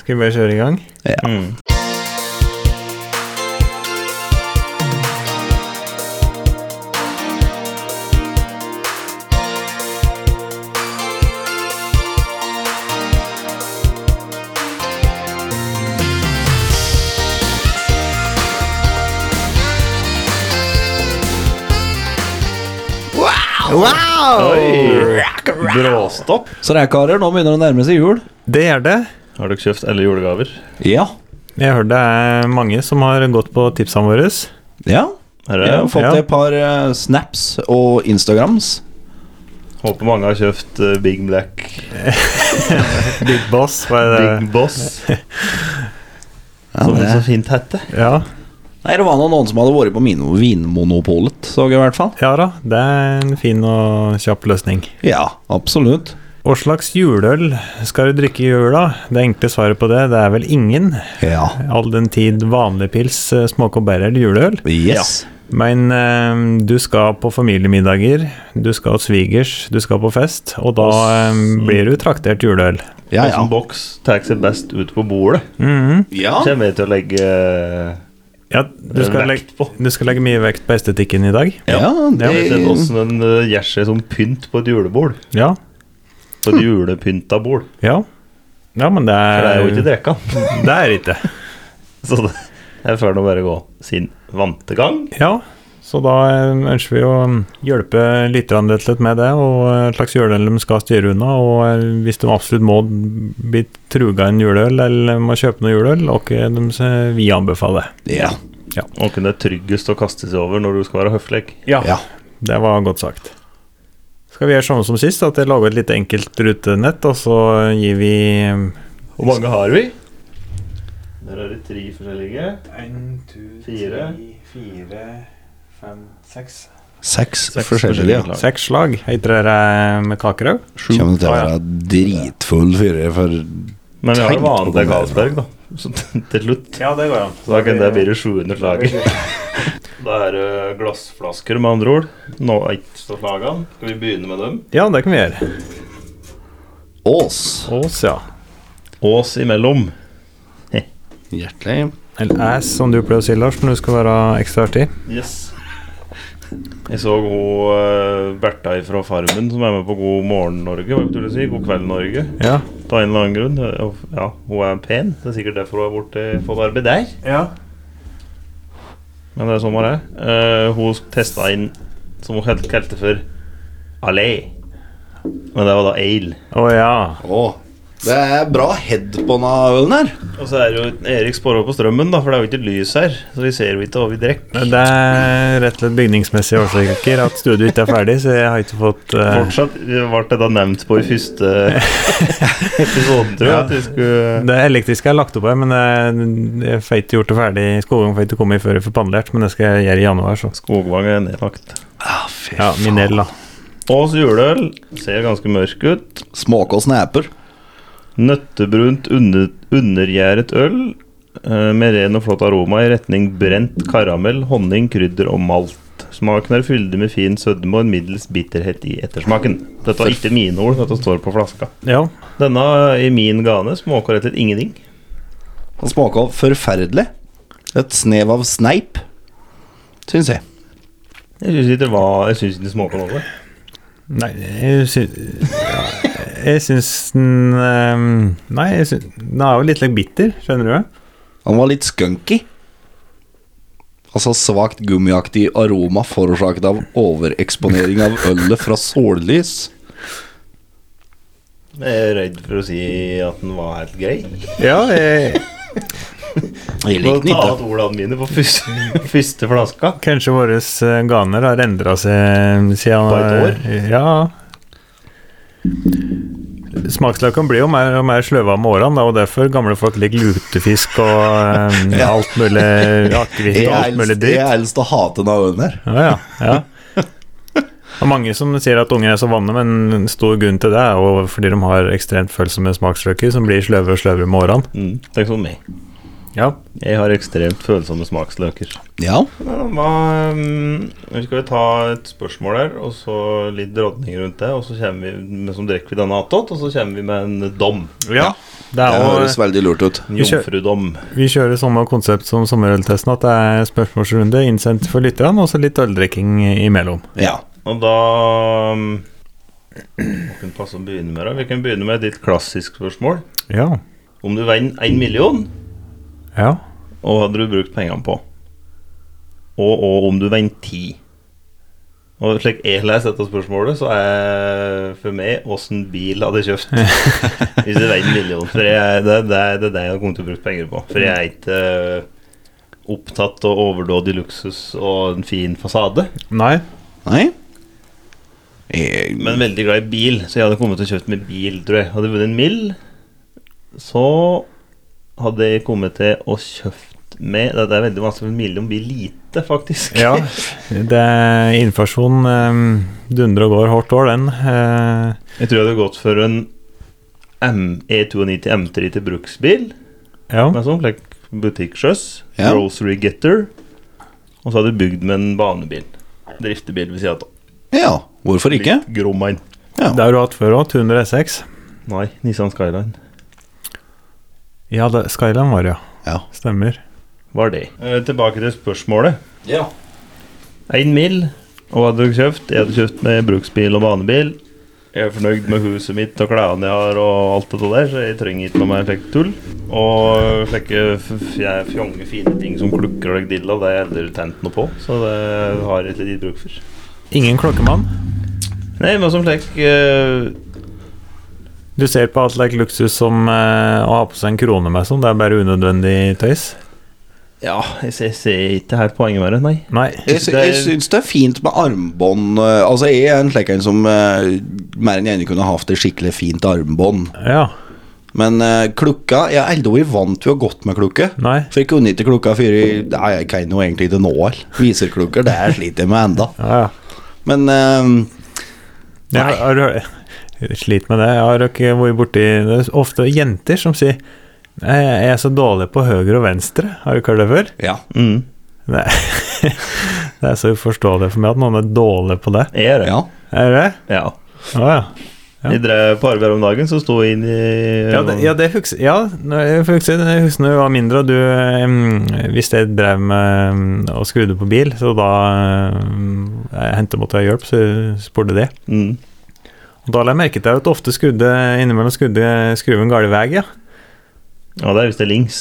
Skal vi bare kjøre i gang? Ja. Mm. Wow! Oi! Bråstopp. Så det er karer, nå begynner det å nærme seg jul. Det er det. Har dere kjøpt alle julegaver? Ja. Jeg har hørt det er mange som har gått på tipsene våre. Ja. Her Jeg er, har fått ja. et par eh, snaps og Instagrams. Håper mange har kjøpt eh, Big Black, Big Boss. Hva er det? Big Boss. Som det- det så fint hette. Ja, Nei, det var nå noen som hadde vært på Mino Vinmonopolet, så jeg i hvert fall. ja da, det er en fin og kjapp løsning. Ja, absolutt. Hva slags juleøl skal du drikke i jula? Det enkle svaret på det, det er vel ingen. Ja. All den tid vanlig pils, eh, småkobber eller juleøl. Yes. Men eh, du skal på familiemiddager, du skal hos svigers, du skal på fest, og da eh, blir du traktert juleøl. Ja, Og ja. Ah. som boks tar seg best ut på bordet. Mhm. ja. Kommer jeg til å legge eh, Ja, du skal, legge, vekt på. du skal legge mye vekt på estetikken i dag. Ja, det Jeg vet hvordan den eh, gjør seg som pynt på et julebord. Ja, På et julepynta bord. ja. Ja, men det For er det er jo ikke drikka. Det er det ikke. Så det, jeg føler nå bare gå sin vante gang. Ja, så da eh, ønsker vi å hjelpe lytterne rett og slett med det, og eh, slags juleøl de skal styre unna. Og eh, hvis de absolutt må bli truga en juleøl, eller må kjøpe noe juleøl, og de, s- vi anbefaler det. Ja. Og kunne det er tryggest å kaste seg over når du skal være høflig. ja. Det var godt sagt. Skal vi gjøre sånn som sist, at jeg lager et lite enkelt rutenett, og så gir vi mm, Hvor mange har vi? Der er det tre forskjellige. Én, to, Fire. fire, fem, seks. Seks, Seks forskjellige. forskjellige. ja. Seks slag heter det eh, med kakerau. Kommer det til å Ah, ja. være dritfull fyrer for Men vi har jo Tenk på vanlig det. Galsberg, da. Så t- til slutt Ja, det går an. så da kan det bli 700 lager. Da er det glassflasker, med andre ord. Nå er ikke stått lagene. Skal vi begynne med dem? Ja, det kan vi gjøre. Ås. Ås, ja. Ås imellom. Hjertelig. Eller ass, som du pleier å si, Lars, når du skal være ekstra artig. Yes. Jeg så hun eh, Bertha fra Farmen som er med på God morgen Norge. Hva betyr det å si? God kveld Norge. Ja. Av en eller annen grunn. Eh, Ja, hun er pen. Det er sikkert derfor hun har borte- fått arbeid der. ja. Men det er sånn var det. Eh, hun testa inn, som hun helt kalte for, Allé. Men det var da ale. Å ja. Å. Det er bra head på denne ølen her. Og så er det jo Erik Sporå på strømmen, da, for det er jo ikke lys her. Så vi ser jo ikke hva vi drikker. Det er rett og slett bygningsmessige årsaker at studioet ikke er ferdig, så jeg har ikke fått eh, Fortsatt ble dette nevnt på i første episoden, tror jeg. Ja. At vi skulle Det elektriske er lagt opp her, men eh, jeg får ikke gjort det ferdig. Skogvang får ikke komme i før jeg får pannelert, men det skal jeg gjøre i januar, så. Skogvang er nedlagt. Ah, fy Ja, min del, da. Ås juleøl ser ganske mørk ut. Småke og snapper. Nøttebrunt, under, undergjæret øl eh, med ren og flott aroma i retning brent karamell, honning, krydder og malt. Smaken er fyldig med fin sødme og en middels bitterhet i ettersmaken. Dette var ikke mine ord, dette står på flaska. Ja. Denne i min gane smaker rett og slett ingenting. Han smaka forferdelig. Et snev av sneip, syns jeg. Jeg syns ikke det var Jeg syns ikke det smaker noe. Nei, jeg syns Jeg syns den eh, Nei, jeg syns Den er jo litt like bitter, skjønner du? Han var litt skunky. Altså svakt gummiaktig aroma forårsaket av overeksponering av ølet fra sollys. Jeg er redd for å si at den var helt grei. Ja, jeg, Jeg Må likte den ta ikke. ut ordene mine på første, første flaska. Kanskje våre eh, ganer har endra seg eh, siden På et Ja. Smaksløkene blir jo mer og mer sløva med årene, da, og derfor gamle folk liker lutefisk og eh, Ja. alt mulig akevitt Jeg og alt mulig helst- jeg dritt. helst å hate denne ølen her. Ja, ja, ja. Det er mange som sier at unger er så vanne, men en stor grunn til det er jo fordi de har ekstremt følsomme smaksløker som blir sløvere og sløvere med årene. Mm, Tenk sånn meg. Ja. Jeg har ekstremt følsomme smaksløker. Ja. Hva, mm, nå skal vi ta et spørsmål her, og så litt drodning rundt det. Og så kommer vi med som drikker vi denne attåt, og så kommer vi med en dom. ja. Det Det er jo høres veldig lurt ut. En Vi kjører- jomfrudom. Vi kjører samme konsept som sommerøltesten, at det er spørsmålsrunde innsendt for lytterne, og så litt øldrikking imellom. Ja. Og da mm, Hva kan passe å begynne med da? Vi kan begynne med et litt klassisk spørsmål. Ja. Om du vinner én million, Ja. og hadde du brukt pengene på? Og, og om du vinner ti? Og slik jeg leser dette spørsmålet, så er for meg åssen bil hadde jeg kjøpt hvis jeg vinner en million. For jeg, det, det, det er det jeg kommer til å bruke penger på. For jeg er ikke eh, opptatt av overdådig luksus og en fin fasade, Nei. Nei. Eh, men veldig glad i bil, så jeg hadde kommet til å kjøpt med bil, tror jeg. Hadde jeg vunnet en mill, så hadde jeg kommet til å kjøpt med Det er veldig vanskelig, for en million blir lite, faktisk. Ja. Det er inflasjon um, dundrer og går hardt år, den. Eh, Jeg tror jeg hadde gått for en M E E92 M3 til bruksbil. ja. Med sånn like butikksjøs. Ja. Grocery getter. Og så hadde jeg bygd med en banebil. Driftebil ved siden av. ja, hvorfor ikke? Litt grom en. Ja. Det har du hatt før òg. 206. Nei, Nissan Skyline. Ja, det, Skyland var det, ja. Ja. Stemmer. Var det. Eh, tilbake til spørsmålet. ja. Én mil. Og hva hadde du kjøpt? Jeg hadde kjøpt med bruksbil og banebil. Jeg er fornøyd med huset mitt og klærne jeg har og alt det der, så jeg trenger ikke noe mer slikt tull. Og slike f- jeg fjonge fine ting som klukker og dill av, det har jeg aldri tent noe på. Så det har jeg ikke litt bruk for. Ingen klokkemann. Nei, men som slik eh, Du ser på alt like luksus som eh, å ha på seg en krone med sånn, det er bare unødvendig tøys? Ja, jeg ser, jeg ser ikke her poenget med det, nei. Nei. Jeg, sy- jeg syns det er fint med armbånd. eh, Altså, jeg er en slik en som eh, mer enn gjerne kunne hatt et skikkelig fint armbånd. Ja. Men eh, klokka Jeg er aldri vant til å ha gått med klokke. Nei. For jeg kunne ikke klokka før i- Nei, jeg kan jo egentlig ikke nå all. Viserklokker, det her sliter jeg med enda Ja, ja. Men eh, Jeg har, har, du- jeg sliter med det. Jeg har ikke vært borti Det er ofte jenter som sier Nei, jeg er så dårlig på høyre og venstre. Har du ikke hørt det før? ja. Mm, Nei. Det er så uforståelig for meg at noen er dårlig på det. jeg gjør det. ja. Er det? Ja. Å ja. Ja. Jeg drev på arbeid om dagen, så sto jeg inn i Ja, det, ja, det husker ja, når jeg. Husker, jeg husker når jeg var mindre, og du em, Hvis jeg drev med em, og skrudde på bil, så da em, jeg hentet måtte jeg hjelp, så spurte de. Mm. Og da la jeg merke til at ofte skrudde innimellom skrudde skruen gale vei, ja. ja, det er hvis det er links.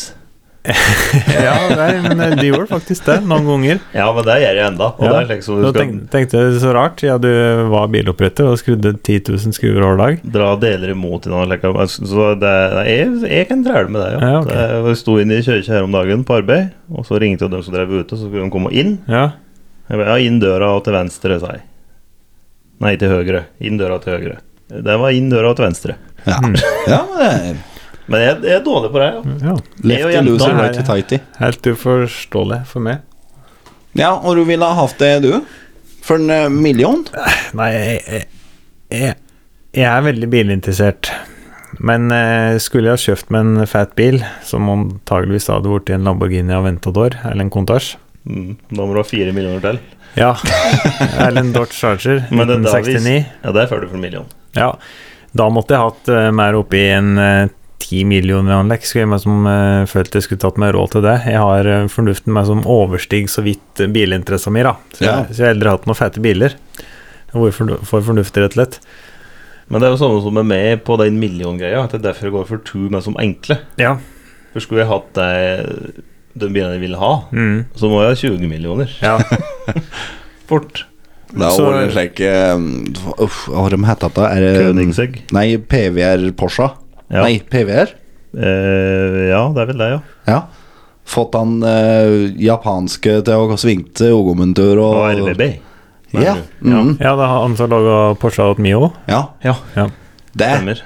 ja, nei, men eh, de gjorde faktisk det noen ganger. Ja, men det gjør jeg enda. Og Ja. det er slik som du Da skal tenk, tenkte jeg så rart, ja, du var biloppretter og skrudde 10 000 skruer hver dag. dra deler imot i noe slik. Så det, nei, jeg, jeg kan dræle med det, ja. Ja, ok. Det- Jeg sto inn i kirka her om dagen på arbeid, og så ringte jeg dem som drev ute, så skulle de komme inn. Ja, Jeg ba, ja, inn døra og til venstre, sa jeg. Nei, til høyre. Inn døra til høyre. Det var inn døra og til venstre. Ja, Mm. ja men det er Men jeg, jeg er dårlig på det. Ja. ja. og Lefty jenta loser, her, righty ja. tighty. Helt uforståelig for meg. Ja, og du ville ha hatt det, du? For en eh, million? Nei, jeg, jeg, jeg er veldig bilinteressert. Men eh, skulle jeg ha kjøpt meg en fat bil, som antageligvis hadde blitt en Lamborghini Aventador eller en Countach Mm, da må du ha fire millioner til. Ja, eller en Dodge Charger Men det er da vi- 1969. Ja, det er før du får en million. Ja, da måtte jeg hatt eh, mer oppi en eh, 10 millioner anlegg, skulle jeg meg som eh, følte jeg skulle tatt meg råd til det. Jeg har eh, fornuften meg som overstiger så vidt eh, bilinteressen min, da. Så, Ja. jeg, så jeg har aldri hatt noen fete biler. Hvorfor for fornuftig, rett og slett. Men det er jo sånne som er med på den million-greia. At det er derfor jeg går for two, men som enkle. Ja. For skulle jeg hatt det den bilen jeg vil ha, Mm. så må jeg ha 20 millioner. ja. Fort. Det er Så- jo en slik eh, Uff, hva har de hetta da? Er det Königsegg. Nei, PVR Porsche. Eh, Ja. Nei, PVR. Eh, ja, det er vel det, ja. Ja. Fått han eh, japanske til å svinge til ungdommentur og Eh, Og RBB. mener Ja. du? ja. Mm, ja, da har han så laga Porsche og Mio. ja. Ja, Det, stemmer.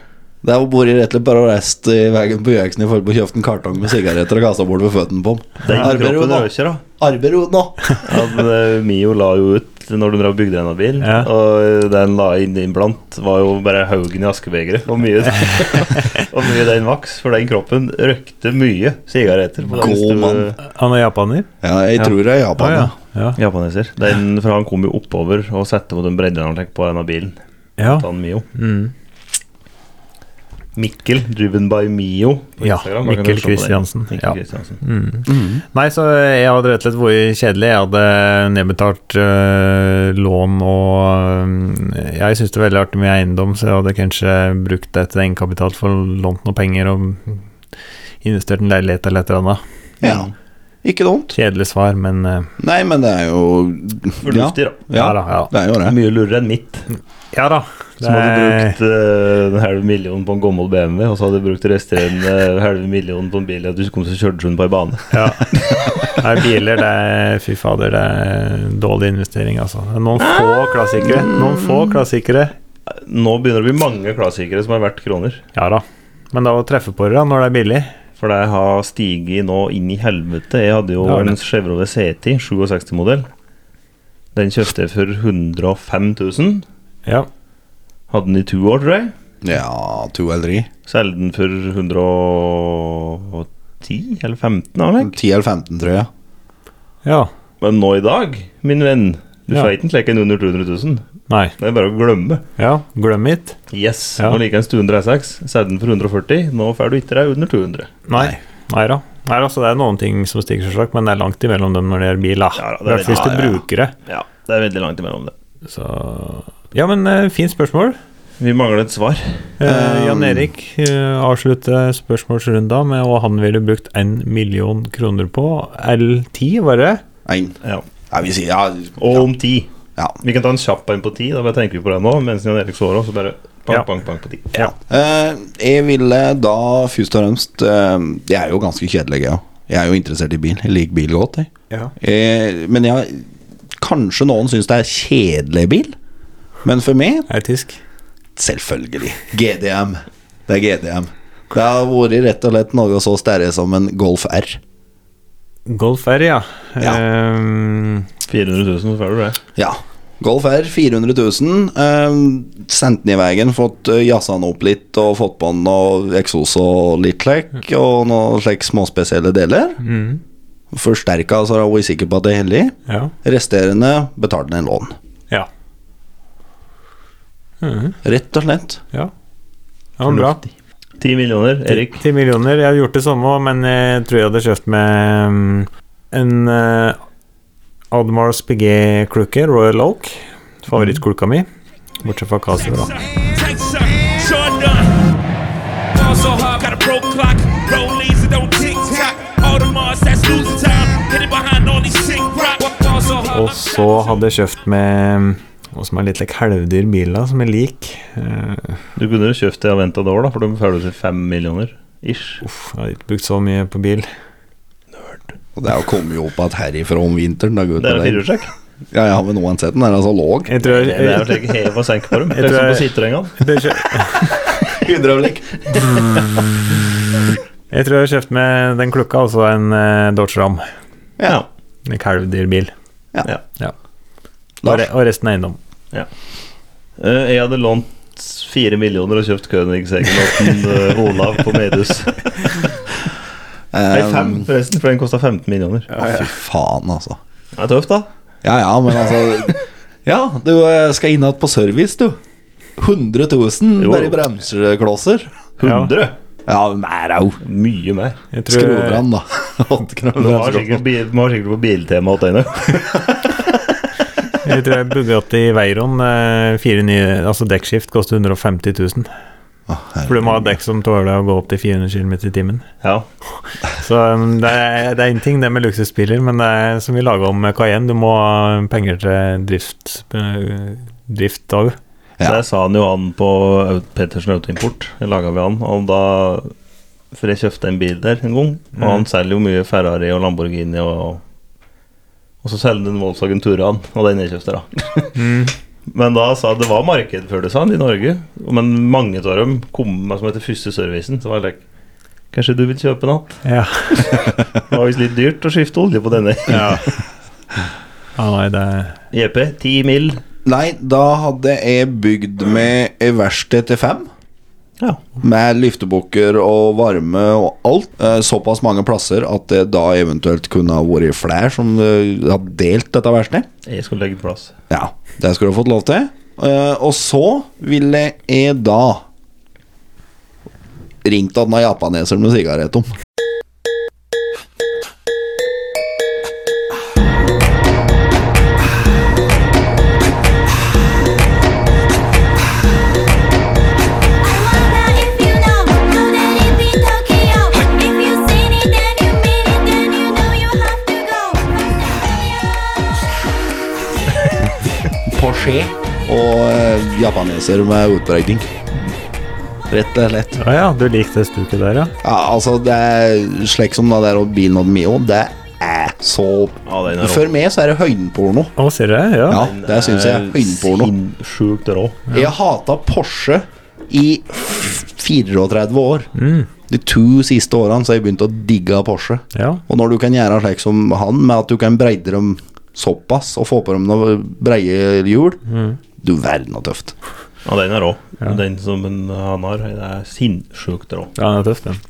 det har vært rett og slett bare å reiste i veien på Gjøksen i forhold til å kjøpe en kartong med sigaretter og kaste bort ved føttene på ham. Den Arbeider kroppen hun nå? røker, da. Arbeider hun nå? Ja, men, eh, Mio la jo ut visste når de drev og bygde denne bilen. Ja. Og eh, den la inn iblant, var jo bare haugen i askebegeret. Og mye, og mye den vaks, for den kroppen røkte mye sigaretter. på den God neste- mann. Han er japaner? Ja, jeg Ja. tror det er Japan. Å, ja. ja. Ja. Japaneser. Den, for han kom jo oppover og satte mot en bredde han fikk på denne bilen. ja. Ta den Mio. Mm. Mikkel, driven by Mio. på Ja, Instagram. Da kan Mikkel du se på den. Kristiansen. Mikkel Ja. Kristiansen. Mm. Nei, så jeg hadde rett og slett vært kjedelig. Jeg hadde nedbetalt øh, lån og øh, Jeg syns det er veldig artig med eiendom, så jeg hadde kanskje brukt det til egenkapital for lånt noen penger og investert i en leilighet eller et eller annet. ja. Ikke dumt. Kjedelig svar, men øh, Nei, men det er jo Ja, Fornuftig, da. ja. ja da. Ja, det er jo det. Mye lurere enn mitt. ja da. Som hadde Det- brukt eh, en halv million på en gammel BMW, og så hadde du brukt resterende eh, halv million på en bil at du kom til å kjøre den på en bane. Ja. Nei, biler, det er Fy fader, det er dårlig investering, altså. Det er Noen få klassikere. Noen få klassikere. Nå begynner det å bli mange klassikere som er verdt kroner. Ja da. Men da å treffe på det da, når det er billig For det har stiget nå inn i helvete. Jeg hadde jo Ja, det. en Chevrolet C10, 67-modell. Den kjøpte jeg for 105 000. Ja. Hadde den i to år, tror jeg. Ja, to eller tre. Solgte den for 110 eller 15, har jeg. 10 eller 15, tror jeg. ja. Men nå i dag, min venn, du Ja. får ikke en slik en under 200 000. Nei. Det er bare å glemme. Ja, glem it. Yes, Ja. nå liker jeg en Stuen 36. Solgte den for 140. Nå får du ikke deg under 200. Nei. Nei da. Nei, altså, det er noen ting som stiger, selvsagt, men det er langt imellom dem når det gjelder bil. da. Ja da, det er I hvert fall hvis veldig- du ja, ja. bruker det. Ja, det er veldig langt imellom det. Så Ja, men eh, fint spørsmål. Vi mangler et svar. Eh, Um. Jan Erik eh, avslutter spørsmålsrunda med hva han ville brukt en million kroner på. L10, var det? Én. Ja. Ja, vi sier ja. Og ja. om ti. ja. Vi kan ta en kjapp en på ti. Da bare tenker vi på det nå. Mens Jan Erik svarer, så bare bank, Ja. bank, bank på ti. Ja. Eh, jeg ville da først og fremst eh, Jeg er jo ganske kjedelig, jeg ja. Jeg er jo interessert i bil. Jeg liker bil godt, jeg. Ja. Eh, men jeg, kanskje noen syns det er kjedelig bil. Men for meg, Er det tysk? selvfølgelig. GDM. Det er GDM. Det har vært rett og slett noe så sterkt som en Golf R. Golf R, ja. Ja. Ehm, 400 000, så får du det. Ja. Golf R, 400 000. Eh, sendt den i veien, fått eh, jazza den opp litt, og fått på den og eksos og litt slik, og noen slik småspesielle deler. mm, Forsterka, så er hun sikker på at det er hellig. ja. Resterende betalte den en lån. Ja. Mhm, Rett og slett. ja. Det var bra. Ti millioner, Erik. 10 millioner. Jeg hadde gjort det samme, men jeg tror jeg hadde kjøpt med mm, en eh, Admar Spigé-klukke, Royal Oak. Favorittklukka mi. Bortsett fra Casio, da. Tights up, sure done. Ball so hard, got a broke clock. Rollies that don't tick tock. All the Mars that's losing time. Hit it behind all these sick rock. Ball so hard, Og så hadde jeg kjøpt med mm, noe som er litt like halvdyr bil, da, som jeg liker. Eh, Du kunne jo kjøpt det og venta et år, da, for da får du til fem millioner. Ish. uff, jeg har ikke brukt så mye på bil. Og det er jo kommet jo opp at herifra om vinteren, da, Det er gutter. en firehjulstrekk. Ja, ja, men uansett, den er altså låg. Jeg tror Det jeg, er jo slik hev og senk på dem. Jeg Det er tror som på jeg- Citroengene. jeg, jeg, Hydraulikk. Jeg tror jeg har kjøpt med den klokka, altså en eh, Dodge Ram. Ja. En kalvdyr bil. Ja. Ja. Og, re og resten er eiendom. Eh, Jeg hadde lånt fire millioner og kjøpt Königseggen åtten eh, Olav på Medus. Nei, fem, Um, forresten, for den kosta 15 millioner. å, fy faen, altså. Det er tøft, da. Ja, ja, men altså Ja, du eh, skal inn igjen på service, du. 100 000 Jo, bare i jo. bremseklosser. 100. Ja, men er au. Mye mer. Jeg tror, Skrobrann, da. Åtte kroner Vi har bremseklosser. sikkert, bil- de har sikkert på biltema og tegnet. jeg tror jeg Bugatti Veyron, eh, fire nye, altså dekkskift, koster 150 000. Å, herre. For du må ha dekk som tåler å gå opp til 400 km i timen. Ja. Så um, det er, det er en ting, det med luksusbiler, men det er som vi laga om med Cayenne, du må ha penger til drift eh, drift òg. Ja. Der sa han jo han på Au- Pettersen Autoimport. Jeg laget vi han. Og da For jeg kjøpte en bil der en gang, og Mm. han selger jo mye Ferrari og Lamborghini og Og så selger han en Volkswagen Turan, og den jeg kjøpte, da. Men da sa det var marked før det, sa han, i Norge. Men mange av dem kom med som heter første servicen. Så var det like, Kanskje du vil kjøpe en hatt? Ja. Det var visst litt dyrt å skifte olje på denne. ja. Ja, nei, det JP, 10 mil. Nei, da hadde jeg bygd med ei verksted til fem. Ja. Med liftebukker og varme og alt. Eh, Såpass mange plasser at det da eventuelt kunne ha vært flere som eh, hadde delt dette verkstedet. Jeg skulle legge plass. Ja, det skulle du fått lov til. Eh, og så ville jeg da ringt at den er japaneser med sigarett om. Porsche. Og eh, japaneser med utbrekning. Rett og slett. Ja ja, du likte det stuket der, ja? Ja, altså, det er slik som det der og bilen og Mio, det er så Ja, den er rå. For meg så er det høydenporno. Å, sier du det? Ja. Ja, det syns jeg er høydenporno. Sjukt rå. Jeg hata Porsche i f- 34 år. De to siste årene så har jeg begynt å digge Porsche. Ja. Og når du kan gjøre slik som han, med at du kan breide dem såpass, og få på dem noen breie hjul Du verden så tøft. Ja, den er rå. Den som en- han har, den er sinnssykt rå. ja, den er tøff, den.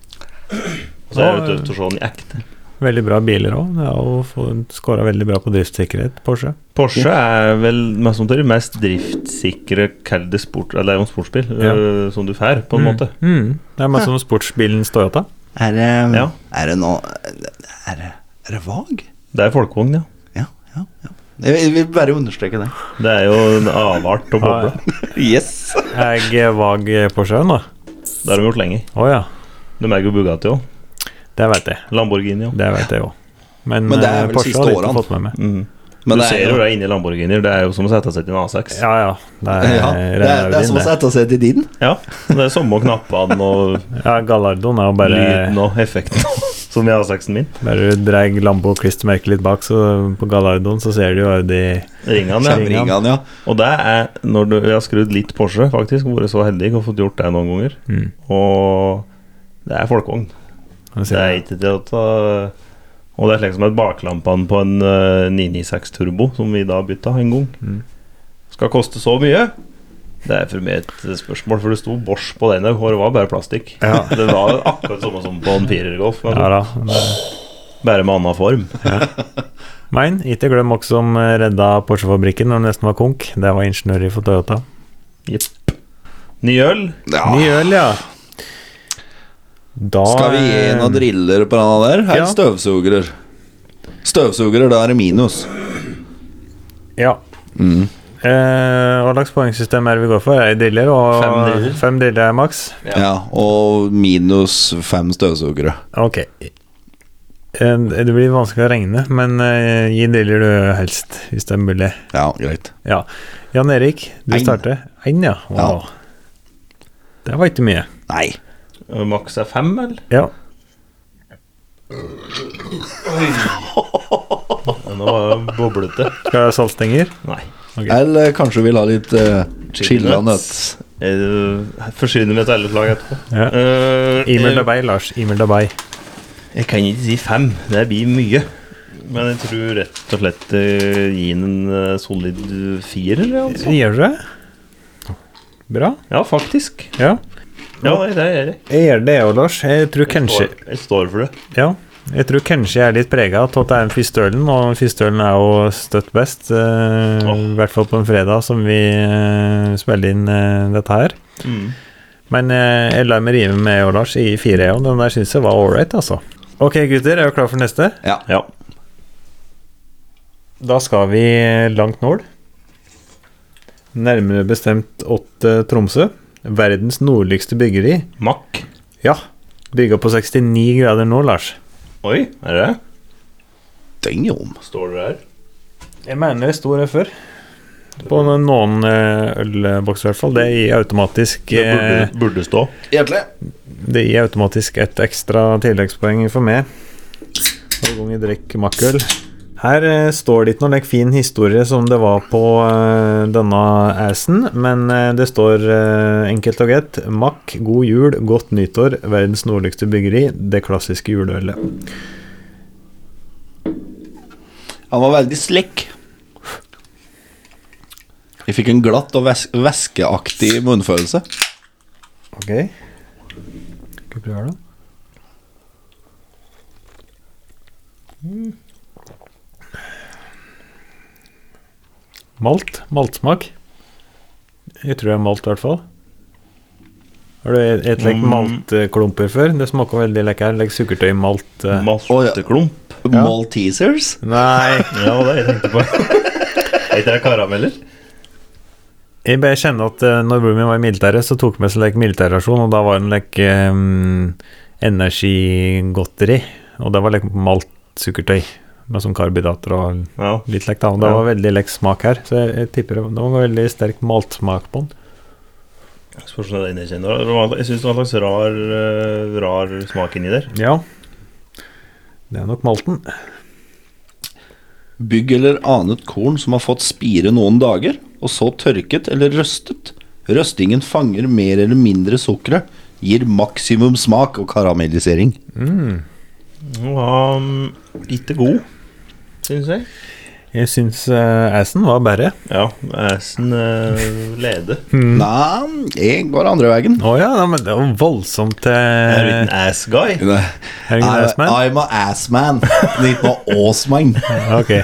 Og så er det jo tøft å se den i ekte. Veldig bra biler òg. Ja, og skåra veldig bra på driftssikkerhet, Porsche. Porsche er vel mest, som det mest driftssikre kall det sport, eller det er jo en sportsbil Ja. øh, som du får, på en måte. Mm. Det er mest som sportsbilen Toyota. Er det, um, Ja. er det noe er det, er det vag? Det er folkevogn, ja. Ja, ja, ja. Jeg jeg vil bare understreke det. Det er jo en avart Ja, og boble. ja. Yes! Jeg vag Porschen, da. Det har de gjort lenge. Å ja. De eier jo Bugatti òg. Det vet jeg. Lamborghini òg. Det vet jeg òg. Men, Men det er eh, vel Porsche siste har jeg ikke årene. fått med meg. Mm. Men du det er ser jo- jo det inni Lamborghinier. Det er jo som å sette seg til en A6. Ja ja. Det er, Ja, Eh, det, er, sånn det er som å sette seg til din. Ja, Det er samme knappene og Ja, Gallardoen er jo bare lyden og effekten som i A6-en min. Bare du dreier Lambo og klistremerket litt bak, så på Gallardoen så ser du jo de Ringene, ja. Ring. Ringene. Ringene, ja. Og det er når du Jeg har skrudd litt Porsche, faktisk. Vært så heldig og fått gjort det noen ganger. Mm. Og det er folkevogn. hva Det er sier jeg? ikke til å ta Og det er slik som et baklampene på en eh, 996 Turbo, som vi da bytta en gang. Mm. Skal koste så mye? Det er for meg et spørsmål, for det sto Bosch på den òg, og det var bare plastikk. Ja. Det var akkurat samme som på en firergolf, Ja da. det- bare med annen form. Men ikke glem også som redda Porsche-fabrikken når den nesten var konk. Det var ingeniør for Toyota. Jepp. Ny øl? ja. Ny øl, ja. Da Ah. Skal vi gi noen driller på denne der? Her Ja. støvsugere. Støvsugere, da er det minus. Ja. Mm. Eh, hva slags poengsystem er det vi går for? Ei driller og Fem driller. fem driller er maks? Ja. og minus fem støvsugere. Ok. Eh, Det blir vanskelig å regne, men eh, gi driller du helst, hvis det er mulig. Ja, greit. Ja. Jan Erik, du Ein. starter. Én, ja. Wow. Det var ikke mye. Nei. Eh, Maks er fem, eller? Ja. Ja, Nå var det boblete. Skal jeg ha saltstenger? Nei. Eller kanskje vil ha litt uh, chilla nuts. Eh, Forsyner med et elleslag etterpå. Ja. Eh, Emil eh, Dabei, Lars. Emil Dabei. Jeg kan ikke si fem, det blir mye. Men jeg tror rett og slett uh, gi den en eh, solid eh, firer. ja, Altså. Gjør du det? Bra. Ja, faktisk. Ja. Ja, nei, det gjør jeg. Jeg gjør det, jeg òg, Lars. Jeg tror kanskje Står, jeg står for det. Ja. Jeg tror kanskje jeg er litt prega av at det er den første ølen, og den første ølen er jo støtt best. eh, I Åh. hvert fall på en fredag som vi eh, spiller inn eh, dette her. Mm. Men eh, jeg lar meg rive med og Lars i fire, jeg òg. Den der syns jeg var ålreit, altså. Ok, gutter, er dere klare for neste? Ja. Ja. Da skal vi langt nord. Nærmere bestemt åt eh, Tromsø. Verdens nordligste byggeri. Mack. Ja. Bygga på 69 grader nå, Lars. Oi, er det det? Døgn om. Står det der? Jeg mener det sto det før. På noen- noen eh, ølbokser, i hvert fall. Det gir automatisk Det burde, eh, burde stå. Hjertelig. Det gir automatisk et ekstra tilleggspoeng for meg. Hver gang jeg drikker makkøl. Her eh, står det ikke noen like, fin historie som det var på eh, denne assen, men eh, det står eh, enkelt og greit Mack, god jul, godt nyttår, verdens nordligste byggeri, det klassiske juleølet. Han var veldig slikk. Jeg fikk en glatt og væs væskeaktig munnfølelse. Ok. Skal vi prøve her, da? Mm. Malt. Maltsmak. Jeg tror det er malt, i hvert fall. Har du et- et lekt Mm. maltklumper før? Det smaker veldig lekkert. Legg sukkertøy, malt eh. Malteklump. Maltesers? Nei. Ja, det var det jeg tenkte på. Er ikke det karameller? Jeg bare kjenner at eh, når broren min var i militæret, så tok vi med seg like, militærrasjon, og da var det like, um, energigodteri, og det var like, malt sukkertøy med sånn karbohydrater og Ja. litt like, da. Og det Ja. var veldig like, smak her, så jeg, jeg tipper det, det var veldig sterk maltsmak på den. Spørs om det er inne i kjennene. Det var- Jeg syns det var en slags rar, eh, rar smak inni der. Ja. Det er nok malten. Bygg eller annet korn som har fått spire noen dager, og så tørket eller røstet. Røstingen fanger mer eller mindre sukkeret, gir maksimum smak og karamellisering. Den var mm, ikke god, syns jeg. Jeg syns uh, assen var bedre. Ja, assen uh, lede. Nei, jeg går andre veien. Å ja, nei, men det var voldsomt Jeg er en eh, ass guy. Er du en I- assman? I'm a assman. Litt av assman. Ok.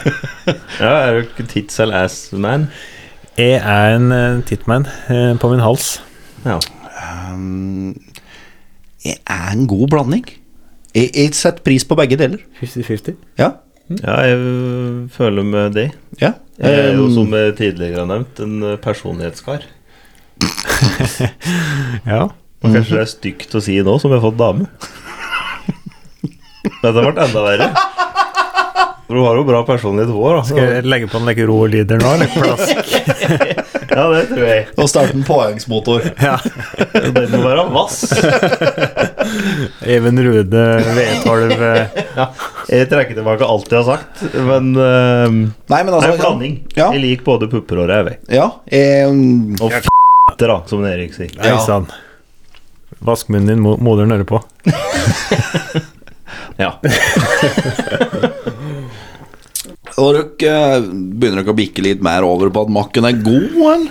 Ja, er du ikke tits eller ass man? Jeg er en uh, tittman eh, på min hals. Ja. Um, jeg er en god blanding. Jeg, jeg setter pris på begge deler. 50-50. Ja. ja, jeg øh, føler med det. ja. Jeg er jo, Um, som jeg tidligere har nevnt, en øh, personlighetskar. Ja. Og kanskje det er stygt å si nå, som jeg har fått dame. Dette ble enda verre. For hun har jo bra personlighet, hun òg. Skal jeg legge på en like rå lyder nå, eller plask? Ja, det tror jeg. Og starte en påhengsmotor. ja. Den må være vass. Even Rude, V12 eh, Jeg trekker tilbake alt jeg har sagt, men øh, Nei, men Det altså er en blanding. Ja. Jeg liker både pupper og ræv. jeg. Ja. Jeg, um, Og f***, da, som Erik sier. Hei Ja. sann. Vask munnen din, mo- moderen hører på. Ja. Og dere eh, begynner dere å bikke litt mer over på at makken er god, eller?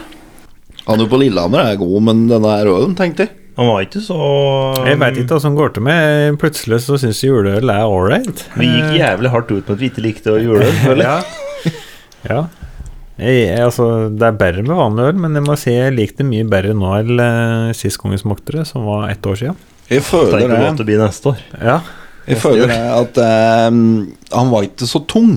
Han jo på Lillehammer er god, men denne er rød, tenkte jeg. Han var ikke så Jeg veit ikke hva som går til meg. Plutselig så syns jeg juleøl er ålreit. Vi gikk jævlig hardt ut med at vi ikke likte å gjøre det. føler Ja. jeg. ja. Jeg, jeg, altså, det er bedre med vanlig øl, men jeg må si jeg liker det mye bedre nå enn eh, sist gang vi smakte det, som var ett år siden. Jeg Tenk føler hvor godt det, det blir neste år. Ja. jeg føler det at eh, han var ikke så tung.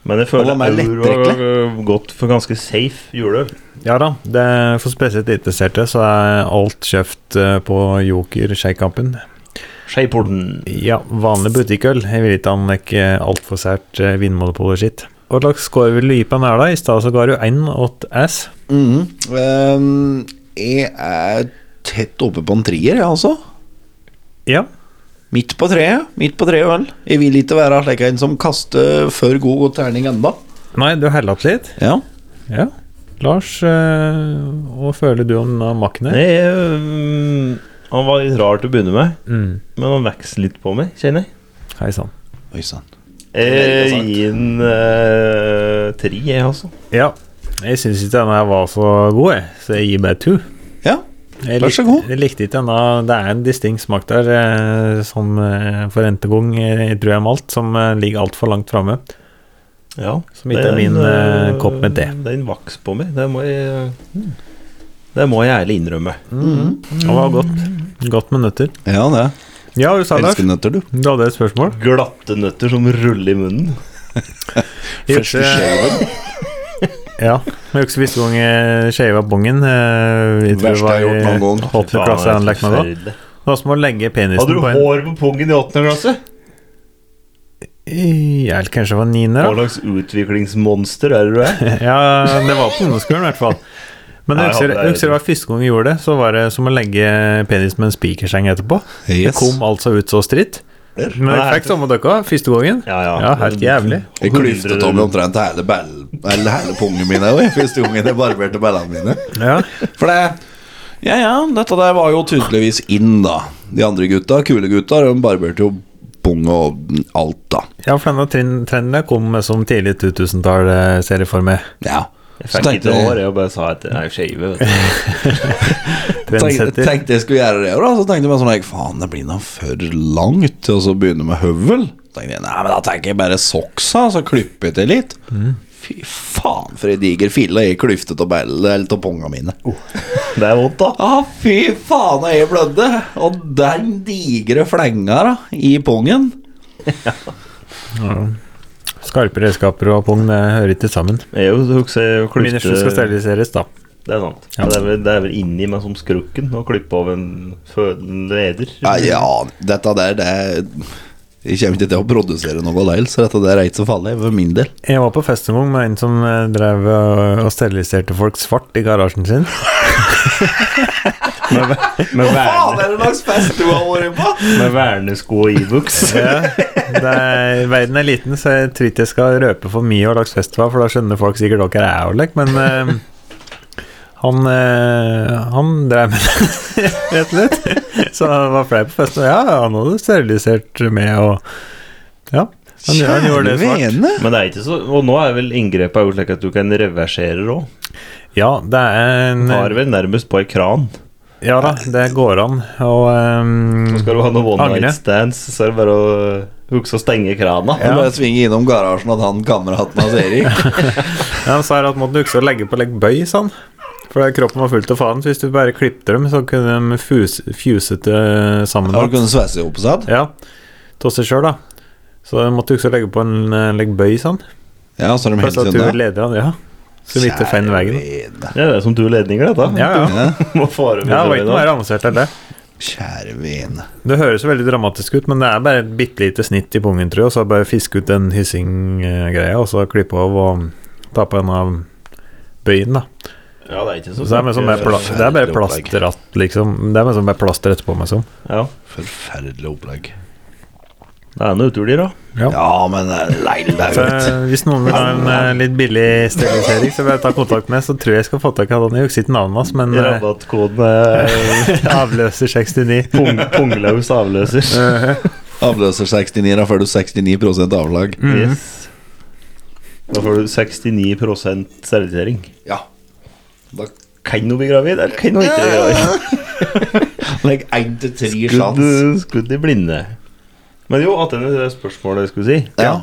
Men Det var jeg føler mer euro lettdrikkelig. har øh, gått for ganske safe juleøl. Ja da, det er for spesielt interesserte så er alt kjøpt eh, på Joker Skeikampen. Skeiporten. Ja, vanlig butikkøl. Jeg vil ikke anlegge altfor sært eh, vinmonopol og skitt. Hva slags score vil du gi på den her, da? I stad så ga du 1 S. Mhm. Eh, jeg er tett oppe på en trier, jeg, altså. Ja. Midt på treet. Midt på treet, vel. Jeg vil ikke være slik en som kaster før god god terning enda. Nei, du heller opp litt. Ja. Ja. Lars, eh, hva føler du om den makken her? Nei, øh, han var litt rar til å begynne med, Mm. men han vokser litt på meg, kjenner jeg. Hei sann. Oi sann. Jeg Veldig sant. gir den øh, tre, jeg, altså. Ja. Jeg syns ikke denne her var så god, jeg, så jeg gir bare to. Ja. Jeg Vær så god. Jeg likte ikke denne. Det er en distinkt smak der, eh, som eh, for n gang eh, tror jeg malt, som eh, ligger altfor langt framme. Ja, Som ikke er min eh, kopp med te. Mm. Den vaks på meg. Det må jeg, det må jeg ærlig innrømme. Det var godt. Godt med nøtter. Ja, det. Ja, du sa Lars. Elsker nøtter, du. Du hadde et spørsmål? Glatte nøtter som ruller i munnen. Første shaven. Ja. Jeg husker siste gang jeg shava bongen. eh, Verste jeg har gjort noen gang. Åttende klasse Faen, det er anlegg med da. forferdelig. Det var som å legge penisen Hadde du på en hår på pungen i åttende klasse? Ja, Eller kanskje det var niende, Hva da. slags utviklingsmonster er det du er? Ja, det var på ungdomsskolen i hvert fall. Men Nei, jeg jeg husker, hadde det. jeg husker det var første gang jeg gjorde det, så var det som å legge penis med en spikerseng etterpå. Det Yes. kom altså ut så stritt. Men jeg fikk samme døkka første gangen. Ja, ja. helt jævlig. Jeg klyftet om omtrent hele, bell, eller hele pungen min også, jeg, første gangen jeg barberte bellene mine. Ja. For det Ja, ja, dette der var jo tydeligvis inn, da. De andre gutta, kule gutta, de barberte jo pung og alt, da. ja, for denne trend- trenden kom som tidlig 2000-tall, eh, ser jeg for meg. Ja. Jeg Så fikk tenkte ikke jeg- hår, jeg bare sa at det er skeive. vet du. Tenkte, Trendsetter. tenkte jeg skulle gjøre det, og da, så tenkte jeg meg sånn like, Faen, det blir da for langt til å begynne med høvel. Tenkte jeg, Nei, men da tenker jeg bare soksa, så klipper jeg til litt. Fy faen, for ei diger fille jeg klyftet av belle eller av ponga mine. Det er vondt, da. Ah, fy faen, jeg blødde! Og den digre flenga da, i pongen. Skarpe redskaper og pung, det hører ikke sammen. Jeg husker å Minusen skal klyfte steriliseres, da. Det er sant. Ja. Det, er vel, det er vel inni meg som skrukken å klippe av en fødende leder. Nei, ja, dette der, det Jeg kommer ikke til å produsere noe leil, så dette der er ikke så farlig, for min del. Jeg var på fest en gang med en som eh, drev eh, og steriliserte folk svart i garasjen sin. Med, med, verne, er det slags fest du har vært på? med vernesko og Ibux. Ja, det er, verden er liten, så jeg tror ikke jeg skal røpe for mye hva slags fest det var, for da skjønner folk sikkert hva det er, Olek, men eh, han, eh, han drev med det, rett og slett. Så han var flau på festen, og ja, han hadde sterilisert med, og ja, han, han gjorde det svart. vene! Men det er ikke så Og nå er vel inngrepet er jo slik at du kan reversere òg. Ja, det er Tar en, vel nærmest på ei kran. ja da, det går an, og eh, Skal du ha noe one Angre. night stands, så er det bare å huske å stenge krana. Jeg bare svinge innom garasjen at han kameraten hans Erik Ja, han sa her at måtte du huske å legge på legge bøy, sa han. For kroppen var fullt av faen. Så hvis du bare klippte dem, så kunne de fuse, fuse til sammen. Har du kunnet sveise opp seg? Ja, til seg sjøl, da. Så de måtte du huske å legge på en eh, legge bøy, sa han. Ja, så de Plass helt at du unna. leder han, ja. Så vidt det liksom, feil veien. vene. Ja, det er som du ledninger, dette. Ja, ja. Ja, Må fare Ja, det var ikke noe mer videre. avansert enn det. Kjære vene. Det høres jo veldig dramatisk ut, men det er bare et bitte lite snitt i pungen, tror jeg, og så bare fiske ut den hyssing-greia, og så klippe av og ta på en av bøyen, da. Ja, det er ikke så Så det er, med sånn bare pla det er bare Forferdelig opplegg. plasteratt, liksom. Det er med sånn bare plaster etterpå, meg som. Ja, Forferdelig opplegg. det er noe utulig, da. Ja, men eh, leil det Så er jo eh, hvis noen vil ha en eh, litt billig sterilisering, så bare ta kontakt med Så tror jeg jeg skal få tak i han. Jeg husker ikke navnet hans, men eh, Rabattkoden er avløser 69. pung, punglaus avløser. Avløser 69, da får du 69 avlag. Mm. Yes. Da får du 69 sterilisering. Ja. Da Kan hun bli gravid, eller kan hun ikke bli gravid? legg én til tre Skudd, skudd i blinde. Men jo, attende til det spørsmålet jeg skulle si. Ja.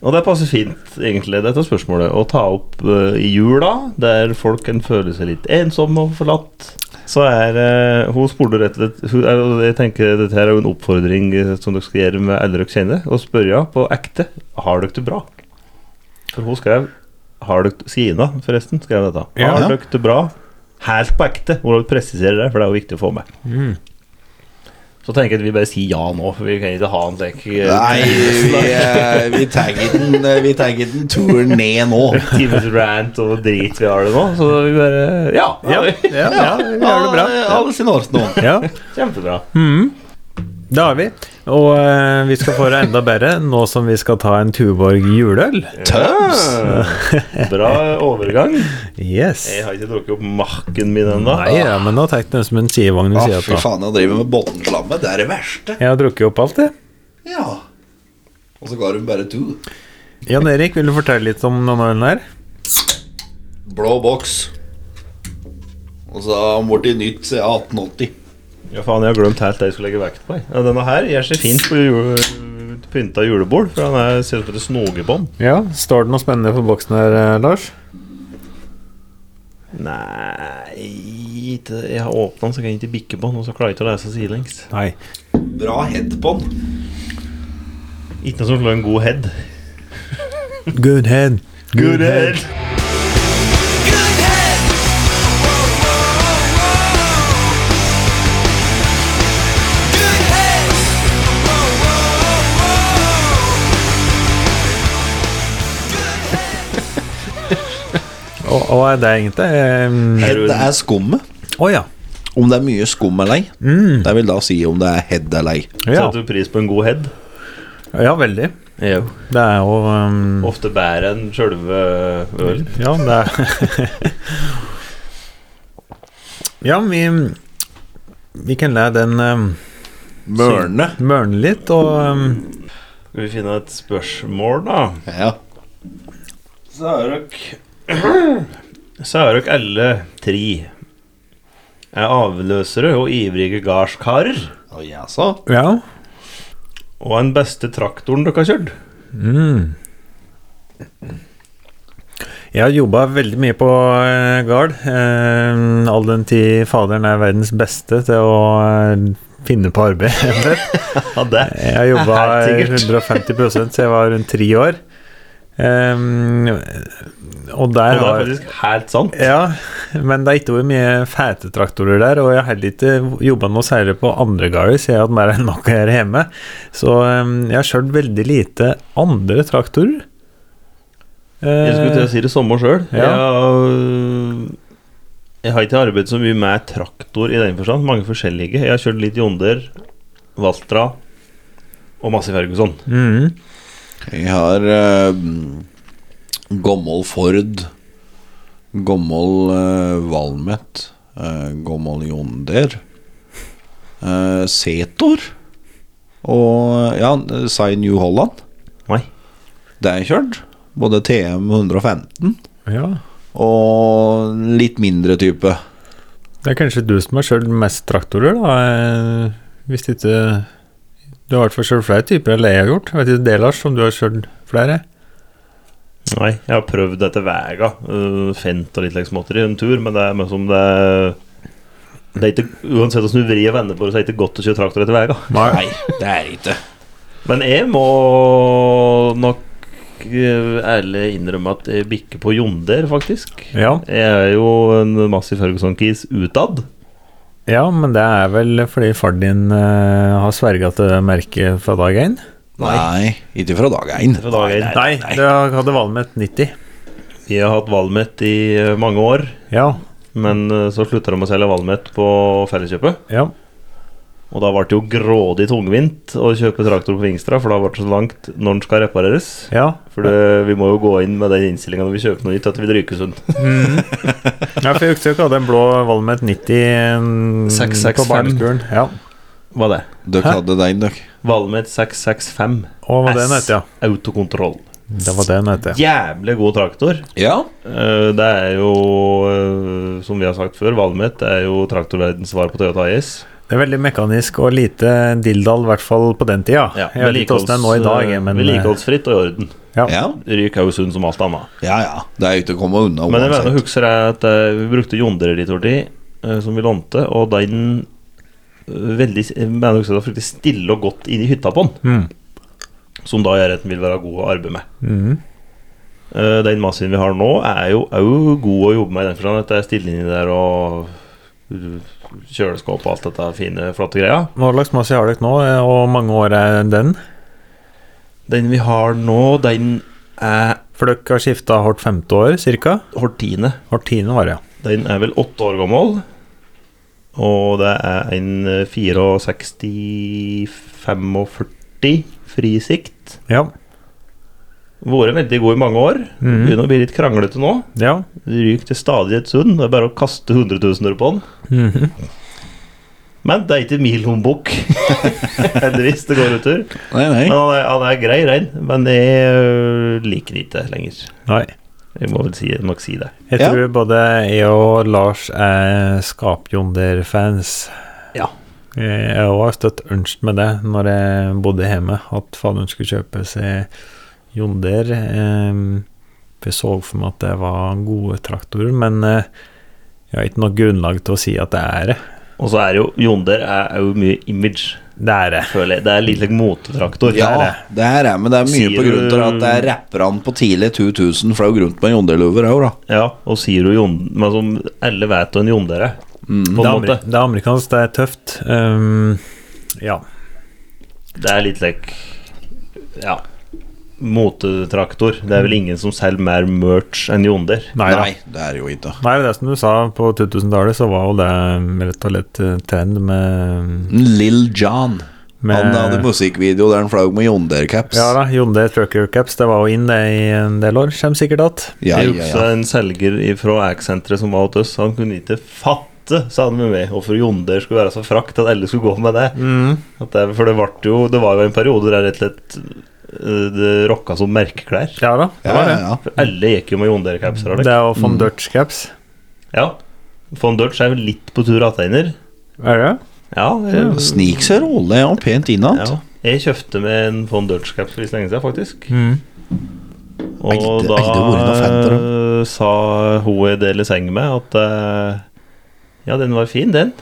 Og det passer fint, egentlig, dette spørsmålet, å ta opp eh, i jula, der folk kan føle seg litt ensomme og forlatt. Så er eh, Hun spurte rett og slett hun, eh, Jeg tenker dette her er jo en oppfordring eh, som dere skal gjøre med alle dere kjenner, og spørre på ekte Har dere det bra. For hun skrev har dere, Sina, forresten, skrev dette. Ja. Har dere det bra? Helt på ekte. Hun vil presisere det, for det er jo viktig å få med. Så tenker jeg at vi bare sier ja nå, for vi kan ikke ha en slik eh, Nei, vi, eh, vi tagger den, eh, vi tagger den turen ned nå. times rant og drit vi har det nå, så vi bare Ja, ja, Ja, ja, vi gjør det bra. Alle sine år nå. Ja, kjempebra. det har vi. Og eh, vi skal få det enda bedre nå som vi skal ta en Tuborg juleøl. Tøms! Bra overgang. Yes. Jeg har ikke drukket opp marken min ennå. Nei, ja, men nå tar jeg den som en sidevogn ved Å, sida fy av. faen, å drive med bunnslammet, det er det verste. Jeg har drukket opp alt, jeg. Ja. Og så ga hun bare to. Jan Erik, vil du fortelle litt om denne ølen her? Blå boks. Og så har han blitt nytt siden 1880. Ja, faen, jeg har glemt helt det jeg skulle legge vekt på. jeg. Ja, denne her gjør seg fint på jule, pynta julebord, for han er, ser ut som et snogebånd. Ja, Står det noe spennende på boksen her, eh, Lars? Nei det- Jeg har åpna den, så kan jeg ikke bikke på den, og så klarer jeg ikke å lese sidelengs. Nei. Bra head på den. Ikke noe som slår en god head. Good head. Good head. Og, og er det egentlig Å Er Head du- er skummet. ja. Om det er mye skum eller ei. Mm. Det vil da si om det er head eller ei. ja. Setter du pris på en god head? Ja, veldig. Jo. Det er jo ehm, Ofte bedre enn sjølve ølen. Ja, det er Ja, vi Vi kan la den um, Mørne. mørne litt, og ehm, Skal vi finne et spørsmål, da? Ja. Så har dere så er dere alle tre er avløsere og ivrige gardskarer. Og jaså? Ja. Og den beste traktoren dere har kjørt. Mm. Jeg har jobba veldig mye på eh, gard. Eh, all den tid faderen er verdens beste til å eh, finne på arbeid. Ja, det. Jeg har jobba Helt 150 siden jeg var rundt tre år. Eh, og Og der det er har faktisk helt sant. ja, men det har ikke vært mye fete traktorer der, og jeg har heller ikke jobba noe særlig på andre gårder, siden jeg har hatt mer enn nok her hjemme. Så eh, jeg har kjørt veldig lite andre traktorer. Jeg skulle til å Eh, si det samme sjøl. Ja. Jeg, har- jeg har ikke arbeidet så mye med traktor i den forstand. Mange forskjellige. Jeg har kjørt litt Jonder, Valtra og Massey Ferguson. mhm. Jeg har uh, Gommel Ford Gommel uh, Valmet eh, Gommel Jonder eh, Setor Og ja, Sai New Holland Nei. Det er kjørt Både TM 115 ja. Og en litt mindre type Det er kanskje du som har kjørt mest traktorer, da. eh, Hvis ikke Du har i hvert fall kjørt flere typer enn det jeg har gjort. Jeg vet ikke det, Lars, om du har kjørt flere? Nei, jeg har prøvd dette vega. øh, Fent og litt like småtter i en tur, men det er mye som det det er ikke, Uansett hvordan du vrir og vender på det, så er det ikke godt å kjøre traktor etter vega. Nei, det er det ikke Men jeg må nok øh, ærlig innrømme at jeg bikker på Jonder, faktisk. Ja. Jeg er jo en massiv Ferguson-kis utad. ja, men det er vel fordi far din eh, har sverga til det merket fra dag én? Nei, ikke fra dag 1 Fra dag én. Nei, det hadde Valmet 90. Jeg har hatt Valmet i eh, mange år, Ja. men eh, så slutta de å selge Valmet på Felleskjøpet. ja. Og da ble det jo grådig tungvint å kjøpe traktor på Vingstra, for da ble det så langt når den skal repareres. ja. For det, vi må jo gå inn med den innstillinga når vi kjøper noe nytt, at vi ryker sunt. Mhm. ja for jeg husker ikke hadde en blå Valmet 90 mm, 665. på barneskolen. Ja. Hva er det? Dere hadde den, dere Valmet 665 Og hva det den het, ja. autokontroll. Det var det den het, ja. Jævlig god traktor. Ja, Eh, Det er jo, eh, som vi har sagt før, Valmet er jo traktorverdens svar på Toyota AS. Det er veldig mekanisk og lite dilldall, i hvert fall på den tida. Ja, jeg vet ikke åssen det er nå i dag, jeg, men eh, Vedlikeholdsfritt og i orden. ja, Ryk er jo sunn som alt annet. ja, ja. Det er jo ikke å komme unna Men jeg mener, uansett. husker jeg at eh, vi brukte Jondereditor-tid, som vi lånte, og den eh, veldig, jeg mener jeg husker det var fryktelig stille og godt inn i hytta på den, Mm. som da jeg retten vil være god å arbeide med. Mm. Eh, Den maskinen vi har nå, er jo òg god å jobbe med, i den forstand at det er stille inni der og uh, kjøleskap og alt dette fine, flotte greia. Hva slags masse har dere nå, eh, og mange år er den? Den vi har nå, den er For dere har skifta hvert femte år, cirka? Hortine. Hvert tiende år, ja. Den er vel åtte år gammel. Og det er en eh, 64-45 frisikt. Ja. Vært veldig god i mange år. Mhm. Begynner å bli litt kranglete nå. ja. Ryk til stadighet sunn. Det er bare å kaste hundretusener på den. Mhm. Men det er ikke min lommebok. Heldigvis, det går utover. Nei, nei Men han er, han er grei, rein. Men jeg øh, liker den ikke lenger. Nei. Jeg må vel si, nok si det. Jeg Ja. tror både jeg og Lars er Skapjonder-fans. Eh, Ja. Jeg har også støtt ønsk med det når jeg bodde hjemme, at faderen skulle kjøpe seg Jonder. eh, for Jeg så for meg at det var gode traktorer, men eh, jeg har ikke noe grunnlag til å si at det er det. Og så er jo Jonder er jo mye image, Det er det. føler jeg. Det er litt like motetraktor. Ja, Det er det. det her er, men det er mye Sier på grunn til at du- det er rapperne på tidlig 2000 flaug rundt med jondeluver òg, da. Ja, og sier jo Jon Men som alle vet hva en jonder er. På Mm. Det er, en måte. ameri- det er amerikansk, det er tøft. Um, ja. Det er litt lek Ja. Motetraktor. Det er vel ingen som selger mer merch enn jonder. Mm. Nei da. Nei, det er jo ikke. Nei, det er som du sa, på 2000-tallet så var jo det um, rett og slett eh, trend med, Lill John. med Han hadde musikkvideo der han flaug med jondercaps. eh, Ja da, Jonde Trucker Caps, det var jo inn det i en del år, kommer sikkert att. ja, jeg ja, husker ja. en selger fra Ax-senteret som var hos oss. Han kunne ikke fatte, sa han med meg, hvorfor jonder skulle være så frakt at alle skulle gå med det. At det for det, vart jo, det var jo en periode der rett og slett eh, det rocka som merkeklær. Ja da, det Ja, var ja, det. ja. For alle gikk jo med John Deere-capser. Det er jo von Dutch caps. liksom. Ja. Von Dutch er jo litt på tur atteiner. Er det? Ja, jeg, Snik seg rolig og pent innad. ja. jeg kjøpte med en von Dutch-caps for ikke så lenge siden, faktisk. Mm. Og Er Mm. det- da er det vært noe fett, da? eh, sa hun jeg deler seng med, at eh, ja, den var fin, den.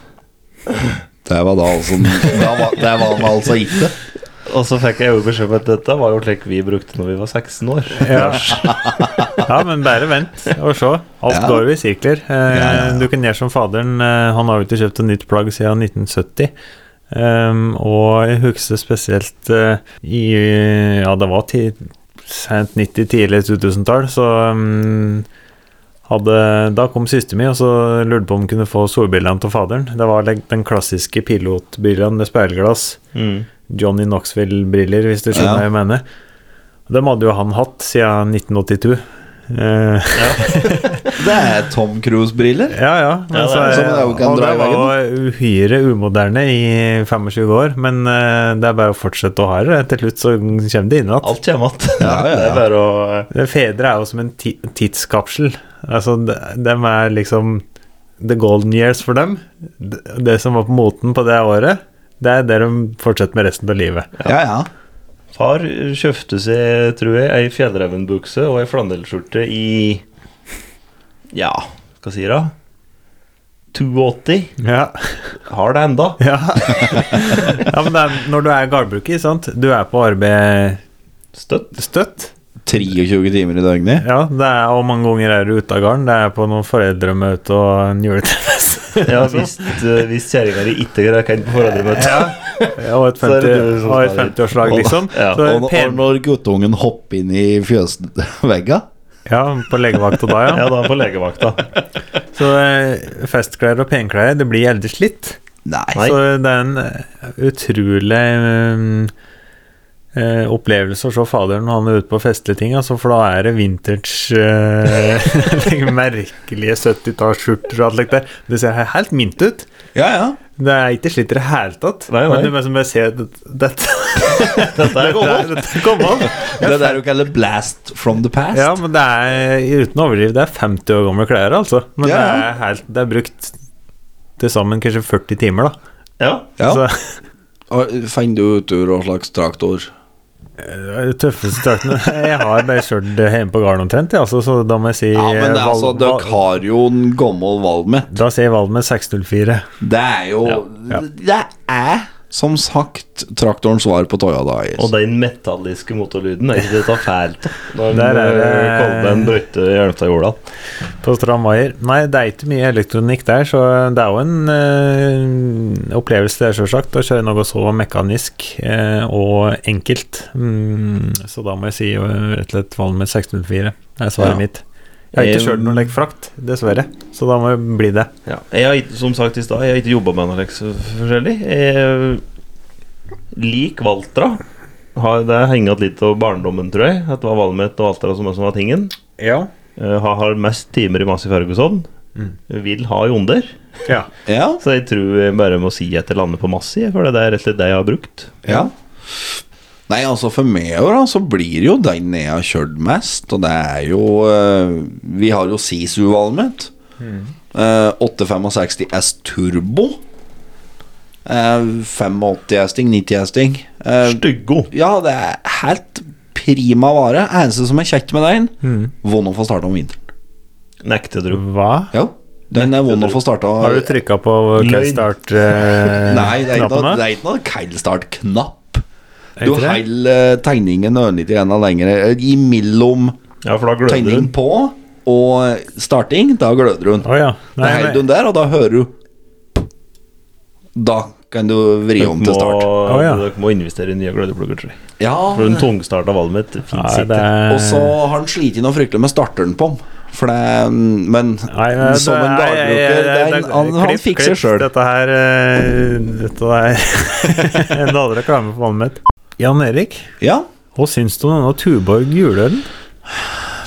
Det var da altså Det var, det var han altså ikke. Og så fikk jeg jo beskjed om at dette var jo slik vi brukte når vi var 16 år. Ja. ja, men bare vent og se. Alt Ja. går jo i sirkler. Eh, ja, ja. Du kan gjøre som faderen. eh, Han har jo ikke kjøpt et nytt plagg siden 1970. Ehm, og jeg husker spesielt eh, i Ja, det var ti, sent 90-, tidlig 2000-tall, så mm, hadde, da kom siste mi, og så lurte på om hun kunne få solbrillene til faderen. Det var like, den klassiske pilotbrillene med speilglass. Mm. Johnny Knoxville-briller, hvis du skjønner Ja. hva jeg mener. Dem hadde jo han hatt siden 1982. Eh, Det er Tom Cruise-briller. ja, ja. Men Ja, det så, er- så det er jo ikke en og det drivegen, var jo uhyre umoderne i 25 år, men eh, det er bare å fortsette å ha det. Til slutt så kommer det inn igjen. Alt kommer igjen. Ja, ja, ja. Det er bare å eh, Det Fedre er jo som en ti tidskapsel. Altså, de- dem er liksom the golden years for dem. Det, det som var på moten på det året, det er det de fortsetter med resten av livet. Ja, ja. Far kjøpte seg, tror jeg, ei fjellrevenbukse og ei flanellskjorte i Ja, hva sier hun? 82. Ja. Har det enda. Ja, ja men det er, når du er gardbruker, sant? du er på arbeid Støtt. støtt. 23 timer i døgnet. Ja, det er, og mange ganger er du ute av garden. Det er på noen foreldremøte og en juletrefest. Ja, hvis, eh, hvis kjerringa di ikke greier å på foreldremøte. og et Så er det 50 du som og et skal dit. 50-årslag, liksom. Ja, Så Og, og pen, når guttungen hopper inn i fjøsvegga ja, på legevakta da, Ja, ja. da er han på legevakta. Så eh, festklær og penklær, det blir eldres litt. Nei. Nei. Så det er en eh, utrolig eh, eh, opplevelse å se faderen når han er ute på festlige ting, altså, for da er det vintage eh, Merkelige 70-tallsskjorter og alt like det. Det ser he- helt mint ut. Ja, ja. Det er ikke slitt i det hele tatt. Nei, nei. Men du må liksom bare se at dette. Dette er Dette er- dette er gammelt. Det der du kaller 'blast from the past'. Ja, men det er uten å overdrive, det er 50 år gamle klær, altså. Men Ja, det, ja. er helt, det er brukt til sammen kanskje 40 timer, da. Ja. Ja. Så, Og Fant du ut hva slags traktor? Det er det tøffeste draktene Jeg har bare kjørt det hjemme på gården omtrent, ja, altså, så da må jeg si Ja, men det eh, er altså, Val- dere har jo en gammel valmet. Da sier jeg Valmet 604. Det er jo Ja. Det er som sagt traktorens svar på Toya Dyes. Og den metalliske motorlyden er ikke det å ta fælt når Der den er det- eh, kolben brøyte Jernstadjorda. På Stramvaier. Nei, det er ikke mye elektronikk der, så det er jo en eh, opplevelse, det, sjølsagt, å kjøre noe så mekanisk eh, og enkelt. Mm, så da må jeg si eh, rett og slett Valmet 604. Det er svaret Ja. mitt. Eh, Jeg har ikke Jeg- kjørt noen like, frakt, dessverre, så da må det bli det. Ja. Jeg har ikke, som sagt i stad, jeg har ikke jobba med noe like så forskjellig. Jeg lik Valtra. Har, det henger igjen litt av barndommen, tror jeg. At det var Valmet og Valtra som, som var tingen. Ja. Eh, Har, har mest timer i Masi Ferguson. Vil ha Jonder. ja. Ja, Så jeg tror jeg bare må si at jeg lander på Masi, for det er rett og slett det jeg har brukt. ja. Nei, altså for meg jo da, så blir jo den jeg har kjørt mest, og det er jo eh, Vi har jo Sisu-valmet. Mm. Eh, 865 S Turbo. Eh, 85 hesting, 90 hesting. Eh, Styggo. ja, det er helt prima vare. Eneste som er kjekt med den, Mm. vond å få starta om vinteren. Nekter du. Hva? Ja, den er vond å få starta Har du trykka på eh, kickstart-knappene? Nei, det er ikke noe, det er ikke noe keilstart-knapp. Er Du ikke det? holder eh, tegningen ørlite grann lenger eh, imellom Ja, for da gløder tegning hun. på og starting. Da gløder hun. Å ja. Da Nei, holder men, hun der, og da hører du Da kan du vri om Må, til start. Å, ja. Dere må investere i nye glødeplugger, tror jeg. Ja, For en tungstarta valmet fins nei, det ikke. er og så har han slitt noe fryktelig med starteren på den. For det Men Nei, men som det en er- dagbruker det er- den- Han, han klipp, fikser klipp, sjøl. Dette her eh, Dette er en annen reklame for vannet mitt. Jan Erik, Ja. hva syns du om denne Tuborg juleølen?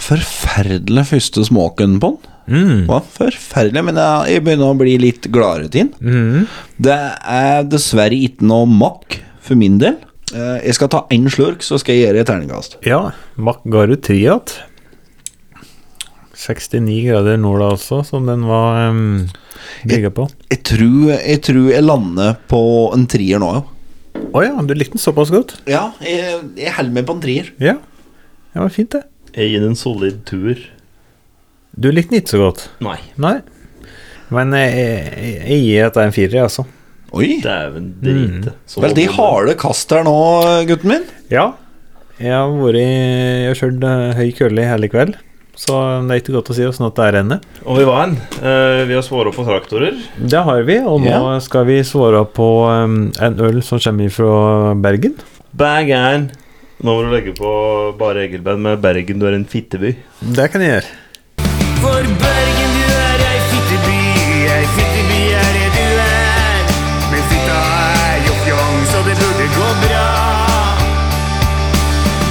Forferdelig første smaken på den. Mm. Var forferdelig, men jeg, jeg begynner å bli Mm. Mhm. litt gladere til den. Det er dessverre ikke noe makk for min del. Eh, Jeg skal ta én slurk, så skal jeg gjøre et terningkast. Ja, Makgaru Triat. 69 grader nord, altså, som den var um, bygga på. Jeg tror, jeg tror jeg lander på en trier nå, jo. Å ja, du likte den såpass godt? Ja, jeg, jeg holder meg på en trier. Ja. Det var fint, det. Jeg gir den en solid toer. Du likte den ikke så godt? Nei. Nei. Men jeg, jeg, jeg gir at det er en firer, jeg, altså. Oi! Dæven drite. Mm. Veldig harde kast her nå, gutten min. Ja. Jeg har vært i Jeg har kjørt eh, høy kølle i hele kveld, så det er ikke godt å si åssen det er ennå. Og vi var en. Eh, vi har svåra på traktorer. Det har vi, og nå Ja. skal vi svare på um, en øl som kommer fra Bergen. Bergen. Nå må du legge på bare Egilband med Bergen, du er en fitteby. Det kan jeg gjøre. For Bergen, du er ei fitteby, ei fitteby er det du er. Men fitta er joff-jong, så det burde gå bra.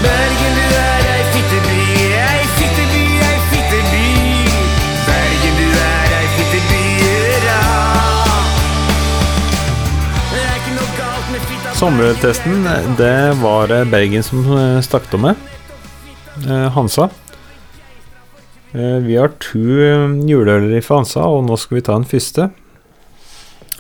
Bergen, du er ei fitteby, ei fitteby, ei fitteby. Bergen, du er ei fitteby, hurra. Det er ikke noe galt med fitta Sommerøltesten, det var det Bergen som eh, stakk av med. Eh, Hansa. Eh, Vi har to eh, juleøler fra Hansa, og nå skal vi ta den første.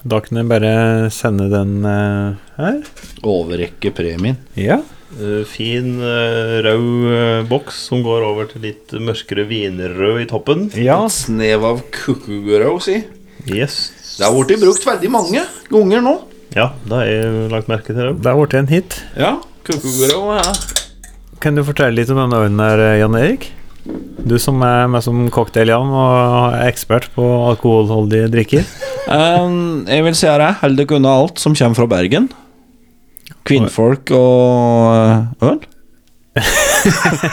Da kan jeg bare sende den eh, her. Overrekke premien. Ja. Eh, fin eh, rød eh, boks som går over til litt mørkere vinrød i toppen. ja. Et snev av kukkugurau, si. Yes. Det har blitt brukt veldig mange ganger nå. Ja, det har jeg lagt merke til. det. Det er blitt en hit. Ja, kukkugurau, ja. Kan du fortelle litt om denne ølen her, eh, Jan Erik? Du som er med som cocktail-Jan og er ekspert på alkoholholdige drikker. Um, jeg vil si her, jeg holder dere unna alt som kommer fra Bergen. Kvinnfolk og øh, øl.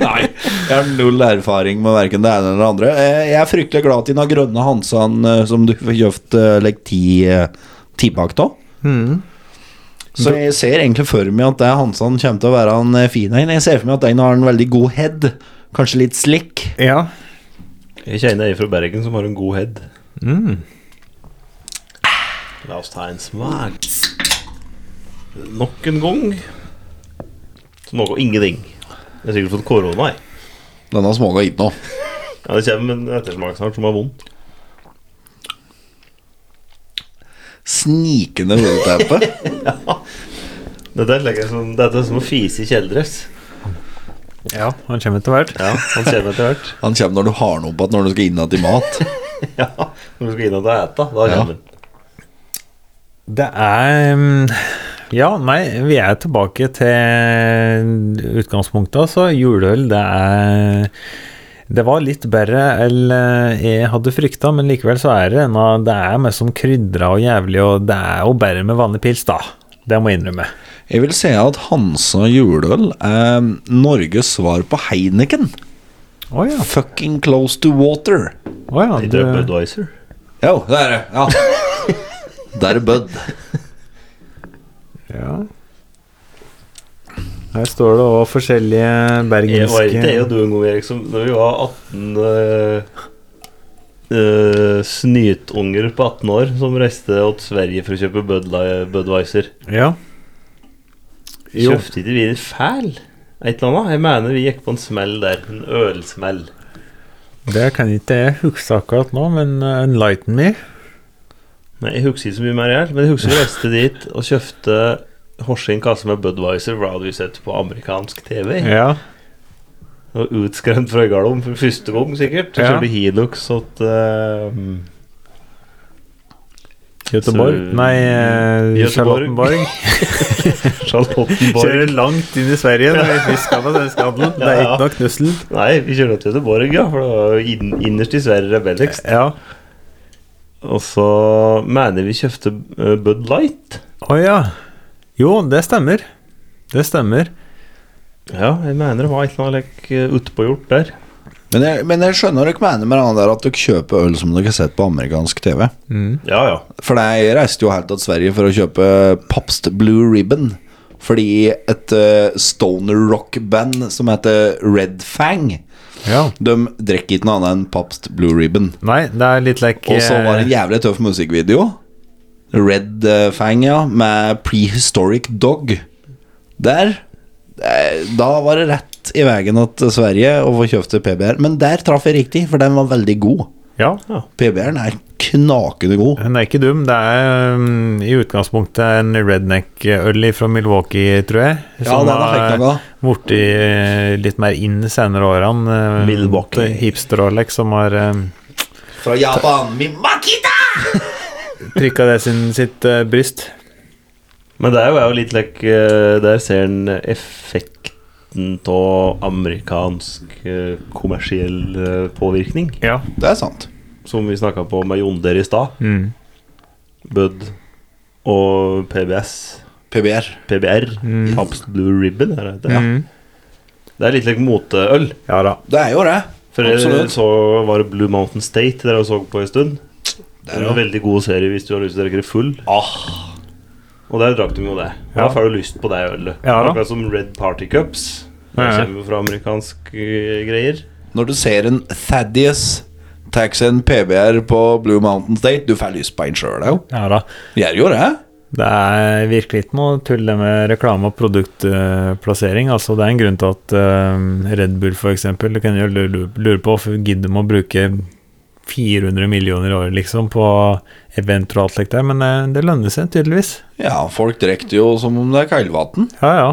Nei, jeg har null erfaring med verken det ene eller det andre. Eh, Jeg er fryktelig glad i den grønne Hansan eh, som du får kjøpt eh, like ti eh, tipakk av. Mm. Så jeg ser egentlig for meg at det Hansan kommer til å være en eh, fin en. Jeg ser for meg at den har en veldig god head. Kanskje litt slick. Ja. Jeg kjenner ei fra Bergen som har en god head. Mm. La oss ta en smak. Nok en gang. Så noe ingenting. Jeg har sikkert fått korona, jeg. Denne smaker ikke noe. Ja, det kommer en ettersmak snart som er vond. Snikende hodeteppe. Dette er, like som, dette er som å fise i kjeledress. ja. Han kommer etter hvert. Ja, han kjenner etter hvert. Han kommer når du har noe på at når du skal inn igjen til mat. Ja, Når du skal inn og ete, da Ja. kommer han. Det er mm, Ja, nei, vi er tilbake til utgangspunktet, altså. Juleøl, det er Det var litt bedre enn eh, jeg hadde frykta, men likevel så er det en av Det er mest som krydra og jævlig, og det er jo bedre med vanlig pils, da. Det må jeg innrømme. Jeg vil si at Hansa juleøl er Norges svar på Heineken. Å ja. Fucking close to water. Å ja. Litt Du, Budweiser. Jo, det er det. Ja. Der er Bud. ja. Her står det òg forskjellige Jeg var ikke bergenske jeg og du en gang, Erik, som da vi var 18 eh, eh, snytunger på 18 år som reiste til Sverige for å kjøpe Budli- Budweiser. Ja. Jo. Kjøpte ikke vi en fæl? Et eller annet? Jeg mener vi gikk på en smell der. En ølsmell. Det kan ikke jeg huske akkurat nå, men eh, enlighten me. Nei, Jeg husker ikke så mye mer, jeg, men jeg husker vi reiste dit og kjøpte Horsing kasse med Budweiser, for det hadde vi sett på amerikansk TV. Ja. Og utskremt fra Øygarden for første gang, sikkert. Så Ja. kjørte Hilux og eh, Göteborg? Så- Nei, eh, Göteborg. Charlottenborg. Charlottenborg. langt inn i Sverige når vi skal på svenskehandel. Det er ikke noe knussel. Nei, vi kjørte til Göteborg, ja, for det var jo inn- innerst i Sverige rebelligst. Ja. Og så mener jeg vi kjøpte eh, Bud Light. Å ja. Jo, det stemmer. Det stemmer. Ja, jeg mener det var et eller annet like, eh, utpågjort der. Men jeg, men jeg skjønner dere mener med det der at dere kjøper øl som dere har sett på amerikansk TV. Ja, ja. For det- jeg reiste jo helt til Sverige for å kjøpe Pabst Blue Ribbon. Fordi et eh, stoner rock-band som heter Red Fang, Ja. de drikker ikke noe annet enn Pabst Blue Ribbon. Nei, det er litt like eh, Og så var det en jævlig tøff musikkvideo. Red eh, Fang, ja, med Prehistoric Dog. Der eh, Da var det rett i veien at Sverige å få kjøpt PBR. Men der traff jeg riktig, for den var veldig god. Ja. PBR-en er knakende god. Den er ikke dum. Det er um, i utgangspunktet en redneck-øl fra Milwaukee, tror jeg. den er helt noe. blitt eh, litt mer inn de senere årene. eh, Milwaukee. til Hipster-Alex som har eh, Fra Japan. Mimakita! prikka det sin, sitt eh, bryst. Men der er jo litt like, eh, Der ser en effekten av amerikansk eh, kommersiell eh, påvirkning. Ja. Det er sant. Som vi snakka på med Jon der i stad. Mm. Bud og PBS. PBR. PBR. Pabst Blue Ribbon, er det det? heter? Mm. Det er litt like moteøl. ja da. Det er jo det. For Absolutt. jeg så var det Blue Mountain State der jeg så på en stund. Det er en veldig god serie hvis du har lyst til å drikke det full. Og der drakk de jo det. Og Ja. Da får du lyst på det ølet. Ja da. Akkurat som Red Party Cups. Det Ja, ja. kommer jo fra amerikanske eh, greier. Når du ser en Thaddeus taxi en PBR på Blue Mountain State, du får lyst på en sjøl, jo. Ja da. Gjør jo det. Det er virkelig ikke noe tull det med reklame og produktplassering. altså, det er en grunn til at eh, Red Bull f.eks. Du kan jo lure lure på hvorfor gidder de å bruke 400 millioner i året liksom, på event og alt slikt der, men eh, det lønner seg tydeligvis. Ja, folk drikker jo som om det er kaldvann. Ja, ja.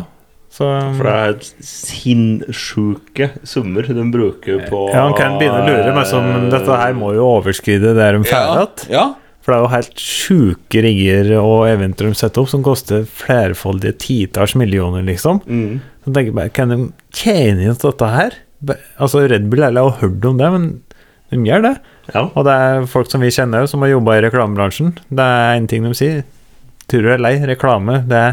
Så For det er sinnssyke summer de bruker på ja, han kan begynne å lure meg som dette her må jo overskride det de Ja, ferdig att. ja. For det er jo helt sjuke rigger og eventer de setter opp som koster flerfoldige titalls millioner, liksom. Mm. Så jeg tenker bare, kan de tjene inn til dette her? Be- Altså, Red Bull jeg har hørt om det, men de gjør det. Ja. Og det er folk som vi kjenner, som har jobba i reklamebransjen. Det er en ting de sier. Tror du er lei, reklame, det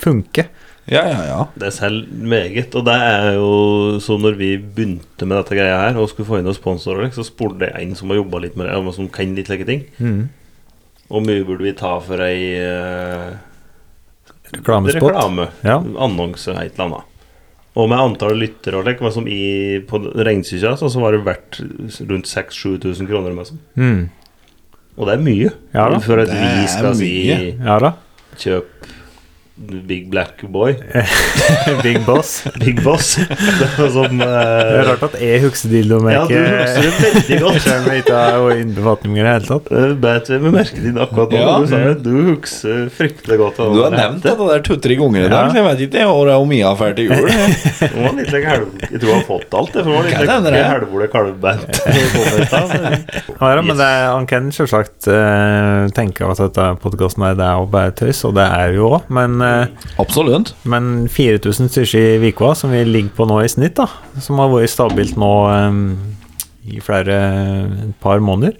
funker. Ja, ja, ja. Det er selv meget, og det er jo så når vi begynte med dette greia her og skulle få inn noen sponsorer, så spurte jeg en som har jobba litt med det, eller som kan litt slike ting. Mm. Hvor mye burde vi ta for ei eh, Reklamespot. reklame? Ja. Annonse, et eller annet. Og med antall lyttere og slik, hva som i, på regnestykket altså, så var det verdt rundt 6000-7000 kroner. Med, sånn. Mm. og det er mye. Ja da. for at Det vi er skal si mye. Ja da. kjøp Big Black Boy, Big boss. Big Boss. det var sånn Det er eh, rart at jeg husker dildomerket. Ja, du husker det veldig godt. Selv om jeg ikke har innbefatninger i det hele tatt. Det bet vi med merket ditt akkurat nå. Ja. Du, sa, det. du husker fryktelig godt. av Du har det. nevnt dette der to-tre ganger i dag, Ja. så jeg vet ikke hvor det er om jeg har fælt til jul. Hun var litt like helv... Jeg tror hun har fått alt. Det, for hun var Kan litt hende like det. helvole kalvbeint. når hun kom ut av det. Ja, ja, men det, er- han kan selvsagt eh, tenke at dette podkasten er det er jo bare tøys, og det er jo òg, men, eh, Absolutt. men 4000 stykker i uka, som vi ligger på nå i snitt, da, som har vært stabilt nå eh, i flere et par måneder,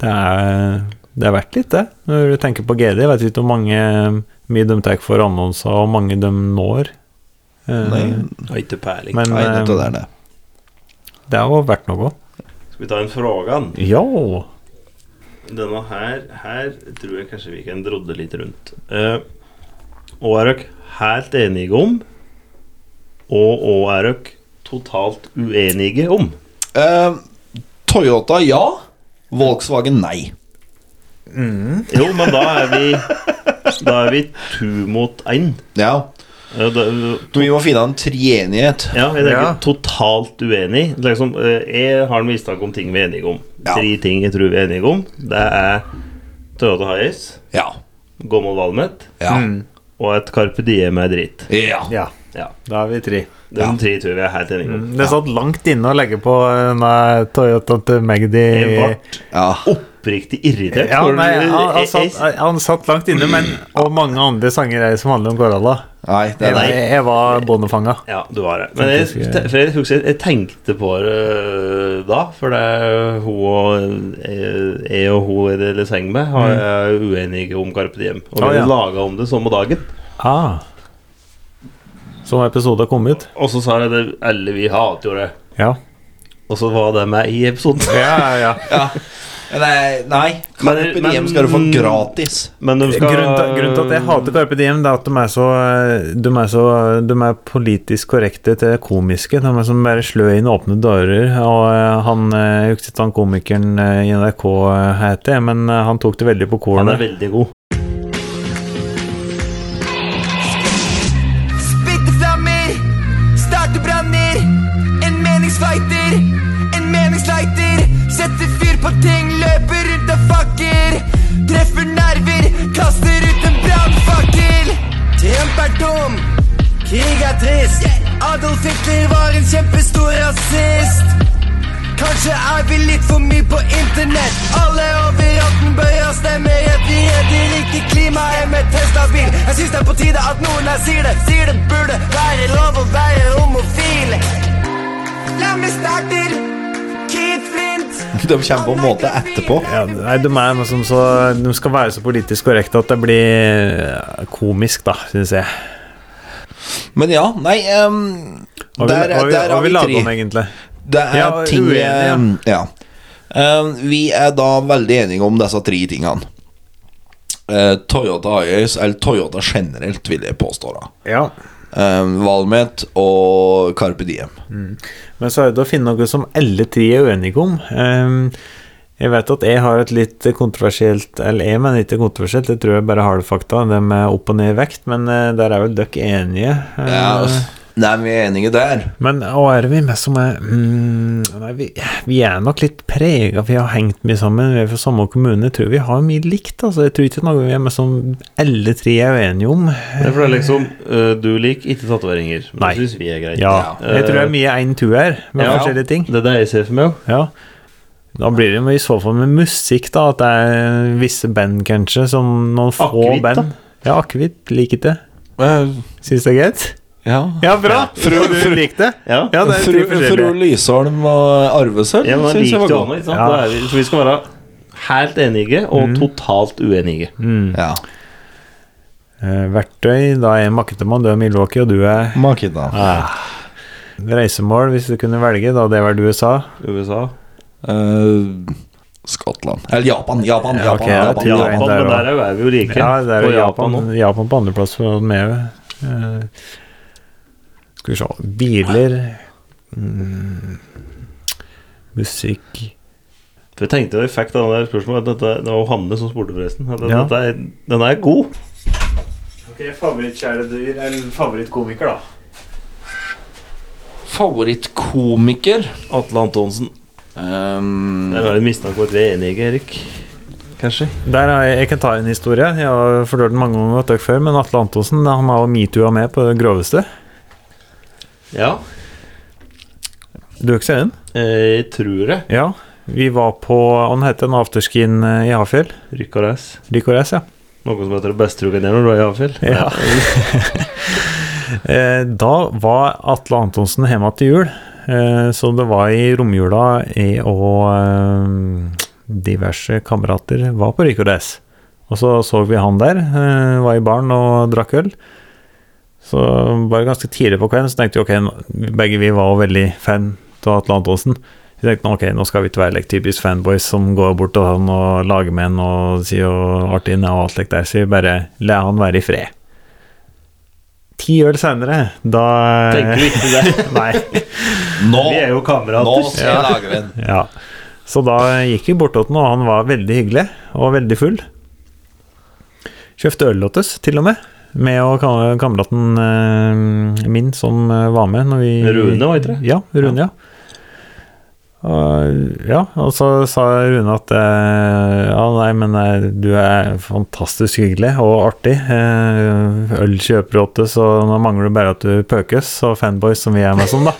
det er, det er verdt litt, det. Når du tenker på GD, jeg vet ikke hvor mange eh, mye de tar for annonser, og hvor mange de når. Eh, Nei, Har ikke peiling. Men Mm, nei eh, dette der, det. det er jo verdt noe. Skal vi ta en frågan? Ja. Denne her, her tror jeg kanskje vi kan drodde litt rundt. Eh, hva er dere helt enige om? Og hva er dere totalt uenige om? Eh, Toyota, ja. Volkswagen, nei. Jo, men da er vi Da er vi to mot én. Ja. Eh, da- Vi må finne en treenighet. Ja, jeg er Ja. ikke totalt uenig. Det er Liksom, eh, jeg har en mistanke om ting vi er enige om. Ja. Tre ting jeg tror vi er enige om. Det er Toyota Hiace, Ja. Gommel Valmet Ja. og et Carpe Diem er dritt. Mm. ja. ja. Ja, Da er vi tre. De tre tror jeg vi er helt enige om. Det satt langt inne å legge på denne Toyota til Magdi. Jeg ble ja. oppriktig irritert. Ja, når nei, du- han, han, jeg- satt, jeg- han satt langt inne, men og mange andre sanger er som handler om Goralla. Nei, det Jeg, er nei. jeg var bondefanga. ja, du har det. Men jeg, Faktisk, te- for jeg, husker, jeg tenkte på det eh, da, for det er hun og jeg- jeg og hun jeg deler seng med, har jeg uenige om Carpe Diem. Og vi Mm. Å, har ja. laga om det samme dagen. Ah. Som episode har kommet. Og så sa jeg det alle vi hater jo det. Ja. Og så var det med i episoden. Ja, ja, ja. Nei, nei. Carpe Men- Diem men- skal du få gratis. Men de skal Grunnen til, grunnen til at jeg hater Carpe Diem, det er at de er så De er, så, de er politisk korrekte til komiske. De er som bare slø inn åpne dører. Og eh, han eh, Jeg husker ikke han komikeren eh, i NRK heter, jeg, men eh, han tok det veldig på Han er kornet. veldig god. Splitteflammer Starter branner En meningsfighter En meningslighter Setter fyr på ting Løper rundt og fakker Treffer nerver Kaster ut en brannfakkel Trump er dum Krig er trist Adolf Hitler var en kjempestor rasist Kanskje er vi litt for mye på internett. Alle over 18 bør ha stemmerett. Vi er de rike, klimaet med Tesla bil. Jeg syns det er på tide at noen her sier det. Sier det burde være lov å være homofil. La meg starte. Keith Flint. De kommer på en måte etterpå. Ja, nei, de, er liksom så, de skal være så politisk korrekte at det blir eh, komisk, da, syns jeg. Men ja, nei ehm, Hva vil, Der, hva vil, hva der har vi vil lage tre. om, egentlig? Det er Ja, ting uenige, ja. ehm, ja. Ehm, vi er da veldig enige om disse tre tingene. Eh, Toyota Hiace, eller Toyota generelt, vil jeg påstå. da Ja. um, Valmet og Carpe Diem. Men så er det å finne noe som alle tre er uenige om. Ehm, jeg vet at jeg har et litt kontroversielt Eller jeg mener ikke kontroversielt, jeg tror jeg bare har det fakta, det med opp og ned i vekt, men eh, der er vel dere enige. Eh, Ja, altså. nei, vi er enige der. Men hva er det vi mest som er mm, Nei, vi, vi er nok litt prega, vi har hengt mye sammen, vi er fra samme kommune. Jeg tror vi har mye likt, altså. Jeg tror ikke det er noe vi er mest som alle tre er uenige om. Det er for det er liksom øh, Du liker ikke tatoveringer. Men Nei. det syns vi er greit. Ja. Ja. Jeg tror det er mye én tur her, med Ja. forskjellige ting. Det er det jeg ser for meg òg. Ja. Da blir det jo i så fall med musikk, da. At det er visse band, kanskje. Som noen få Akevitt, da. band. Ja, akevitt. Liker det. Syns det er greit? ja. Ja, bra! Fru, du likte det? Ja. Ja, det er Fru, tre fru forskjellige. Lysholm og Arvesølv Ja, men da synes liker jeg du var han, god. ikke sant? Ja. Da er vi, så vi skal være helt enige og totalt uenige. Ja. Eh, verktøy, da er jeg makketemann, du er Milwaukee, og du er Makita. reisemål, hvis du kunne velge, da hadde det vært USA. USA. Eh, Skottland Eller Japan, Japan, Ja, Japan, ok, jeg Japan, tror det er Japan, Japan. en der men der er jo- er vi jo like. Ja, det er og jo Japan Japan, òg. Japan på andreplass for den med. Eh, skal vi se Biler mm, Musikk For jeg tenkte da jeg fikk det der spørsmålet at dette, Det var jo Hanne som spurte, forresten. At den, Ja. dette er, den er god. Ok, Favorittkjæledyr eller favorittkomiker, da? Favorittkomiker Atle Antonsen. Ehm, Der har jeg mistanke om at vi er enige, Erik. Kanskje. Der har jeg, jeg kan ta en historie. Jeg har fortalt den mange ganger til dere før, men Atle Antonsen han har jo metoo-a med på det groveste. Ja, Du husker den? eh, jeg tror det. Ja. Vi var på Han heter en afterskin eh, i Hafjell. Rykk og reis. Likoress, ja. Noe som heter det beste du kan gjøre når du er i avfjell. ja. Eh, da var Atle Antonsen hjemme til jul, eh, så det var i romjula jeg og eh, diverse kamerater var på Rikoress. Og så så vi han der, eh, var i baren og drakk øl. Så bare ganske tidlig på kvelden så tenkte vi ok, nå- begge vi var jo veldig fan av Atle Antonsen. Vi tenkte nå, ok, nå skal vi ikke være like, typisk fanboys som går bort til han og lager med han og sier og artig han er og alt like der, så vi bare la han være i fred. Ti øl senere, da Tenker vi ikke det. Nei. Nå, Vi er jo nå kamerater. skal jeg lage en Ja. Så da gikk vi bort til han, og han var veldig hyggelig og veldig full. Kjøpte øl til oss, til og med. Med og kam- kameraten eh, min som eh, var med når vi Rune, var ikke det? Ja, Rune, ja. Og, ja, og så sa Rune at eh, Ja, nei, men eh, du er fantastisk hyggelig og artig. Eh, øl kjøper du til, så nå mangler du bare at du pøkes, og fanboys som vi er med som, da.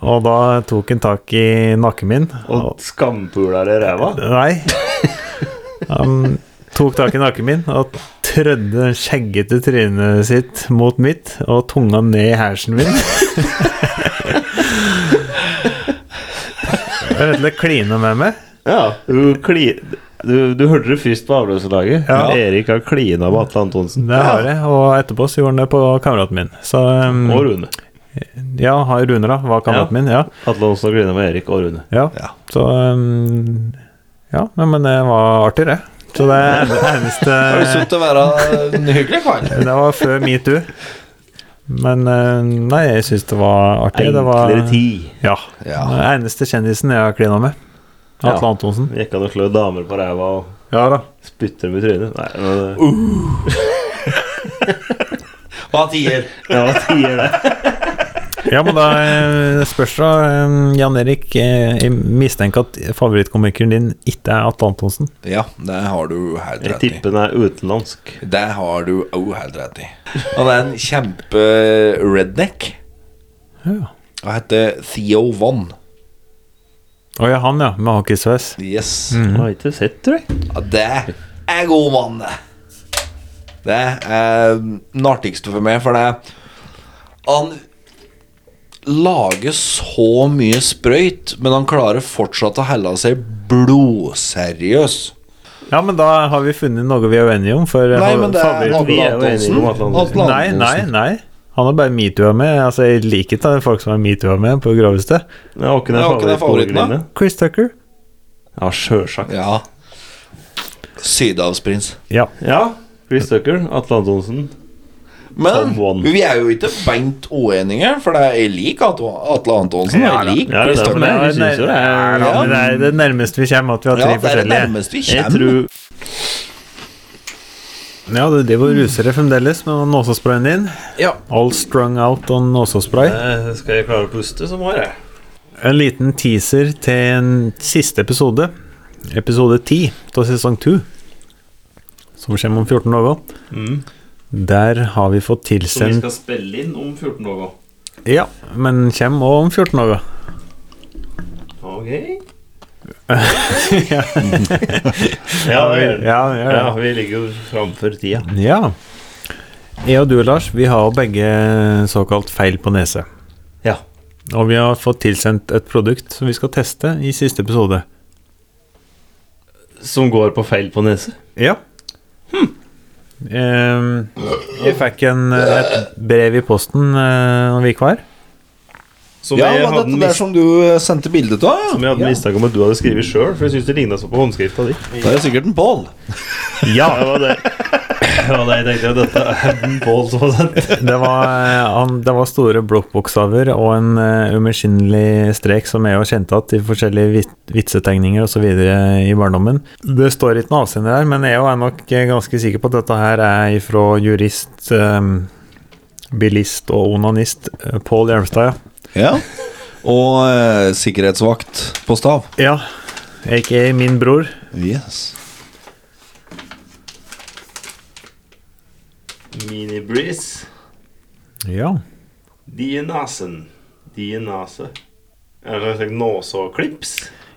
Og da tok han tak i nakken min. Og skampuler i ræva. Nei. Han tok tak i nakken min og trødde det skjeggete trynet sitt mot mitt og tunga ned i hersen min. Jeg Rett og slett klina med meg. Ja, du, kli, du, du hørte det først på avløserlaget. Ja. Erik har klina med Atle Antonsen. Det har jeg, og etterpå så gjorde han det på kameraten min. Så um, Og Rune. Ja, han Rune, da, var kameraten min. Ja. Atle Antonsen har klina med Erik og Rune. ja. Ja. Så um, Ja, nei, men det var artig, det. Så det er det eneste Det har jo sunnet å være en hyggelig kar. Eh, Det var før metoo. Men eh, nei, jeg syns det var artig. Det var, Enklere tid. ja. Ja. Den eneste kjendisen jeg har klina med. Atle Ja. Antonsen. Gikk an å slå damer på ræva og Ja da. spytte dem i trynet. Nei, men, Hva tier? ja, hva sier det? Ja, men da eh, spørs det. eh, Jan Erik, eh, jeg mistenker at favorittkomikeren din ikke er Atle Antonsen. Ja, det har du helt Jeg rett i. tipper den er utenlandsk. Det har du òg helt rett i. Han er en kjempe-redneck. Ja. Han heter Theo Von. Å ja, han, ja. Med hockeysveis. Yes. Jeg har ikke sett, tror jeg. Ja, det er god mann, det. Det er eh, den artigste for meg, for det Han lager så mye sprøyt, men han klarer fortsatt å helle seg blodseriøs. Ja, men da har vi funnet noe vi er uenige om. For eh, Nei, men det er favoritt- Vi er jo Atle enige om Atle Antonsen. Antonsen. Atle Nei, nei, Antonsen. nei. Han har bare metoo-a med. Altså, jeg liker ikke folk som har metoo-a med på groveste. Jeg har ikke Jeg har ikke den den favoritten, da. favorittbogen din. Chris Tucker. Ja, sjølsagt. Ja. Sydhavsprins. Ja. Ja. Chris Tucker, Atle Antonsen. Men Someone. vi er jo ikke beint uenige, for det er jeg liker Atle Atle Antonsen. og Jeg liker Ja, det er Chris derfor Tucker. jeg vi synes jo det er Ja, men det er det nærmeste vi kommer at vi har Ja, tre det er det forskjellige. nærmeste vi Jeg kommer. tror Ja, du driver og ruser deg fremdeles med nåsesprayen din. Ja. All strung out on nåsespray. Eh, Skal jeg klare å puste, så må jeg. En liten teaser til en siste episode. Episode 10 av sesong 2, som kommer om 14 dager. Der har Mm. vi fått Som vi tilsendt skal spille inn om 14 dager. Ja, men kommer også om 14 dager. Ok. ja, vel. Ja, ja, ja. ja, vi ligger jo framfor tida. Ja. Jeg og du, Lars, vi har jo begge såkalt feil på nese. Ja. Og vi har fått tilsendt et produkt som vi skal teste i siste episode. Som går på feil på nese. Ja. Hm. Ehm, jeg fikk en, et brev i posten eh, når vi gikk her. Som Ja, jeg men hadde, dette der mis som du eh, sendte bilde av, ja. som jeg hadde mistanke om at du hadde skrevet sjøl, for jeg syns det ligna så på håndskrifta di. Det er sikkert en Pål. Ja, det var det. Det var det jeg tenkte. Dette er den Pål som har sendt. Det var, eh, han, det var store blokkbokstaver og en uh, umiskinnelig strek som jeg jo kjente igjen i forskjellige vit, vitsetegninger osv. i barndommen. Det står ikke noe avsender her, men jeg jo er nok eh, ganske sikker på at dette her er ifra jurist, eh, bilist og onanist eh, Pål Hjelmstad, ja. Ja. Og eh, sikkerhetsvakt på stav. Ja, aka min bror. Yes. Mini-breeze. Ja. Dianasen. Dianase. Er det en nåseklips?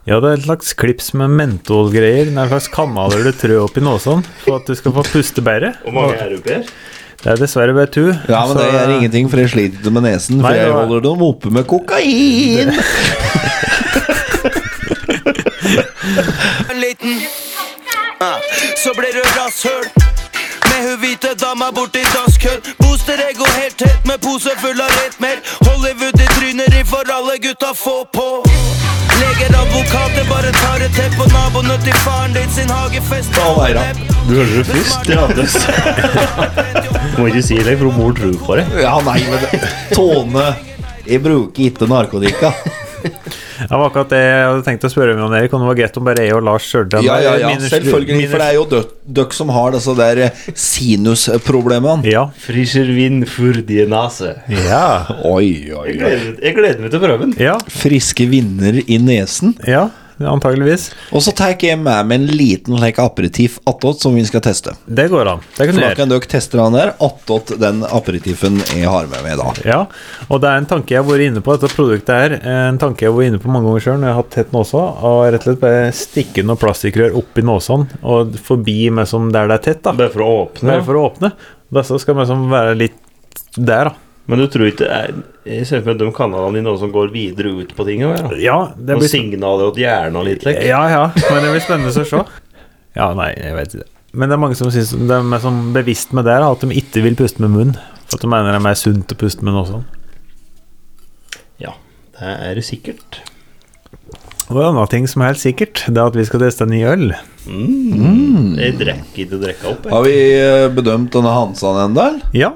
Ja, det er et slags klips med mentolgreier. Det er en slags kanaler du trør opp i nåsen for at du skal få puste bedre. Og mange er oppe her. Det er dessverre bare tu. Ja, men det gjør ingenting, for jeg sliter ikke med nesen. For Nei, det jeg var- holder dem oppe med kokain! en liten Ah, Så ble det rasshøl Med hun hvite dama borti dasskøll Booster jeg går helt tett med pose full av rett mer Hollywood i trynet i for alle gutta få på Leger, advokater, bare tar et tepp på naboene til faren din sin hagefest Å, nei da. Du hører det først. Ja, det må ikke si det, for mor tror på det. Ja, nei, men det- Tone Jeg bruker ikke narkotika. Det var akkurat det jeg hadde tenkt å spørre om, Jan Erik, om det var greit om bare jeg og Lars kjørte den Ja, ja, der. ja, Minus- selvfølgelig. minus- For det er jo dø- døkk som har disse der eh, sinusproblemene. Ja. Frischer vind for dianase. Ja. Oi, oi, Jeg oi. gleder, meg- jeg gleder meg til prøven. Ja. Friske vinder i nesen. ja. Antageligvis. Og så tar jeg med meg en liten like, aperitiff attåt som vi skal teste. Det går an. Det kan du For da gjøre. kan dere teste den der attåt den aperitiffen jeg har med meg i dag. Ja, og det er en tanke jeg har vært inne på dette produktet her. En tanke jeg har vært inne på mange ganger sjøl når jeg har hatt tett nåsa. Og rett og slett bare stikke noen plastikkrør oppi nåsen og forbi med som der det er tett. da Bare for å åpne. Bare for å åpne. Disse skal liksom være litt der, da. Men du tror ikke det er Jeg ser for meg de kanalene dine som går videre ut på ting. Ja. Ja, det Og blir signaler åt hjernen og litt lekk. Ja, ja, men det blir spennende å se. Ja, nei, jeg vet ikke. Men det er mange som synes de er sånn bevisst med det, da, at de ikke vil puste med munnen. For at de mener det er mer sunt å puste med nåsen. Ja, det er det sikkert. Og en annen ting som er helt sikkert, det er at vi skal teste en ny øl. Jeg drikker ikke å drikke opp. Jeg. Har vi eh, bedømt denne Hansan ennå? eller? Ja,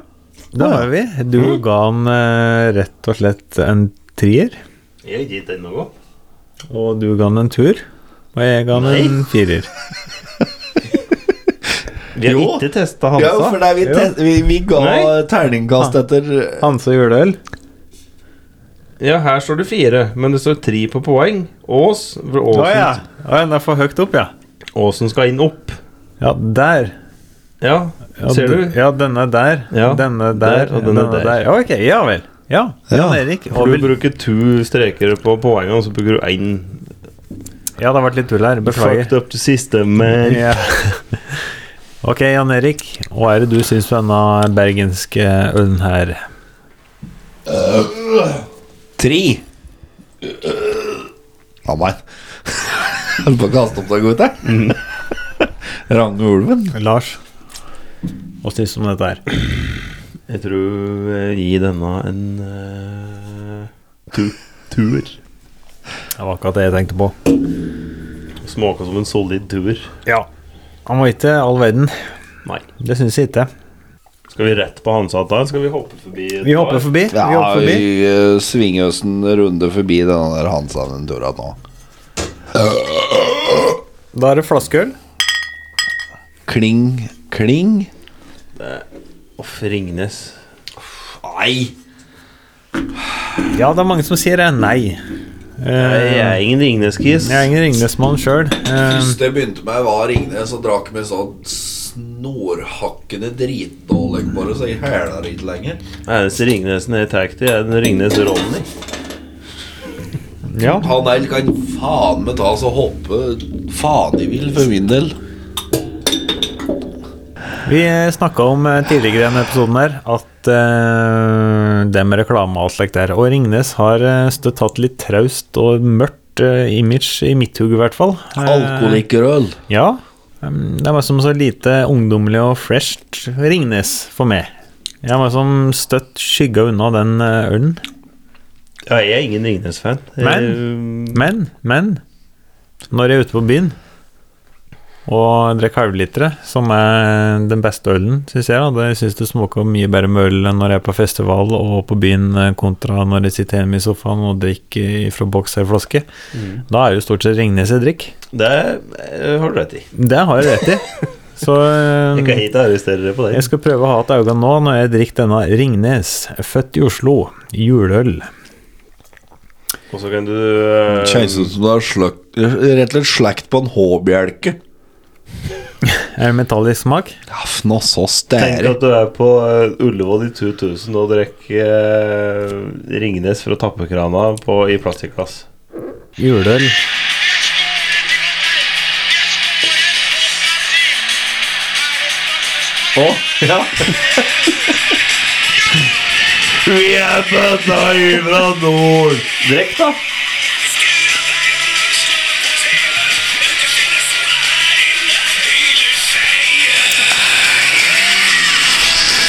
det har vi. Du Mm. ga han eh, rett og slett en trier, Jeg har gitt den noe. og du ga han en tur, og jeg ga han en Nei. firer. Vi har Jo. ikke testa Ja, for Hansa. det er vi, te vi, vi ga Nei. terningkast etter eh, Hanse juleøl. Ja, her står det fire, men det står tre på poeng. Ås. For Åsen, Å ja. Å ja, den er for høyt opp, ja. Åsen skal inn opp. Ja, der. Ja, Ja, ser d- du? Ja, denne der, Ja, denne der, der og denne der. Ja, Ok, ja vel. Ja, Jan Ja. Erik. For Og Du vil- bruker to streker på poengene, og så bruker du én. Ja, det har vært litt tull her. Fucked Beklager. up to system, man. Ja. Ok, Jan Erik. Hva er det du syns om denne bergenske ølen her? Tre. Ja, nei. Holdt på å kaste opp deg, gutter. Range ulven. Lars? Hva syns du om dette her? Jeg tror jeg gir denne en eh, tu tur. Det var akkurat det jeg tenkte på. Smaker som en solid tur. Ja. Han var ikke all verden. Nei. Det syns jeg ikke. Skal vi rett på Hansa da? Skal vi hoppe forbi? et Vi par? hopper forbi. Vi Ja, hopper vi forbi. eh, svinger oss en runde forbi denne der Hansan en tur igjen nå. Da er det flaskeøl. Kling, kling. Uff, Ringnes. Nei! Ja, det er mange som sier eh, nei. Jeg Eh, er ingen Ringnes-kis. jeg er ingen Ringnes-mann Eh, sjøl. Første jeg begynte med, var Ringnes og drakk med sånn snorhakkende dritdårlig bare, så jeg hæla ikke lenger. Eneste Ringnesen jeg tar til, er den Ringnes Ronny. Ja. Han der kan faen meg ta og hoppe faen de vil, for min del. Vi snakka om eh, tidligere i denne episoden her at eh, det med reklame og alt slikt der Og Ringnes har eh, støtt hatt litt traust og mørkt eh, image, i mitt hugg i hvert fall. Eh, Alkoholikerøl. ja. Um, Det er meg som så lite ungdommelig og fresht Ringnes for meg. Jeg er meg som støtt skygga unna den eh, ølen. Ja, jeg er ingen Ringnes-fan. Men- Jeg- Men, men Når jeg er ute på byen og drikker halvlitere, som er den beste ølen, syns jeg, da. Jeg syns det smaker mye bedre med øl enn når jeg er på festival og på byen, eh, kontra når jeg sitter hjemme i sofaen og drikker fra boks eller flaske. Mm. Da er det jo stort sett Ringnes jeg drikker. det eh, har du rett i. Det har jeg rett i. Så eh, Jeg kan ikke arrestere dere på det. jeg skal prøve å ha et øye nå når jeg drikker denne Ringnes, født i Oslo, juleøl. Og så kan du eh, Kjennes ut som du har sløkt, rett og slett slekt på en H-bjelke. Er det metallisk smak? Ja, nå så Tenk stære. at du er på eh, Ullevål i 2000 og drikker eh, Ringnes fra tappekrana på, i plastikkglass. Juleøl. Å, ja. Vi er bøtta fra nord! Drikk, da.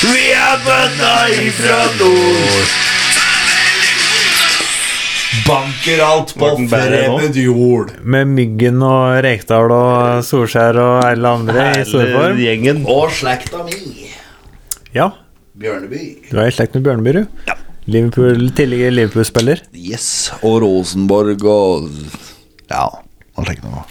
Vi er bøtta ifra nord! Banker alt på Morten Berre nå. fremmed jord. Med Myggen og Rekdal og Solskjær og alle andre i stor form. gjengen. Og slekta mi, Ja, Bjørneby. du er i slekt med Bjørneby, du. Liverpool, tidligere Liverpool-spiller. Yes, og Rosenborg og Ja, hva tenker du nå?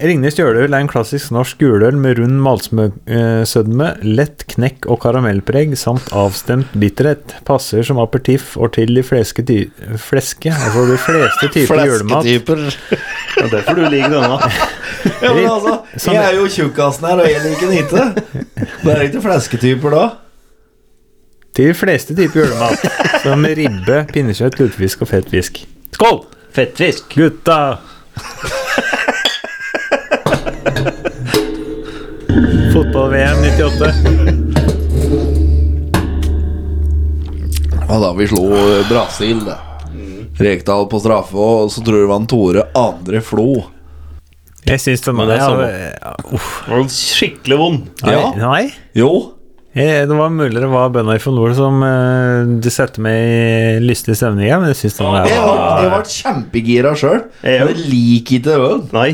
Ringnes Jøløl er en klassisk norsk juleøl med rund maltsødme, lett knekk og karamellpreg samt avstemt bitterhet. Passer som aperitiff og til de fleske ty fleske, altså de fleste typer julemat. Flesketyper. Det er derfor du liker denne. Ja, men altså, Sånn- jeg er jo tjukkasen her, og jeg liker den ikke. Det er ikke flesketyper da. Til de fleste typer julemat, som ribbe, pinnekjøtt, lutefisk og fettfisk. Skål! Fettfisk. Gutta! Fotball-VM 98. Ja, da vi slo eh, Brasil, det. Mm. Rekdal på straffe, og så tror jeg det var en Tore Andre Flo. Jeg syns den Men det er ja, samme. ja, uff. Skikkelig vond. Nei, Ja. nei. Jo. Eh, Det var mulig det var bøndene fra nord som eh, du satte meg i lystig stemning, ja, men jeg syns den Jeg der var, var jeg var kjempegira sjøl. Ja. Jeg liker ikke det. vel? Nei.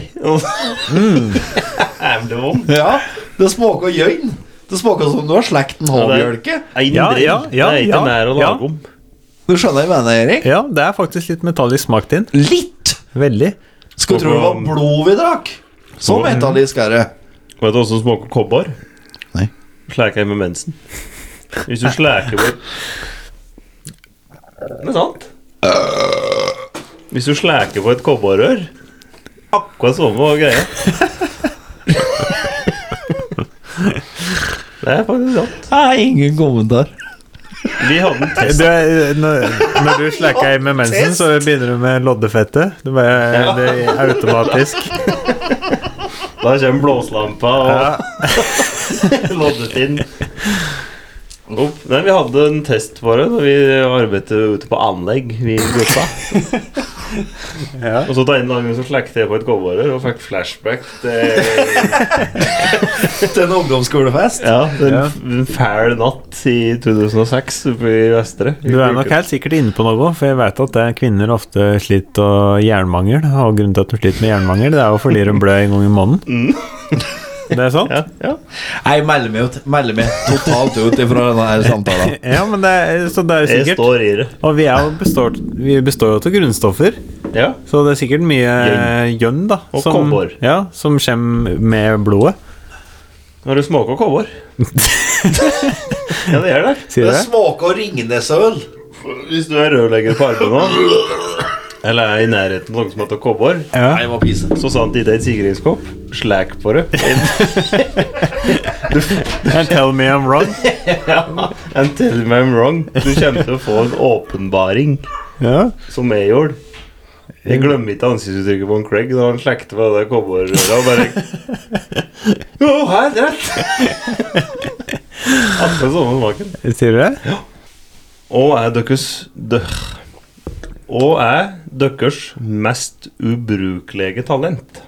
Mm. Jævlig vondt. Ja, det smaker gjøgn. Det smaker som om du har slekt en havbjølke. Ein Ja, drill. ja, ja, det er ja, ikke nær å ja. lage om. Du skjønner hva jeg mener, Erik? Ja, det er faktisk litt metallisk smak til den. Litt! Veldig. Skulle tro det var blod vi drakk. Sånn Så metallisk er det. Vet du hva som smaker kobber? Nei. Slæker med mensen. Hvis du slæker bort Det er sant. Hvis du slæker på et kobberrør Akkurat samme var greia. Det er faktisk sant. Nei, ingen kommentar. Vi hadde en Du, test. eh, når, når du slacker i med mensen, så begynner du med loddefettet. Det, bare, det er automatisk. Da kommer blåslampa og loddet inn. Opp. Nei, vi hadde en test for det da vi arbeidet ute på anlegg, vi gutta. Ja. Og så da en dag så slekte jeg på et kobberrør og fikk flashback til Til en ungdomsskolefest. ja, en, en fæl natt i 2006 oppe i Vestre. Du er nok helt sikkert inne på noe, for jeg vet at det er kvinner ofte sliter av jernmangel. Og grunnen til at de sliter med jernmangel, det er jo fordi de blør en gang i måneden. Det er sant? Mm. Ja, ja. Nei, meld meg ut. Meld meg totalt ut ifra denne her samtalen. Ja, men det er, så det er jo Jeg sikkert står i det. Og vi, er jo består, vi består jo av grunnstoffer, Ja. så det er sikkert mye gjønn, da. Og som, kobber. ja, som kommer med blodet. Når du smaker kobber. ja, det gjør det. Sier du Det det? smaker Ringnesøl. Hvis du er rørlegger på arbeid nå, eller er i nærheten av noe som heter kobber, Ja. Nei, jeg må pise. så sa han til deg i sikringskopp Slæk på det. And tell me I'm wrong. And tell me I'm wrong. Du kommer til å få en åpenbaring, Ja. som jeg gjorde. Jeg glemmer ikke ansiktsuttrykket på en Craig da han slekte på det der kobberrøret og bare Jo, her er rett! Akkurat samme smaken. Sier du det? Og er deres døh. Og er deres mest ubrukelige talent?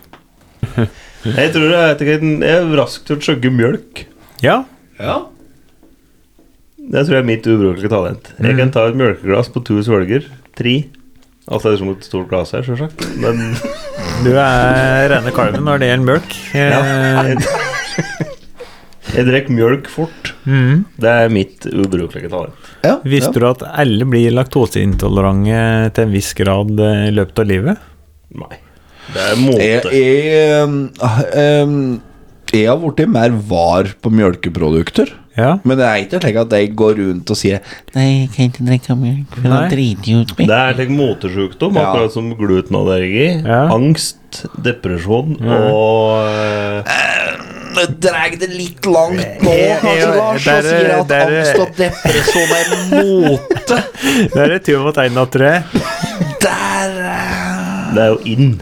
Jeg tror det er etter hvert Jeg er rask til å chugge mjølk. Ja. Ja. Det tror jeg er mitt ubrukelige talent. Jeg kan ta et mjølkeglass på to svelger. Tre. Altså det er som et stort glass her, sjølsagt. Men Du er rene kalven når det gjelder mjølk. Eh, jeg drikker mjølk fort. Mhm. Det er mitt ubrukelige talent. ja. Visste du at alle blir laktoseintolerante til en viss grad eh, i løpet av livet? Nei. Det er måte. Jeg, jeg, um, um, jeg har blitt mer var på mjølkeprodukter. Ja. Men det er ikke slik at jeg går rundt og sier Nei, jeg kan ikke drikke melk, for da Nei. driter jeg ut meg. Det er slik motesjukdom, Ja. akkurat som glutenallergi, Ja. angst, depresjon og eh, «Nå Dreg det litt langt nå, Jeg- kanskje, jeg- Lars, og der- sier at der- angst og depresjon er mote. Det er et tur mot én av tre. Der eh. Det er jo inn.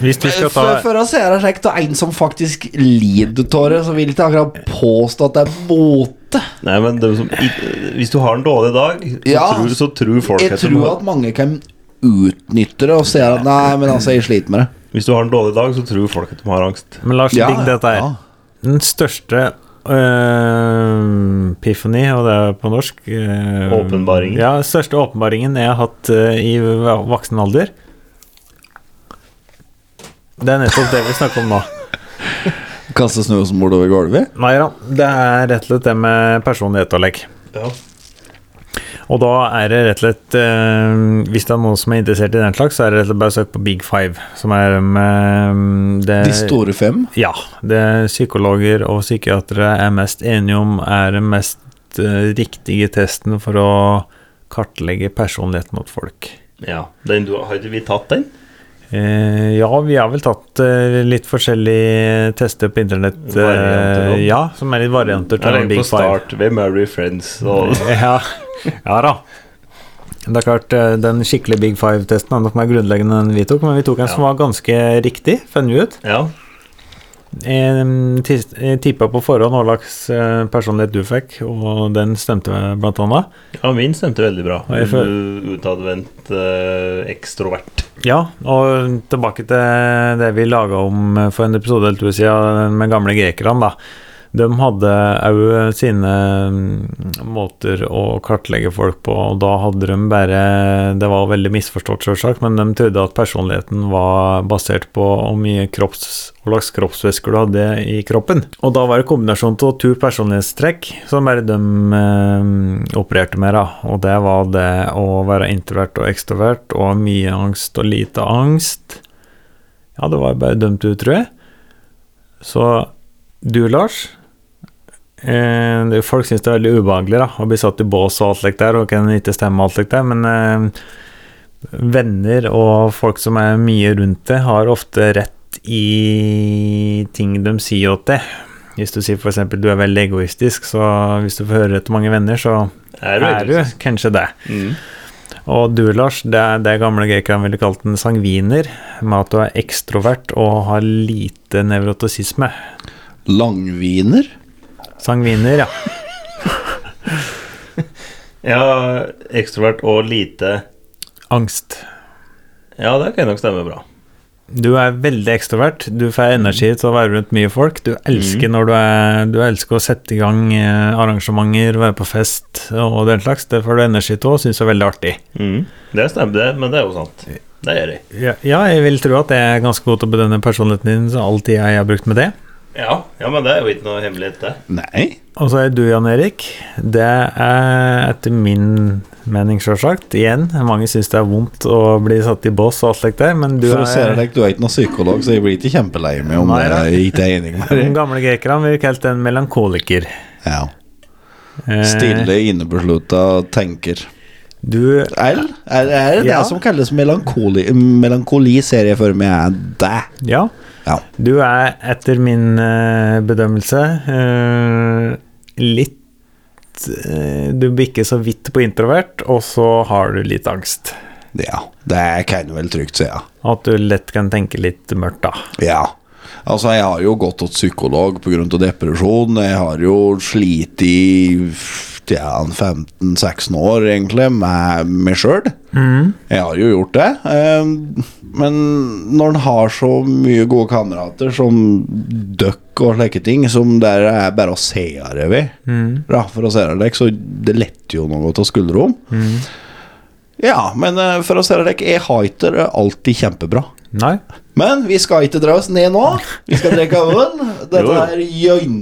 Hvis du skal ta Eh, For, for å se det slik, det er en som faktisk lider av det, så vil jeg ikke akkurat påstå at det er mote. Nei, men det er jo som, i- hvis du har en dårlig dag, så, Ja. tror, så tror folk Jeg at du tror har- at mange kan utnytte det og se at nei, men altså, jeg sliter med det. Hvis du har en dårlig dag, så tror folk at de har angst. Men Lars, Ja, digg dette her. ja. Den største øh, Piffany, og det er på norsk øh, Åpenbaringen. Ja, den største åpenbaringen jeg har hatt øh, i va- voksen alder. Det er nettopp det vi snakker om nå. Kaste snøen bortover gulvet. Nei da, det er rett og slett det med personlighet og lek. Ja. Og da er det rett og slett øh, Hvis det er noen som er interessert i den slags, så er det rett og slett bare å søke på Big Five, som er med det De store fem. Ja. Det psykologer og psykiatere er mest enige om, er den mest eh, riktige testen for å kartlegge personligheten hos folk. ja. Den du, har ikke vi tatt den? Eh, ja, vi har vel tatt eh, litt forskjellige tester på internett. eh, Varianter, da. ja, som er litt varianter Jeg til den legger Big på Five. start. Hvem er we friends? Og, Ja, ja da. Det er klart, eh, Den skikkelig Big Five-testen er nok mer grunnleggende enn vi tok, men vi tok en som var ganske riktig, fant vi ut. ja. Jeg tippa på forhånd hva slags eh, personlighet du fikk, og den stemte jeg blant annet. ja, min stemte veldig bra. Og jeg føl- Du Utadvendt, eh, ekstrovert. Ja, og tilbake til det vi laga om for en episode eller to siden, med gamle grekerne, da. De hadde òg sine mm, måter å kartlegge folk på, og da hadde de bare Det var veldig misforstått, sjølsagt, men de trodde at personligheten var basert på hvor mye kropps, hvor slags kroppsvæsker du hadde i kroppen. Og da var det kombinasjonen av to personlighetstrekk som bare de eh, opererte med, da. Og det var det å være introvert og ekstrovert, og mye angst og lite angst. Ja, det var bare dømt ut, tror jeg. Så du, Lars eh, det- Folk syns det er veldig ubehagelig da, å bli satt i bås og alt slikt der, og kan ikke stemme og alt slikt der, men eh, venner og folk som er mye rundt deg, har ofte rett i ting de sier åt deg. Hvis du sier f.eks. du er veldig egoistisk, så hvis du får høre etter mange venner, så Er du er du egoistisk? kanskje det. Mm. Og du, Lars, det er det gamle grekerne ville kalt en sangviner, med at du er ekstrovert og har lite nevrotisisme. Langviner? Sangviner, ja. Ja, ekstrovert og lite Angst. Ja, det kan nok stemme bra. Du er veldig ekstrovert. Du får energi til å være rundt mye folk. Du elsker når du er Du elsker å sette i gang eh, arrangementer, være på fest og den slags. Det får du energi til og syns er veldig artig. Mm. Det stemmer, det, men det er jo sant. Det gjør jeg. Ja, ja, jeg vil tro at jeg er ganske god til å bedømme personligheten din, så all tida jeg har brukt med det. Ja, ja, men det er jo ikke noe hemmelighet, det. Nei. Og så er du, Jan Erik. Det er etter min mening, sjølsagt, igjen Mange syns det er vondt å bli satt i bås og alt slikt der, men du For å se er deg, du er ikke noen psykolog, så jeg blir ikke kjempelei meg om Nei, det da. er ikke er enig med De deg. gamle grekerne vil kalle det en melankoliker. Ja. Eh, Stille, innebeslutta tenker. Du Er, er, er det Ja. det som kalles melankoli? Melankoli ser jeg for meg er det. Ja. Ja. Du er etter min eh, bedømmelse eh, litt eh, Du bikker så vidt på introvert, og så har du litt angst. ja. Det kan jeg vel trygt si, ja. At du lett kan tenke litt mørkt, da. Ja. Altså, jeg har jo gått til psykolog pga. depresjon. Jeg har jo slitt i f- ja, en 15-16 år, egentlig, med meg sjøl. Jeg har jo gjort det. eh, Men når en har så mye gode kamerater som døkk og slike ting, som der er bare å se av det ved, ja, for å se av deg, så det letter jo noe av skuldrene. Ja, men eh, for å se av deg, jeg har ikke det alltid kjempebra. Nei? Men vi skal ikke dra oss ned nå. Vi skal drikke øl. Jo, Dette jo. er jønn...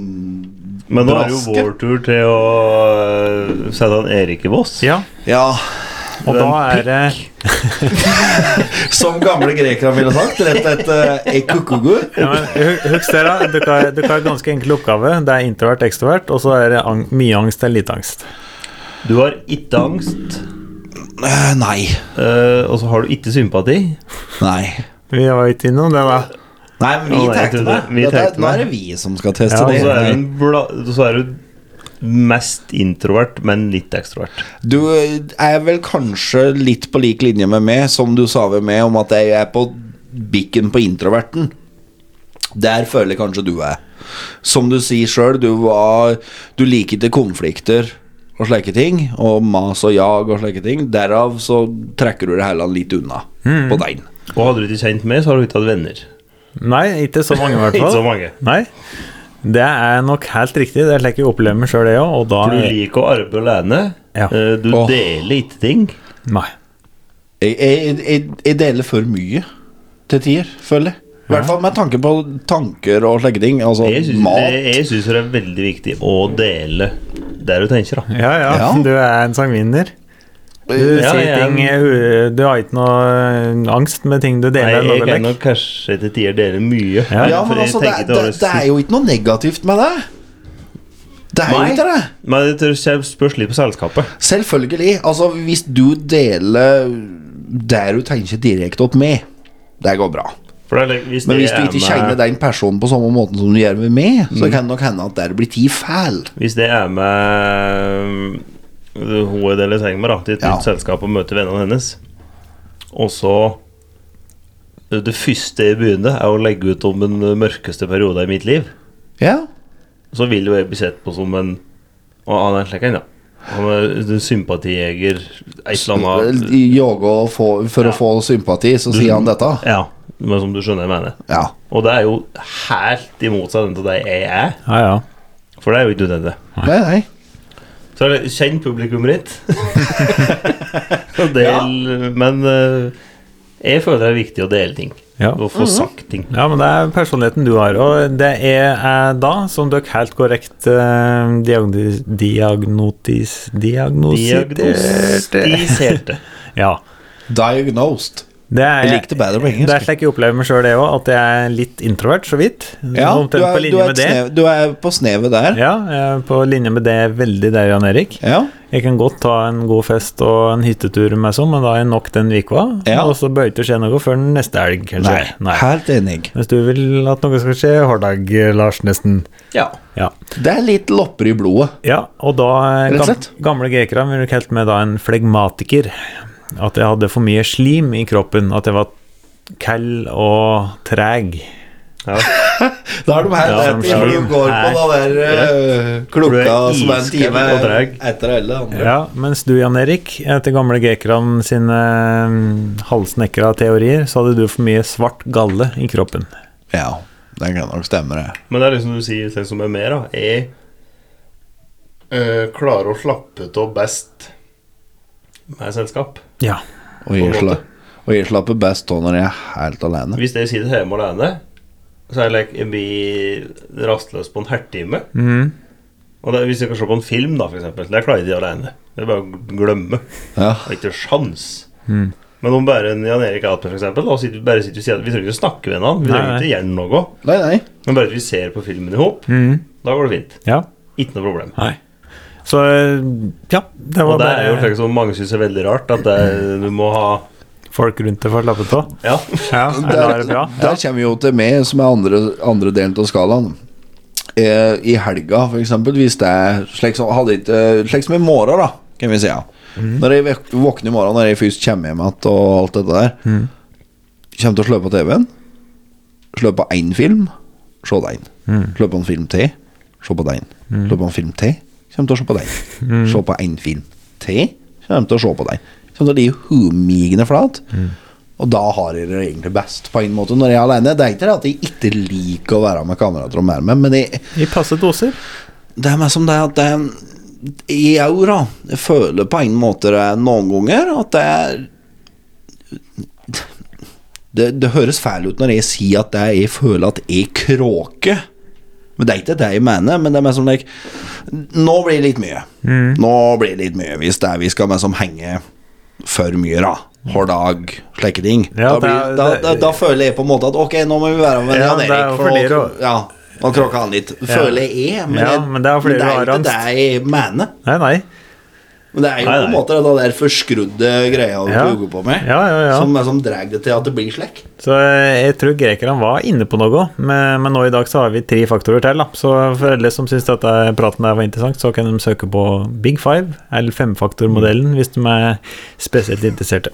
Men nå er det jo Braske. vår tur til å øh, sette han Erik i Voss. Ja. Ja, Og da er det som gamle grekere ville sagt, rett etter eh, ekukugu. ja, men hu- Husk det, da. Du kan, du kan ha ganske enkel oppgave. Det er introvert, ekstrovert, og så er det ang mye angst eller lite angst. Du har ikke angst, Eh, Nei. øh, og så har du ikke sympati. Nei. Vi var ikke innom det, da. Nei, men vi Å, nei, tenkte du, det. vi Dette er- tenkte Nå det. er det vi som skal teste Ja, Og så er du, det. en bla, så er du mest introvert, men litt ekstrovert. Du eh, er vel kanskje litt på lik linje med meg, som du sa ved meg, om at jeg er på bikken på introverten. Der føler jeg kanskje du er. Som du sier sjøl, du var Du liker ikke konflikter og slike ting. Og mas og jag og slike ting. Derav så trekker du det hele litt unna Mm. på den. Og hadde du ikke kjent meg, så hadde du ikke hatt venner. Nei, ikke så mange, i hvert fall. Ikke så mange. Nei. Det er nok helt riktig. Det er slik jeg opplever meg sjøl, det òg. Og da For du liker å arbeide alene. Ja. Eh, Du Åh. deler ikke ting. Nei. Jeg, jeg, jeg, jeg deler for mye til tider, føler jeg. I hvert fall med tanke på tanker og slike ting. Altså Jeg syns mat. det, jeg synes det er veldig viktig å dele det du tenker, da. Ja, ja, Ja. du er en sangvinner. Du Ja, sier jeg er ting en- eh, Du har ikke noe eh, angst med ting du Nei, deler. jeg Nei, kan nok kanskje til tider dele mye. Ja. Ja, men for jeg altså, det, tenker det, over det er jo ikke noe negativt med det. Det er Nei. jo ikke det. Men det tør- det spørs litt på selskapet. Selvfølgelig. Altså, hvis du deler der du tenker direkte opp med, det går bra. For det er like- hvis Men det hvis du er ikke med- kjenner den personen på samme måten som du gjør med meg, så kan det nok hende at der blir tid fæl. Hvis det er med øh, hun jeg deler seng med, da, til et Ja. nytt selskap og møter vennene hennes, og så øh, Det første jeg begynner, er å legge ut om den mørkeste perioden i mitt liv. Ja. Så vil jo jeg bli sett på som en Å, han er slik en, ja. Han er en sympatijeger, et eller annet Yoga og få, for å få sympati, så sier han dette. Ja, men som du skjønner jeg mener. Ja. Og det er jo helt imot seg den til det jeg er. Ja, ja. For det er jo ikke nødvendig. Nei, nei. Så er det kjenn publikummet ditt. Og del, Men eh, jeg føler det er viktig å dele ting. Ja. Og få sagt ting. Ja, men det er personligheten du har, og det er eh, da, som dere helt korrekt eh, diagnotis... Diagnotis... Diagnostisert Diagnostiserte. Ja. Diagnosed. Det er, Jeg likte bedre på engelsk. Det er slik jeg opplever meg sjøl, det òg, at jeg er litt introvert, så vidt. Ja, Omtrent du er, på du, linje er et med det. snev, du er på snevet der. Ja, jeg er på linje med det veldig der, Jan Erik. Ja. Jeg kan godt ta en god fest og en hyttetur med sånn, men da er jeg nok den uka. Ja. Og så bør det ikke skje noe før neste helg, kanskje. Nei, helt enig. Hvis du vil at noe skal skje, hårdag, Lars, nesten. Ja. Ja. Det er litt lopper i blodet. Ja, og da eh, Rett og gam, slett. Gamle grekere ville kalt meg da en flegmatiker. At jeg hadde for mye slim i kroppen. At jeg var kald og treg. Da er de her Ja, de rett når slår. du går på den der eh, Du klokka er som er en iskald time og dreg. etter alle andre. Ja, mens du, Jan Erik, etter gamle grekerne sine mm, halvsnekra teorier, så hadde du for mye svart galle i kroppen. Ja, den kan nok stemme, det. Men det er liksom du sier, slik som er mer, da. Jeg eh, klarer å slappe av best med selskap. Ja. Og jeg, sla- og jeg slapper best av når jeg er helt alene. Hvis jeg sitter hjemme alene, så er jeg, like, jeg blir rastløs på en halvtime. Mm. Og det, hvis jeg kan se på en film, da, for eksempel, det klarer jeg ikke alene. Det er bare å glemme. Ja. Det er ikke sjans. Mm. Men om bare en Jan Erik Alpe, for eksempel, da, sitter, bare sitter vi, siden- vi trenger ikke å snakke med hverandre. Vi Nei, trenger nei. ikke gjøre noe. Nei, nei. Men bare at vi ser på filmen i hop, da går det fint. Mm. ja. Ikke noe problem. Nei. Så ja, det var Og det er jo bare slik som mange syns er veldig rart, at det, du må ha folk rundt deg for å slappe av. Ja. Ja, er det Der, bare bra? der kommer vi jo til meg, som er andre, andre delen av skalaen. Eh, I helga, for eksempel, hvis det er slik som, hadde ikke- slik som i morgen, da, kan vi si. Ja. Når jeg vek- våkner i morgen, når jeg først kommer hjem igjen og alt dette der, kommer til å slå på TV-en, slå på én film, se den. Slå på en film til, se på den. Slå på en film til, kommer til å se på den. Se på en film til, kommer til å se på den. Kommer til å ligge humigende flat. Og da har jeg det egentlig best, på en måte, når jeg er alene. Det er ikke det at jeg ikke liker å være med kamerater og mer med, men jeg, I passe doser. det er mer som det at det, jeg òg, da. Jeg føler på en måte det noen ganger at det er det, det høres fælt ut når jeg sier at det er, jeg føler at jeg kråker. Men det er ikke det jeg mener, men det er mer som like Nå blir det litt mye. Mm. Nå blir det litt mye hvis det er vi skal mer som henge for mye, da. Hver dag, slike ting. Ja, da, blir, det er- da, det- da, da føler jeg på en måte at ok, nå må vi være med Ja, Jan det er Erik. jo For fordi nå, du- ja, nå kråker han litt. Føler jeg er, men, Ja, jeg- men det er fordi men det du har er ikke angst. det jeg mener. Nei, nei. Men det er jo Nei, på en nei. måte den der forskrudde greia du Ja. tok på meg, Ja, ja, ja. som, som drar det til at det blir slik. Så eh, jeg tror grekerne var inne på noe, men, men nå i dag så har vi tre faktorer til. Da. Så for alle som syns dette praten der var interessant, så kan de søke på Big Five, eller femfaktormodellen, hvis de er spesielt interesserte.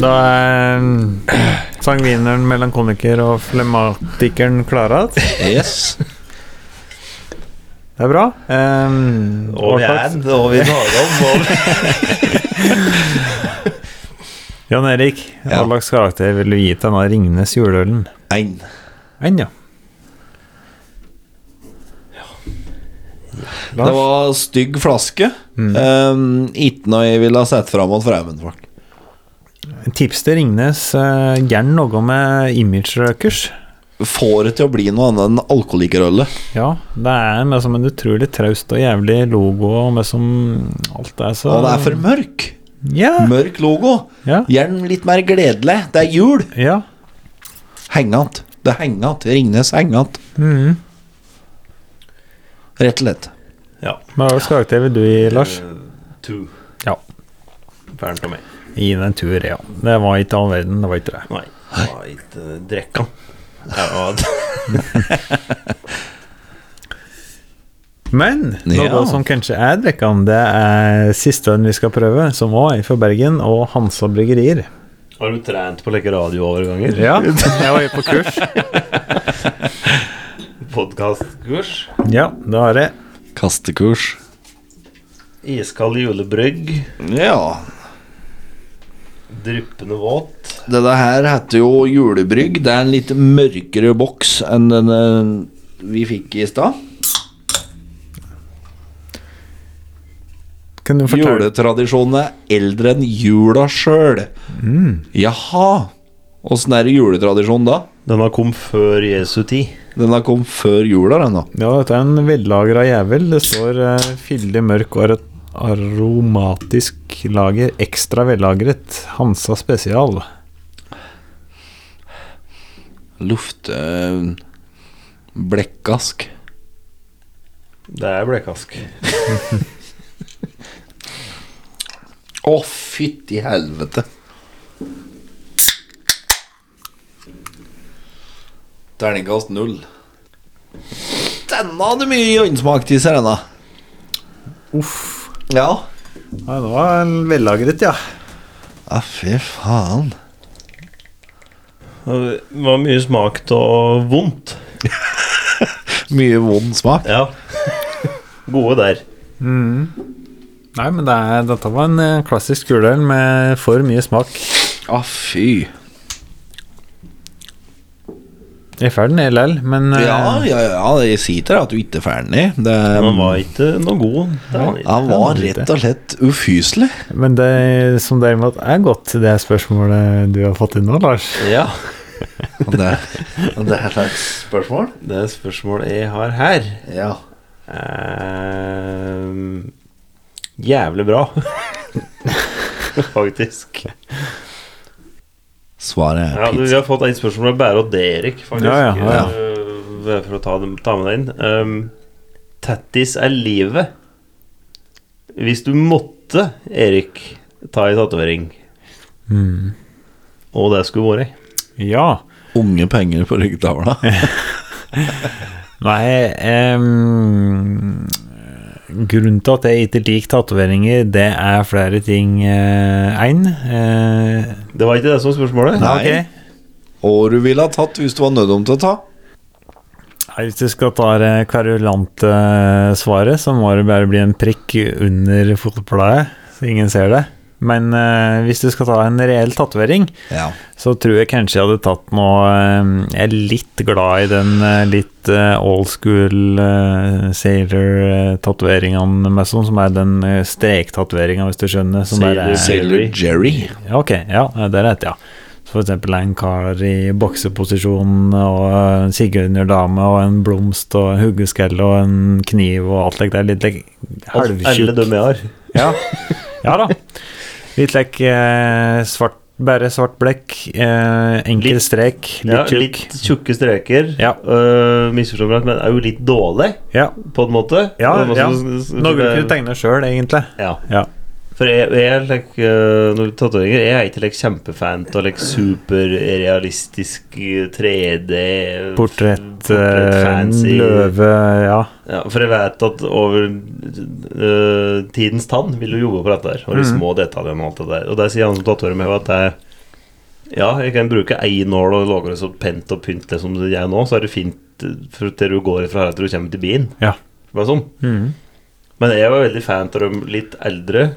Da er sangvineren, melankoliker og flematikeren klare. Det Yes. er bra. Ehm, Og vi hva er slags- og vi snakker om og vi- Jan Erik, hva Ja. slags karakter vil du gi til denne Ringnes juleølen? Ein. Enn, ja. Det var stygg flaske. Mm. Um, ikke noe jeg ville ha sett fram mot fremmed folk. Tips til Ringnes. Uh, gjerne noe med imagerøkers. Får det til å bli noe annet enn alkoholikerølet. Ja, det er med som en utrolig traust og jævlig logo, og med som alt er så Og det er for mørk. Ja! Mørk logo. Ja. Gjerne litt mer gledelig. Det er jul. ja. Hengant. Det er hengant. Ringnes hengant. Mm. Rett og slett. Ja. Men hva slags karakter vil du gi, Lars? Eh, To. Ja. Ferdig av meg. Gi den en tur, ja. Det var ikke all verden, det var ikke det. Nei. Nei, ikke drikka. Ja, og- Men noe Ja. som kanskje er drikkende, det er siste ølen vi skal prøve, som òg er fra Bergen, og Hansa Bryggerier. Har du trent på å leke radiooverganger? Ja, jeg var jo på kurs. Podkastkurs? Ja, det har jeg. Kastekurs. Iskald julebrygg? Ja. Dryppende våt? Det der her heter jo julebrygg. Det er en litt mørkere boks enn den eh, vi fikk i stad. Kan du fortelle Juletradisjonen er eldre enn jula sjøl. Jaha. Åssen er det juletradisjon da? Denne kom før Jesu tid. Den har kommet før jula, den da. Ja, dette er en vellagra jævel. Det står eh, fyldig mørk og ar- aromatisk lager. Ekstra vellagret. Hansa spesial. Lufte eh, blekkask. Det er blekkask. Å, fytti helvete. Terningkast null. Denne hadde mye åndsmak til seg, denne. Uff. Ja. Nei, det var en vellagret, ja. Ja, fy faen. Det var mye smak og vondt. Mye vond smak. Ja. Gode der. Nei, men det er, dette var en eh, klassisk juleøl med for mye smak. Å, fy. Jeg er ferdig ned likevel, men eh, Ja, ja, ja, jeg sier til deg at du ikke er ferdig. Det, Den var ikke noe god. Det var den ikke. han var rett og slett ufyselig. Men det som derimot er godt, det er spørsmålet du har fått inn nå, Lars. Ja. Og Det, og det er et slags spørsmål. Det er spørsmålet jeg har her. Ja. Eh, jævlig bra. Faktisk. Svaret er Ja, du, vi pizza. har fått et spørsmål fra Bære og Derek, faktisk. Ja, ja, ja. Eh, det er for å ta, dem, ta med deg inn. Um, tattis er livet. Hvis du måtte, Erik, ta ei tatovering, Mm. og det skulle vært Ja. Unge penger på ryggtavla. Nei em, Grunnen til at jeg ikke liker tatoveringer, det er flere ting. Eh, Én Det var ikke det som var spørsmålet? Nei. Og du ville ha tatt hvis du var nødom til å ta. Hvis du skal ta det kverulante svaret, så må det bare bli en prikk under fotbladet, så ingen ser det. Men eh, hvis du skal ta en reell tatovering, Ja. så tror jeg kanskje jeg hadde tatt noe eh, Jeg er litt glad i den eh, litt eh, old school eh, sailor-tatoveringa med sånn, som er den eh, strektatoveringa, hvis du skjønner. Som bare er Sailor Jerry. ja, ok, ja, det er rett, ja. Så for eksempel en kar i bokseposisjon og eh, en sigøynerdame og en blomst og en huggeskelle og en kniv og alt like der. Litt like Alle halvtjukk. dem jeg har. Ja. ja da. Litt like eh, svart, bare svart blekk, eh, enkel Litt- strek, litt Ja, tjukk. litt tjukke streker. Ja. Eh, Misforstå meg rett, men er jo litt dårlig, Ja, på en måte. ja. Det er ja. masse- Noe du kunne tegne sjøl, egentlig. Ja. Ja. For jeg, jeg er like, uh, når tatoveringer Jeg er ikke like, kjempefan av like, superrealistisk uh, 3D Portrett, portrett, eh, fancy. løve, ja. Ja, For jeg vet at over uh, tidens tann vil du jobbe på dette her. Og Mm. de små detaljene og alt det der. Og der sier han som tatoverer meg at det er ja, jeg kan bruke ei nål og lage det så pent og pyntelig som det er nå, så er det fint uh, for til du går fra her til du kommer til byen. Ja. Mm. Bare sånn. Men jeg var veldig fan av de litt eldre.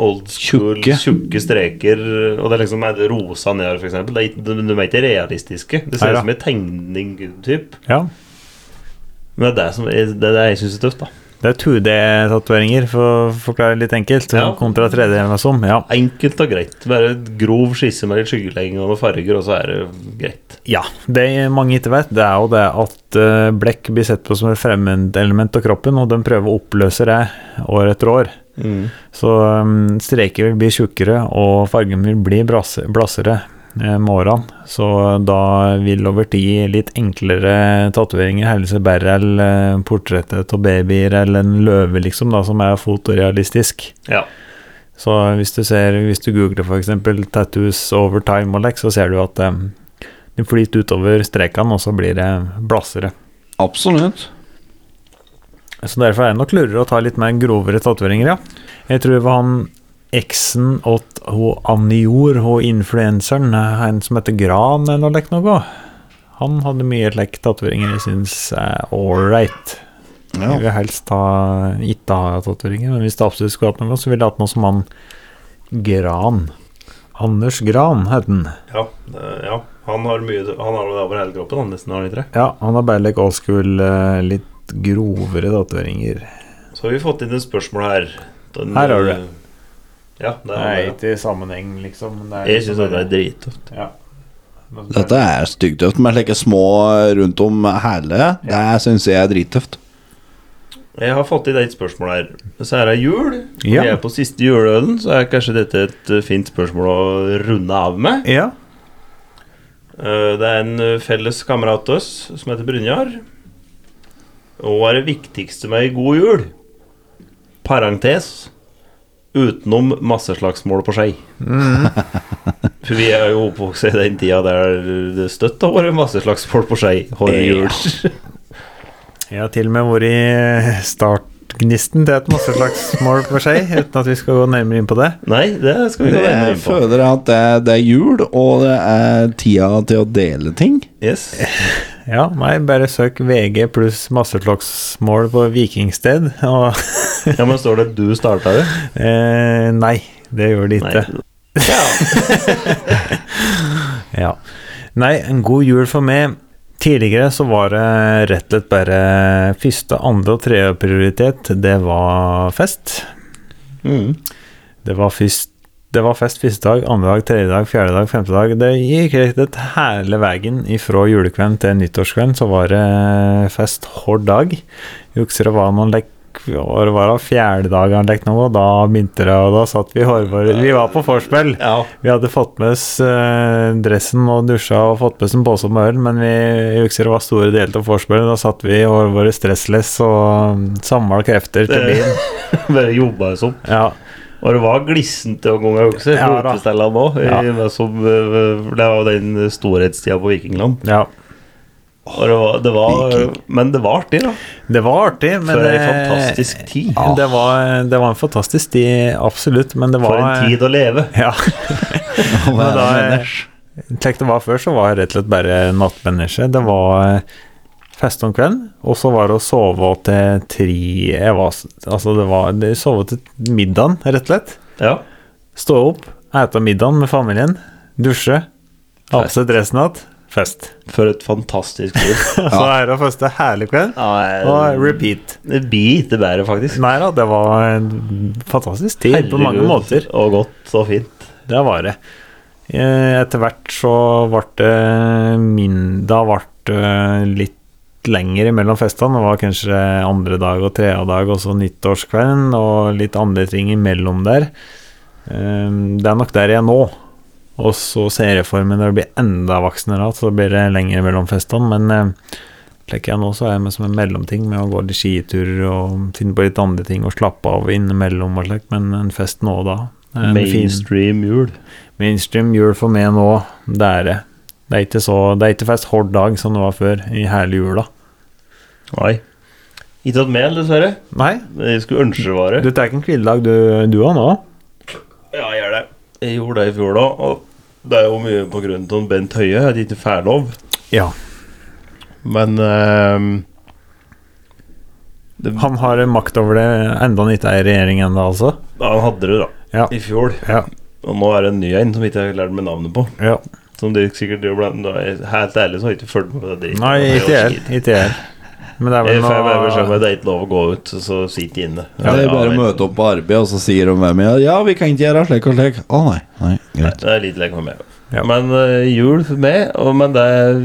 Old school, Tjukke. tjukke. streker. Og det er liksom er det rosa nedover, for eksempel. Det er ikke- De de er ikke realistiske. Det ser Neida. ut som en tegning, typ. ja. Men det er det, som, er- det er det jeg syns er tøft, da. Det er 2D-tatoveringer, for å forklare litt enkelt. Ja. Kontra 3D eller noe sånt. Ja. Enkelt og greit. Bare et grov skisse med litt skyggelegging og noen farger, og så er det greit. Ja, det mange ikke vet, det er jo det at eh, blekk blir sett på som et fremmedelement av kroppen, og den prøver å oppløse det år etter år. Så um, streker vil bli tjukkere, og fargen vil bli brasse- blassere eh, med årene. Så da vil over tid litt enklere tatoveringer helle seg bedre eller eh, portrettet av babyer eller en løve, liksom, da, som er fotorealistisk. Ja. Så hvis du, ser, hvis du googler f.eks. 'tattoos over time' og like, så ser du at um, den flyter utover strekene, og så blir det blassere. Absolutt. Så derfor er det nok lurere å ta litt mer grovere tatoveringer, ja. Jeg tror det var han eksen åt ho Anjor, ho influenseren, han som heter Gran eller noe like noe. Han hadde mye like tatoveringer jeg syns er ålreit. Ja. eh, Jeg vil helst ha, ikke ha tatoveringer, men hvis det absolutt skulle hatt noe, så ville jeg hatt noe som han Gran. Anders Gran het han. Ja. det- ja. Han har mye Han har det over hele kroppen, han nesten har han ikke det. Ja, han har bare like old school, eh, litt grovere datorringer. Så har vi fått inn et spørsmål her. Den, Her har du eh, det. Ja, det er det. ikke i sammenheng, liksom. Jeg syns det er drittøft. Dette er styggtøft med slike små rundt om hele. Det syns jeg er drittøft. Jeg har fått inn et spørsmål her. Så her er jul. Vi Ja. er på siste juleølen, så er kanskje dette et eh, fint spørsmål å runde av med. Ja. Eh, Det er en eh, felles kamerat av oss som heter Brynjar. Og hva er det viktigste med ei god jul? Parentes utenom masseslagsmål på skei. Mm. For vi er jo oppvokst i den tida der det støtt har vært masseslagsmål på skei. Horror jul. Jeg har til og med vært i startgnisten til et masseslagsmål for seg, uten at vi skal gå nærmere inn på det. Nei, det skal vi gå nærmere Jeg inn på. føler at det, det er jul, og det er tida til å dele ting. Yes. Ja, nei, bare søk VG pluss masseslagsmål på Vikingsted, og Ja, men står det at du starta det? eh, Nei, det gjør det ikke. Nei. Ja. Nei, en god jul for meg. Tidligere så var det rett og slett bare første, andre og tredje prioritet. Det var fest. Mm. Det var, først- det var fest første dag, andre dag, tredje dag, fjerde dag, femte dag. Det gikk rett hele veien ifra julekvelden til nyttårskvelden, så var det fest hver dag. Jeg husker det var noen lek og det var da fjerde dagen lek nå, og da begynte det, og da satt vi i hårvare. Vi var på vorspiel. Ja. Vi hadde fått med oss eh, dressen og dusja og fått med oss en pose med øl, men vi jeg husker det var store deler av vorspielet. Da satt vi og var stressless og mm, samla krefter til Det- byen. Bare jobba oss opp. Ja, Og det var glissent en gang jeg også, på Ja da. utestellene òg. Ja. eh, Det var jo den storhetstida på Vikingland. ja. Og det var, det var, men det var artig, da. Det var artig, men For ei eh, fantastisk tid. Det var, det var en fantastisk tid, absolutt, men det var For en tid å leve. eh, Ja. Hva er det da- med det? Slik det var før, så var jeg rett og slett bare nattmenneske. Det var eh, fest om kvelden, og så var det å sove til tre jeg var, Altså, det var det- Sove til middagen, rett og slett. Ja. Stå opp, ete middagen med familien, dusje, ha på seg dressen igjen, fest. For et fantastisk liv. eh, Så er det første herlig kveld, og Ja, repeat. det blir ikke bedre, faktisk. Nei da, det var en fantastisk tid på mange Herregud, måter. Og godt og fint. Det var det. Eh, Etter hvert så ble det min- Da ble det litt lenger mellom festene. Det var kanskje andre dag og tredje dag, og så nyttårskvelden, og litt andre ting imellom der. Eh, Det er nok der jeg er nå. Og så ser jeg for meg når jeg blir enda voksnere igjen, så blir det lenger mellom festene. Men eh, slik jeg er nå, så er jeg med som en mellomting med å gå litt skiturer og finne på litt andre ting og slappe av innimellom og slikt, men en fest nå og da. er en fin- Mainstream jul. Mainstream jul for meg nå, det er det. Det er ikke, så, det er ikke fest hver dag som det var før, i hele jula. Nei. Ikke hatt mel, dessverre. Nei, Jeg skulle ønske det var det. du tar ikke en hviledag du, du òg nå? Ja, jeg gjør det. Jeg gjorde det i fjor da, og det er jo mye på grunn av Bent Høie, at jeg ikke får lov. Ja. Men ehm, det, han, Han har makt over det enda han ikke er i regjering ennå, altså? hadde det, da. Ja. I fjor. Ja. Og nå er det en ny en som ikke har lært meg navnet på. ja. Som dere sikkert gjør blant da er jeg Helt ærlig så har jeg ikke fulgt med på det dritten. Nei, Det er jo ikke jeg. skit. Ikke jeg. Men det er Jeg vel får bare beskjed om noe at det er ikke lov å gå ut, så- så sitt inne. Ja, det er bare å møte opp på arbeid, og så sier de hvem jeg er. Ja, vi kan ikke gjøre slik og slik. Å nei. nei, Nei, greit det er litt lenge for meg. Ja. Men eh, jul for meg, og, men det er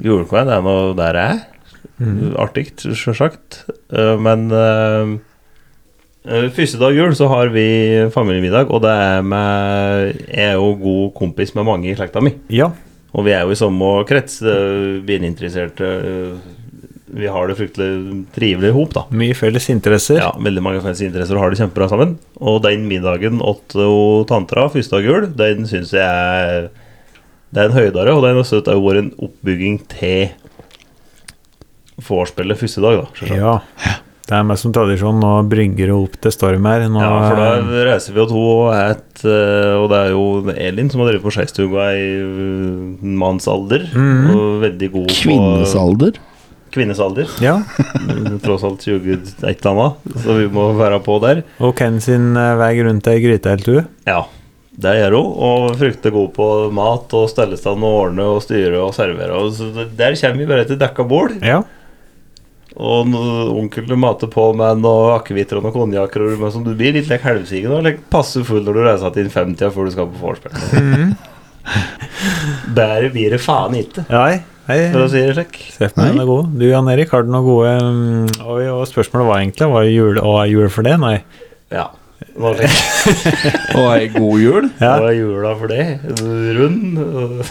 Julekvelden er nå der jeg er. Artig, sjølsagt. men eh, eh, første dag jul så har vi familiemiddag, og det er med Jeg er jo god kompis med mange i slekta mi. Ja. Og vi er jo i samme krets, eh, bilinteresserte. eh, vi har det fryktelig trivelig i hop, da. Mye felles interesser. Ja, veldig mange felles interesser og har det kjempebra sammen. Og den middagen åt jo tantra første dag jul, den syns jeg er Det er en høydare, og den har støtt vært en oppbygging til vorspielet første dag, da. selvsagt. Ja. Det er meg som tradisjon. Nå brygger det opp til storm her. Nå, Ja, for da reiser vi jo to og et eh, Og det er jo Elin som har drevet på skeistuga i eh, mannsalder. Og veldig god på Kvinnesalder? kvinnesalder. ja. Tross alt 20 et eller annet, så vi må være på der. Og Ken sin eh, vei rundt ei gryte, helt du? Ja. Det er jeg òg, og frykter god på mat og stellestand og ordne og styre og servere. Og så det- der kommer vi bare til dekka bord. Ja. Og n- onkel mater på med noe akevitter og noen konjakker. og Men som du blir litt like halvsigen og like passe full når du reiser til din 50 før du skal på vorspiel. Bedre blir det faen ikke, Nei, for å jeg si det slik. ser på den er god. Du Jan Erik, har du noen gode mm, og, og spørsmålet var egentlig Var det jul, og er jul for det? Nei. Ja. Det var slik. Og ei god jul? Ja. Hva er jula for det? Rund?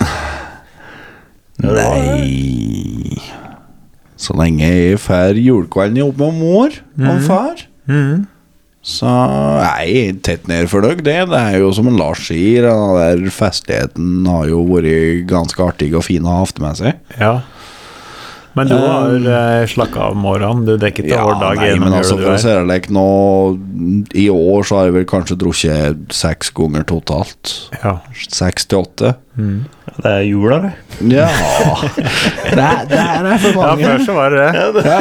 Nei Så lenge jeg får julekvelden i jobb med mor og far, Mm. så er jeg tett ned for deg. Det, det er jo som en Lars sier, den der festligheten har jo vært ganske artig og fin å ha hatt med seg. Ja. Men du har um, slakka av morgenen. Du dekker til hver dag nei, gjennom men jula altså, du for å er. si det like, nå I år så har jeg vel kanskje drukket seks ganger totalt. Ja. Seks til åtte. Det er jula, det. Ja Det er, det er for ja, mange. før så var det det. Ja,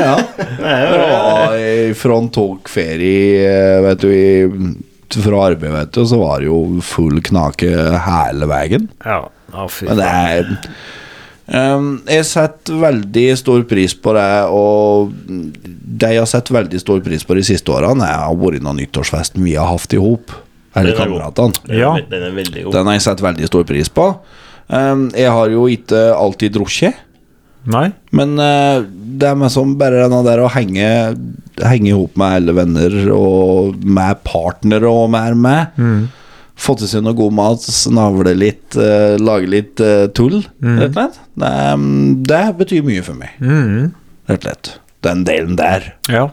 ja. Ja, i- Fra han tok ferie eh, vet du, i, fra arbeid, vet du, så var det jo full knake hele veien. Ja. Å, fy Men det er Ehm, Jeg setter veldig stor pris på det, og det jeg har sett veldig stor pris på de siste årene, er- har vært den nyttårsfesten vi har hatt i hop. Eller Den er god. kameratene. Den er Ja. ve- Den er veldig god. Den har jeg sett veldig stor pris på. Ehm, jeg har jo ikke alltid drukket. Nei. Men eh, det er meg som bare denne der å henge Henge ihop med alle venner og med partnere og mer med. Få til seg noe god mat, snavle litt, eh, lage litt eh, tull, rett og slett. Det, mm, det betyr mye for meg, Mhm. rett og slett. Den delen der. Ja.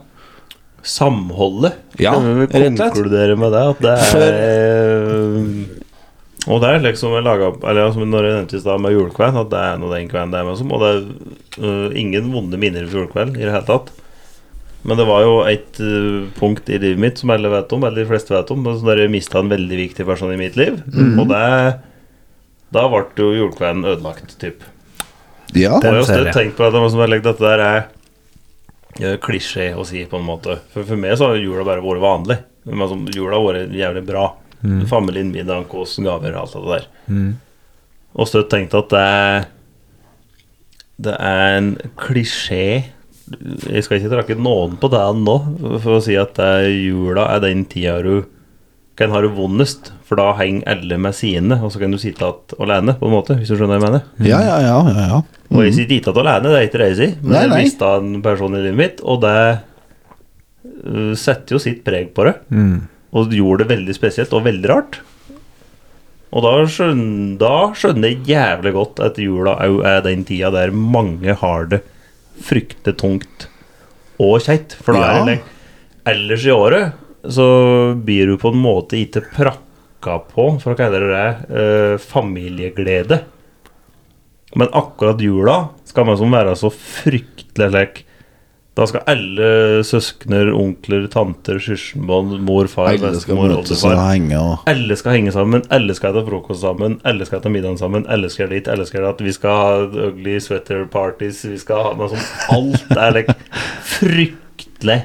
Samholdet. Ja, Kan vi rett og slett. Konkludere med det. At det For- er eh, Og det er liksom jeg laget opp Eller som når jeg nevnte i stad med julekvelden, at det er noe den kvelden det er med som. Og det er eh, ingen vonde minner fra julekvelden i det hele tatt. Men det var jo et eh, punkt i livet mitt som alle vet om, eller de fleste vet om, men så der jeg mista en veldig viktig person i mitt liv. Og det Da ble jo julekvelden ødelagt, typ. Ja. Og jeg har ser også jeg. tenkt på at det var som jeg legger, dette der er eh, klisjé å si, på en måte. For, for meg så har jula bare vært vanlig. Men altså, jula har vært jævlig bra. Familien, middag, kos, gaver og alt det der. Og så har jeg tenkt at det er, det er en klisjé Jeg skal ikke trakke noen på det nå, for å si at det er jula er den tida du kan ha det vondest, for da henger alle med sine, og så kan du sitte igjen alene, på en måte, hvis du skjønner hva jeg mener. ja, ja, ja. ja, ja. Og jeg sitter ikke alene, det er ikke det jeg sier. Men Mhm. Nei, nei. jeg mista en person i livet mitt, og det øh, setter jo sitt preg på det. Mm. Og det gjorde det veldig spesielt og veldig rart. Og da skjønner, da skjønner jeg jævlig godt at jula òg er den tida der mange har det fryktelig tungt og kjeit. For da Ja. er det lenge. Ellers i året så blir du på en måte ikke prakka på, for å kalle det det, eh, familieglede. Men akkurat jula skal man som være så fryktelig lek. Da skal alle søskner, onkler, tanter, søskenbarn, mor, far, Alle skal bestemor, møtes og oldefar henge og Alle skal henge sammen, alle skal ta frokost sammen, alle skal ta middagen sammen, alle skal dit, alle skal dit. Vi skal ha ugly sweater parties, vi skal ha noe som Alt er lek fryktelig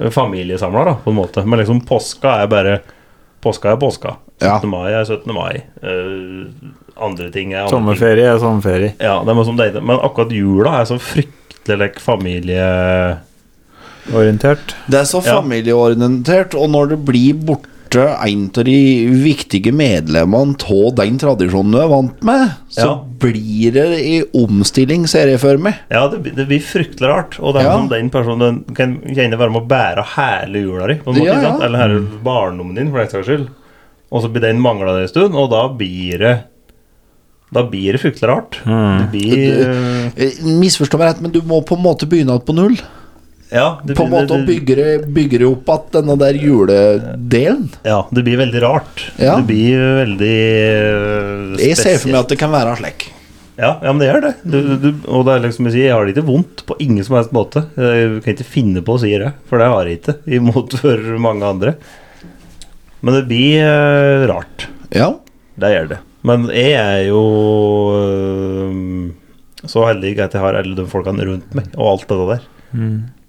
familiesamla, da, på en måte. Men liksom, påska er bare Påska er påska. 17. Ja. mai er 17. mai. Eh, andre ting er andre ting. Sommerferie er sommerferie. Ja, det er noe som det Men akkurat jula er så fryktelig like, familie... Orientert. Det er så Ja. familieorientert, og når det blir borte en av de viktige medlemmene av den tradisjonen du er vant med, så Ja. blir det i omstilling, ser jeg for meg. Ja, det, blir- det blir fryktelig rart. Og det er Ja. som den personen den kan gjerne være med å bære hele jula di, på en måte, Ja, ikke sant? ja. eller hele barndommen din, for den saks skyld. Og så blir den mangla en stund, og da blir det Da blir det fryktelig rart. Det blir eh, Eh, Misforstå meg rett, men du må på en måte begynne igjen på null. Ja, det På en blir- måte å det- bygge det, bygge det opp igjen, denne der juledelen. Ja, det blir veldig rart. Ja. Det blir veldig eh, Jeg ser for spesielt. meg at det kan være slik. Ja, ja, men det gjør det. Du, du, og det er liksom jeg sier, jeg har det ikke vondt på ingen som helst måte. Jeg kan ikke finne på å si det, for det har jeg ikke, imot for mange andre. Men det blir eh, rart. Ja. Det gjør det. Men jeg er jo eh, så heldig at jeg har alle de folkene rundt meg, og alt det der.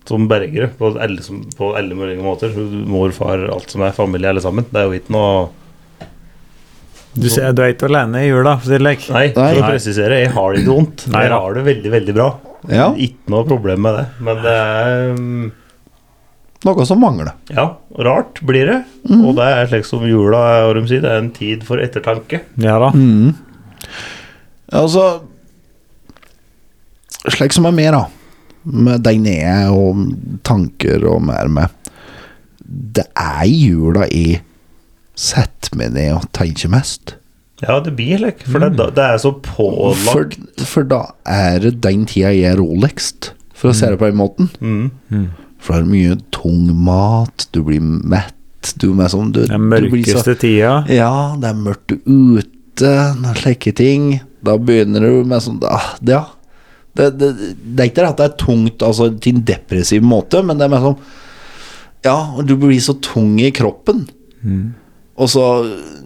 Som bergere, på alle, som, på alle mulige måter. Mor, far, alt som er familie, alle sammen. Det er jo ikke noe Du, ser, du er ikke alene i jula, for å si det lek. Nei, Nei. for å presisere, jeg har det ikke vondt. Nei, Jeg da. har det veldig, veldig bra. Ja, Ikke noe problem med det. Men det er mm, noe som mangler. Ja, rart blir det. Og det er slik som jula er, hva de sier, det er en tid for ettertanke. Ja da. Mm. Altså Slik som er mer, da. Med den jeg og tanker og mer med. Det er i jula jeg setter meg ned og tenker mest. Ja, det blir slik. For det, er da- det er så For, pålagt. for da er det den tida jeg er roligst, for å se det på den måten. Mm. For det er mye tung mat, du blir mett, du er sånn du, Den du blir så- mørkeste tida. Ja, det er mørkt ute, noen slike ting. Da begynner du med sånn ah, det, Ja. Det, det, det er ikke det at det er tungt altså, til en depressiv måte, men det er mer sånn Ja, og du blir så tung i kroppen. Mm. Og så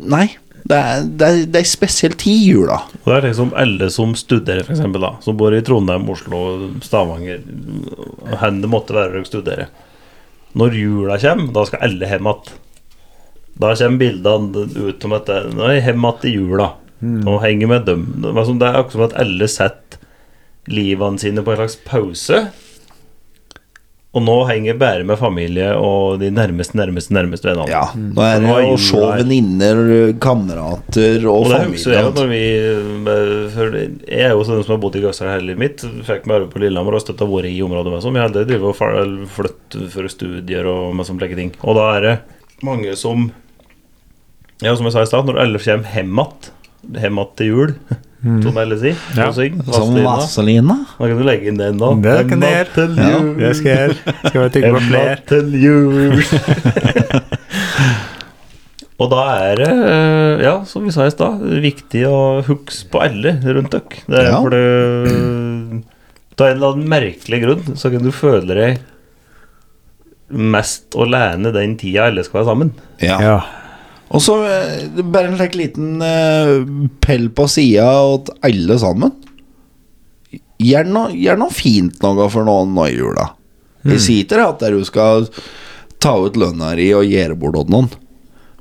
Nei. Det er, det er, det er spesielt tid i jula. Og det er liksom alle som studerer, for eksempel, da, som bor i Trondheim, Oslo, Stavanger, og hvor det måtte være å studere. Når jula kommer, da skal alle hjem igjen. Da kommer bildene ut om at det- nå er jeg hjem igjen i jula. Nå henger jeg med dem. Det er som- det er akkurat som at alle setter livene sine på en slags pause. Og nå henger jeg bare med familie og de nærmeste, nærmeste, nærmeste vennene. Ja, Nå er det Nå er å se jula her. venninner, kamerater og, Og det husker familie. jeg når vi eh, for Jeg er jo sånn som har bodd i Gausdal hele livet mitt. Fikk meg arbeid på Lillehammer og støtta vært i området. Med, sånn. som jeg hadde drevet og far- flyttet for studier og med sånne slike ting. Og da er det mange som Ja, som jeg sa i stad, når alle kommer hjem igjen Hjem igjen til jul, som alle sier. Mm. Ja. og syng, sånn. Som Vazelina. Vazelina. Da kan du legge inn den, da. Det kan jeg gjøre. Ja. Hjem igjen til Det jul. skal jeg gjøre. Skal vi tygge på flere? Emma til jul. Og da er det, eh, ja, som vi sa i stad, viktig å huske på alle rundt dere. Det er Ja. for det Av en eller annen merkelig grunn så kan du føle deg mest alene den tida alle skal være sammen. Ja. Og så eh, bare en slik liten eh, pell på sida åt alle sammen. Gjør noe, gjør noe fint noe for noen nå i jula. Jeg sier ikke det at der du skal ta ut lønna di og gjøre bort åt noen.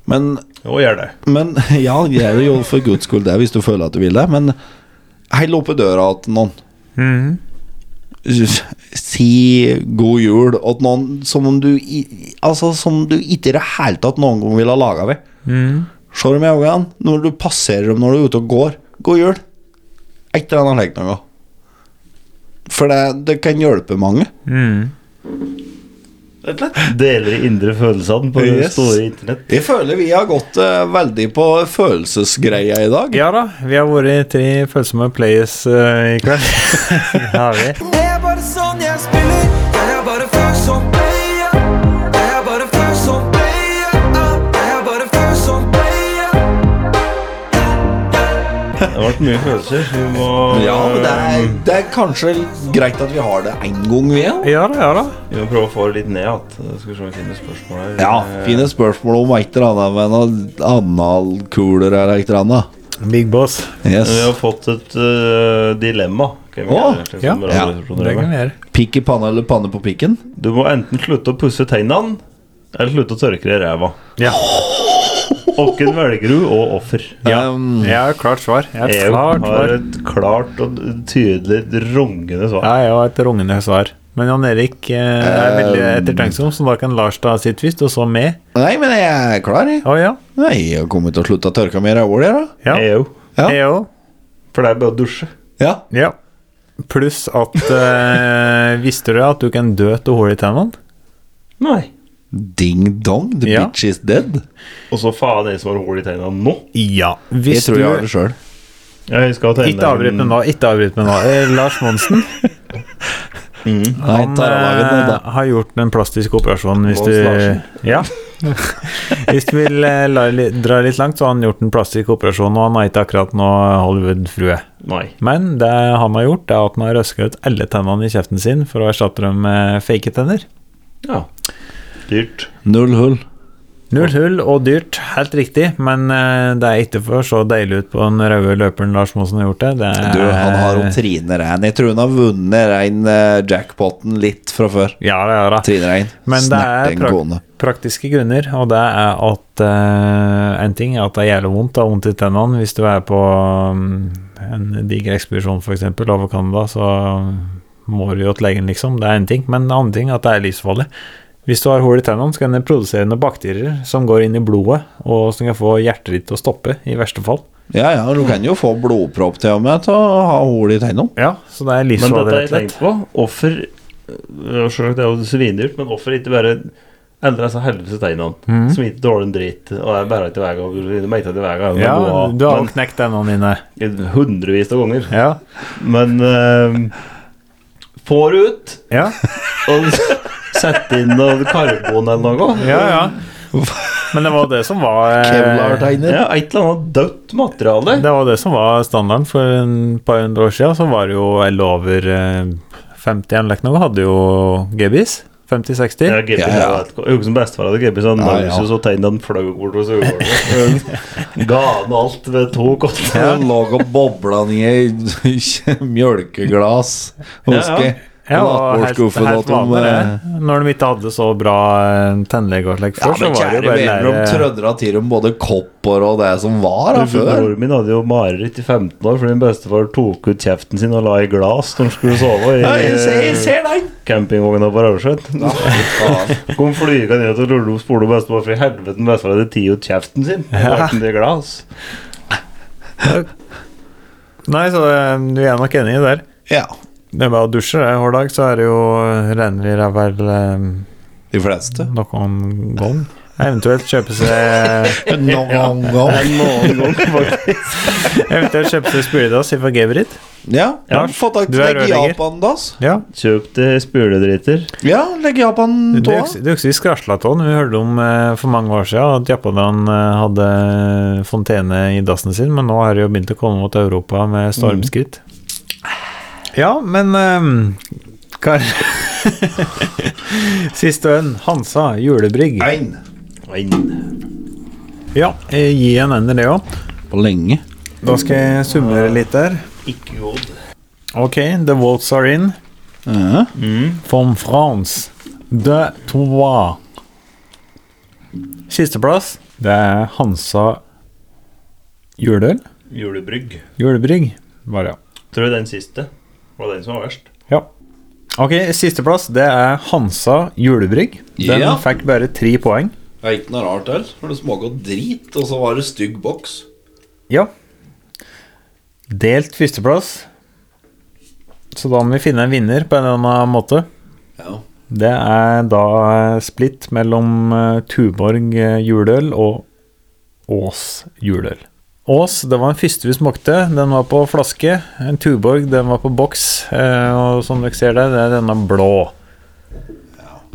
Men, Og gjør det. men Ja, gjør det jo for guds skyld det hvis du føler at du vil det, men hell oppe døra til noen. Si god jul åt noen som om du i- Altså som du ikke i det hele tatt noen gang ville ha laga ved. Se dem i øynene når du passerer dem når du er ute og går. God jul. Et eller annet slikt noe. For det, det kan hjelpe mange. Mm. Deler de indre følelsene på det Yes. store internett. Jeg føler vi har gått eh, veldig på følelsesgreia i dag. ja da, vi har vært tre følsomme players eh, i kveld. Det har vi. Jeg er bare sånn jeg spiller. Jeg er bare følsom, baby. Jeg er bare følsom, baby. Jeg er bare følsom, baby. Det har vært mye følelser. Vi må Ja, men det er, det er kanskje greit at vi har det én gang, vi òg. Ja da, ja da. eh, Vi må prøve å få det litt ned igjen. Skal vi se om vi finner spørsmål her. Ja, fine spørsmål om et eller annet med noen analkuler eller et eller annet. Big boss. Yes. Men Vi har fått et øh, dilemma. Kan vi Å, gjøre, slik som ja. radioresepsjonen Det driver kan med. vi gjøre. Pikk i panna eller panne på pikken? Du må enten slutte å pusse tennene eller slutte å tørke deg i ræva. Ja. Åkken velger du, og offer. Um, E Jeg har et klart svar. Jeg har et Jeg klart har svar. et klart og tydelig rungende Ja, svar. jeg har et rungende svar. Men Jan Erik eh, er veldig Um, ettertenksom, så da kan Lars ta sitt først, og så meg. Nei, men jeg er klar, jeg. Å ja. Nei, jeg kommer til å slutte å tørke meg i ræva, jeg, da. ja. Jeg òg. Ja. Jeg òg. E For det er bare å dusje. Ja. Ja. Pluss at eh, Visste du at du kan dø til hull i tennene? Nei. Ding dong, the Ja. bitch is dead. Og så faen jeg som har hull i tennene nå. Ja. Jeg Hvis tror jeg har du det sjøl. Jeg skal ha Ikke avbryt meg nå. Ikke avbryt meg nå. Eh, Lars Monsen Han han, eh, eh, har gjort den plastiske operasjonen hvis Mons Larsen. du Ja. Hvis du vil eh, la, li- dra litt langt, så har han gjort den plastiske operasjonen, og han har ikke akkurat nå Hollywood-frue. Nei. Men det han har gjort, det er at han har røska ut alle tennene i kjeften sin for å erstatte dem med fake tenner. Ja. Dyrt. Null hull. Null hull og dyrt, helt riktig, men eh, det er ikke for så deilig ut på den røde løperen Lars Monsen har gjort det. det er, Du, han har Eh. jo Trine Rein. Jeg tror hun har vunnet rein eh, jackpoten litt fra før. Ja, det er det. Trine Rein. Men det er Snerten prak kone. praktiske grunner, og det er at eh, en ting er at det er jævlig vondt, det er vondt i tennene. Hvis du er på mm, en diger ekspedisjon f.eks. over Canada, så må du jo til legen, liksom. Det er en ting. Men en annen ting er at det er livsfarlig. Hvis du har hull i tennene, så kan det produsere noen bakterier som går inn i blodet, og som kan få hjertet ditt til å stoppe, i verste fall. Ja, ja, du kan jo få blodpropp til og med til å ha hol i tennene. Ja, så det er Men dette livsfarlig, har jeg rett og slett. tenkt på. Hvorfor øh, Selvsagt det er jo svindyrt, men hvorfor ikke bare endre disse helvetes tegnene? Mhm. Som ikke tåler en dritt, og jeg bærer til veien og meiter til veien. Ja, du har jo knekt tennene dine. Hundrevis av ganger. Ja. Men øh, får ut Ja, og sette inn noe karbon eller noe. ja. ja. Men det var det som var eh, Kevlar-teiner. Ja, et eller annet dødt materiale. Det var det som var standarden for en par hundre år siden. Så var det jo alle over eh, 50 anlegg nå, hadde jo GBs. 50-60. Ja, GB, Ja, ja. jeg vet ikke. Jeg husker som bestefar hadde GB, så han Ja, ja. ja, ja. så tegnet han fløy bort hos øyeblikket. Ga han alt ved to kotter. Den lå og bobla ned i mjølkeglass, husker jeg. Ja, På og helt, nattbordskuffen helt at de, vanlig eh, det. Når de ikke hadde så bra eh, tannlege og slik Ja, før, men så var kjære det eh, jo bare venner, de lære trødra til dem både kopper og det som var da før. Broren min hadde jo mareritt i 15 år fordi min bestefar tok ut kjeften sin og la i glass når han skulle sove i Ja, jeg ser, jeg ser den! campingvogna på Raudsjøen. Kom flygende ned til Lollo og spurte bestefar for i helvete bestefar hadde tatt ut kjeften sin. og lagt den i glass. Nei, så eh, du er nok enig i det der. Ja, Det er bare å dusje det. hver dag, så er det jo eh, renner i ræva eller eh, de fleste. noen gang. Eventuelt kjøpe seg Noen ganger. Eventuelt kjøpe seg spyledass ifra Gebrit. Ja, få tak du i er rørlegger. Japan-dass. Ja. Kjøpte spuledriter. Ja, legg Japan Du tåa. husker du husker vi skrasla av den. Vi hørte om eh, for mange år siden at japanerne eh, hadde fontene i dassen sin, men nå har det jo begynt å komme mot Europa med stormskritt. Mm. Ja, men eh, Kar Siste øen, Hansa julebrygg. Ein. Ja, eh, gi en ender, det òg. På lenge. Da skal jeg summere litt der. Ok, the votes are in. Mm. Ja. From France. De Trois. Sisteplass, det er Hansa Juleøl. Julebrygg. Julebrygg, var det, ja. Tror jeg den siste var den som var verst. ja. Ok, sisteplass, det er Hansa Julebrygg. Den Ja. fikk bare tre poeng. Det er ikke noe rart her. For det smaker drit, og så var det stygg boks. Ja. Delt førsteplass. Så da må vi finne en vinner på en eller annen måte. Ja. Det er da eh, splitt mellom eh, Tuborg eh, juleøl og Ås juleøl. Ås, det var den første vi smakte. Den var på flaske. En Tuborg, den var på boks. eh, Og som dere ser der, det er denne blå.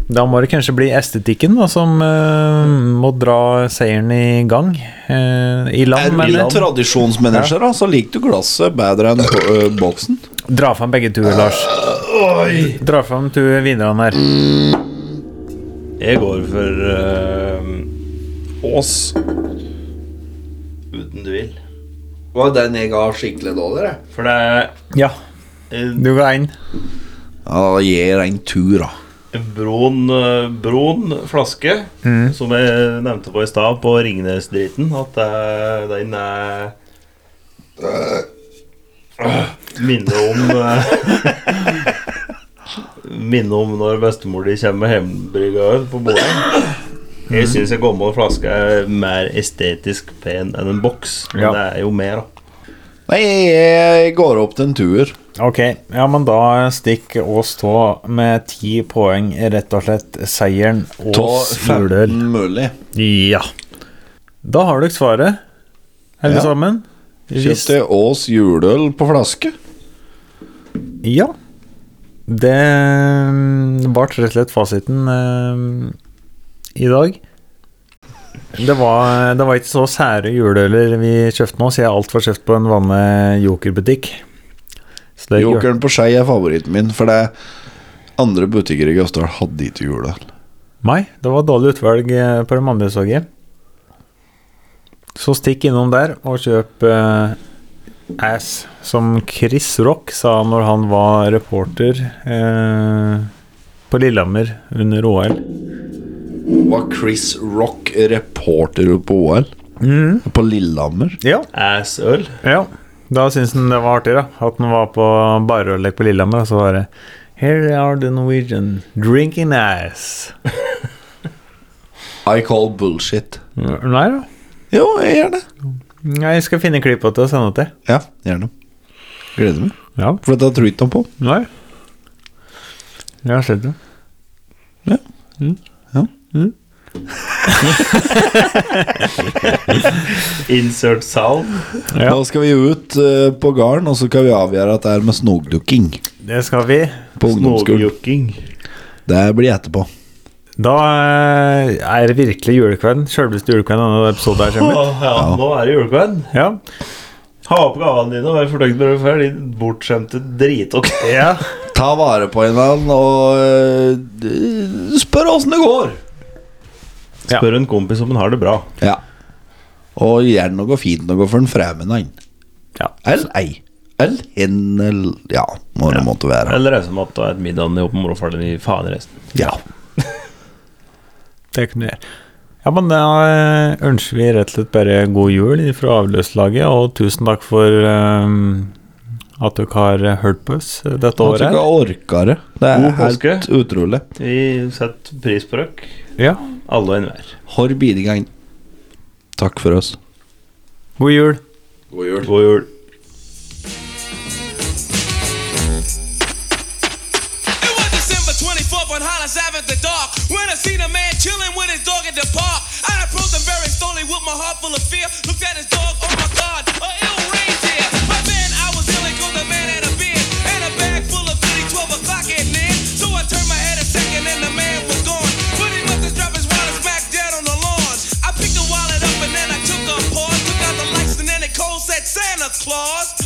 Da må det kanskje bli estetikken da, som eh, må dra seieren i gang. eh, I Er land, du litt men tradisjonsmennesker, da, så liker du glasset bedre enn ø, boksen. dra fram begge to, Lars. Dra fram to vinnerne her. Jeg går for eh, Ås. Uten tvil. Var den jeg ga skikkelig dårlig, jeg. For det er Ja, eh, du går inn. Ja, da gir jeg en tur, da. en brun, eh, brun flaske, som jeg nevnte på i stad, på Ringnes-driten, at eh, den er Øh, Minner om eh, Minner om når bestemor di kommer med hjemmebrygga øl på bordet. Jeg syns en gammel flaske er mer estetisk pen enn en boks, men Ja. det er jo mer, da. Nei, jeg går opp til en tur. Ok, ja, men da stikk Ås tå med ti poeng, rett og slett seieren Ås juleøl. mulig. Ja. Da har dere svaret, alle Ja. sammen. Hvis- Kjøpte Ås juleøl på flaske. Ja. Det ble rett og slett fasiten eh, i dag. Det var, det var ikke så sære juleøler vi kjøpte nå, så jeg har alt var kjøpt på en vanlig jokerbutikk. Så det gjør- Jokeren på Skei er favoritten min, for det er andre butikker i Gausdal hadde ikke juleøl. Nei, det var dårlig utvalg eh, på det mannlige soget. Så stikk innom der og kjøp eh, Ass, som Chris Rock sa når han var reporter eh, på Lillehammer under OL. Var Chris Rock reporter på OL? Mm. På Lillehammer? Ja, Ass-øl. Ja, da syntes han det var artig, da. At han var på barrørlek på Lillehammer, og så var det Here are the Norwegian drinking ass. I call bullshit. Nei da. Jo, jeg gjør det. Jeg skal finne klippet til og sende det til. Ja, gjerne. Gleder meg. Ja. For dette tror jeg ikke noe på. Nei. Jeg har sett det. Ja. Insert sound. Ja. Da skal vi ut eh, på gården, og så skal vi avgjøre at det er med snoglukking Det skal vi. på ungdomsskolen. Snogjukking. Det blir etterpå. Da eh, er det virkelig julekvelden. Sjølveste julekvelden denne episoden her Å, kommer. ja, nå er det julekvelden. Ja. Ha på gavene dine og vær fornøyd med det før. Din bortskjemte dritokk. ja. Ta vare på hverandre og eh, d- spør åssen det går. Ja. Spør en kompis om han har det bra. Ja. Og gjør noe fint noe for den fremmedein. Ja. Eller ei. Eller hen eller Ja, må det måtte være. Eller reise meg opp til et middag med morfaren din i faen resten. Ja. Det kan du gjøre. Ja, men da eh, ønsker vi rett og slett bare god jul fra avløslaget, og tusen takk for ehm, at dere har hørt på oss dette At du året. ikke orker det. Det er God helt påske. utrolig. Vi setter pris på dere, Ja, alle og enhver. Har bidegang. Takk for oss. god jul. God jul. God jul. It was December 24th on Hollis Avenue, the dark. When I seen a man chilling with his dog at the park, I approached him very slowly with my heart full of fear. Looked at his dog, oh my god, a ill reindeer. My man, I was ill cause the man had a beard and a bag full of goodies, 12 o'clock at night. So I turned my head a second and the man was gone. But he must have dropped his wallet smack dead on the lawn. I picked the wallet up and then I took a pause. Took out the lights and then it cold said Santa Claus.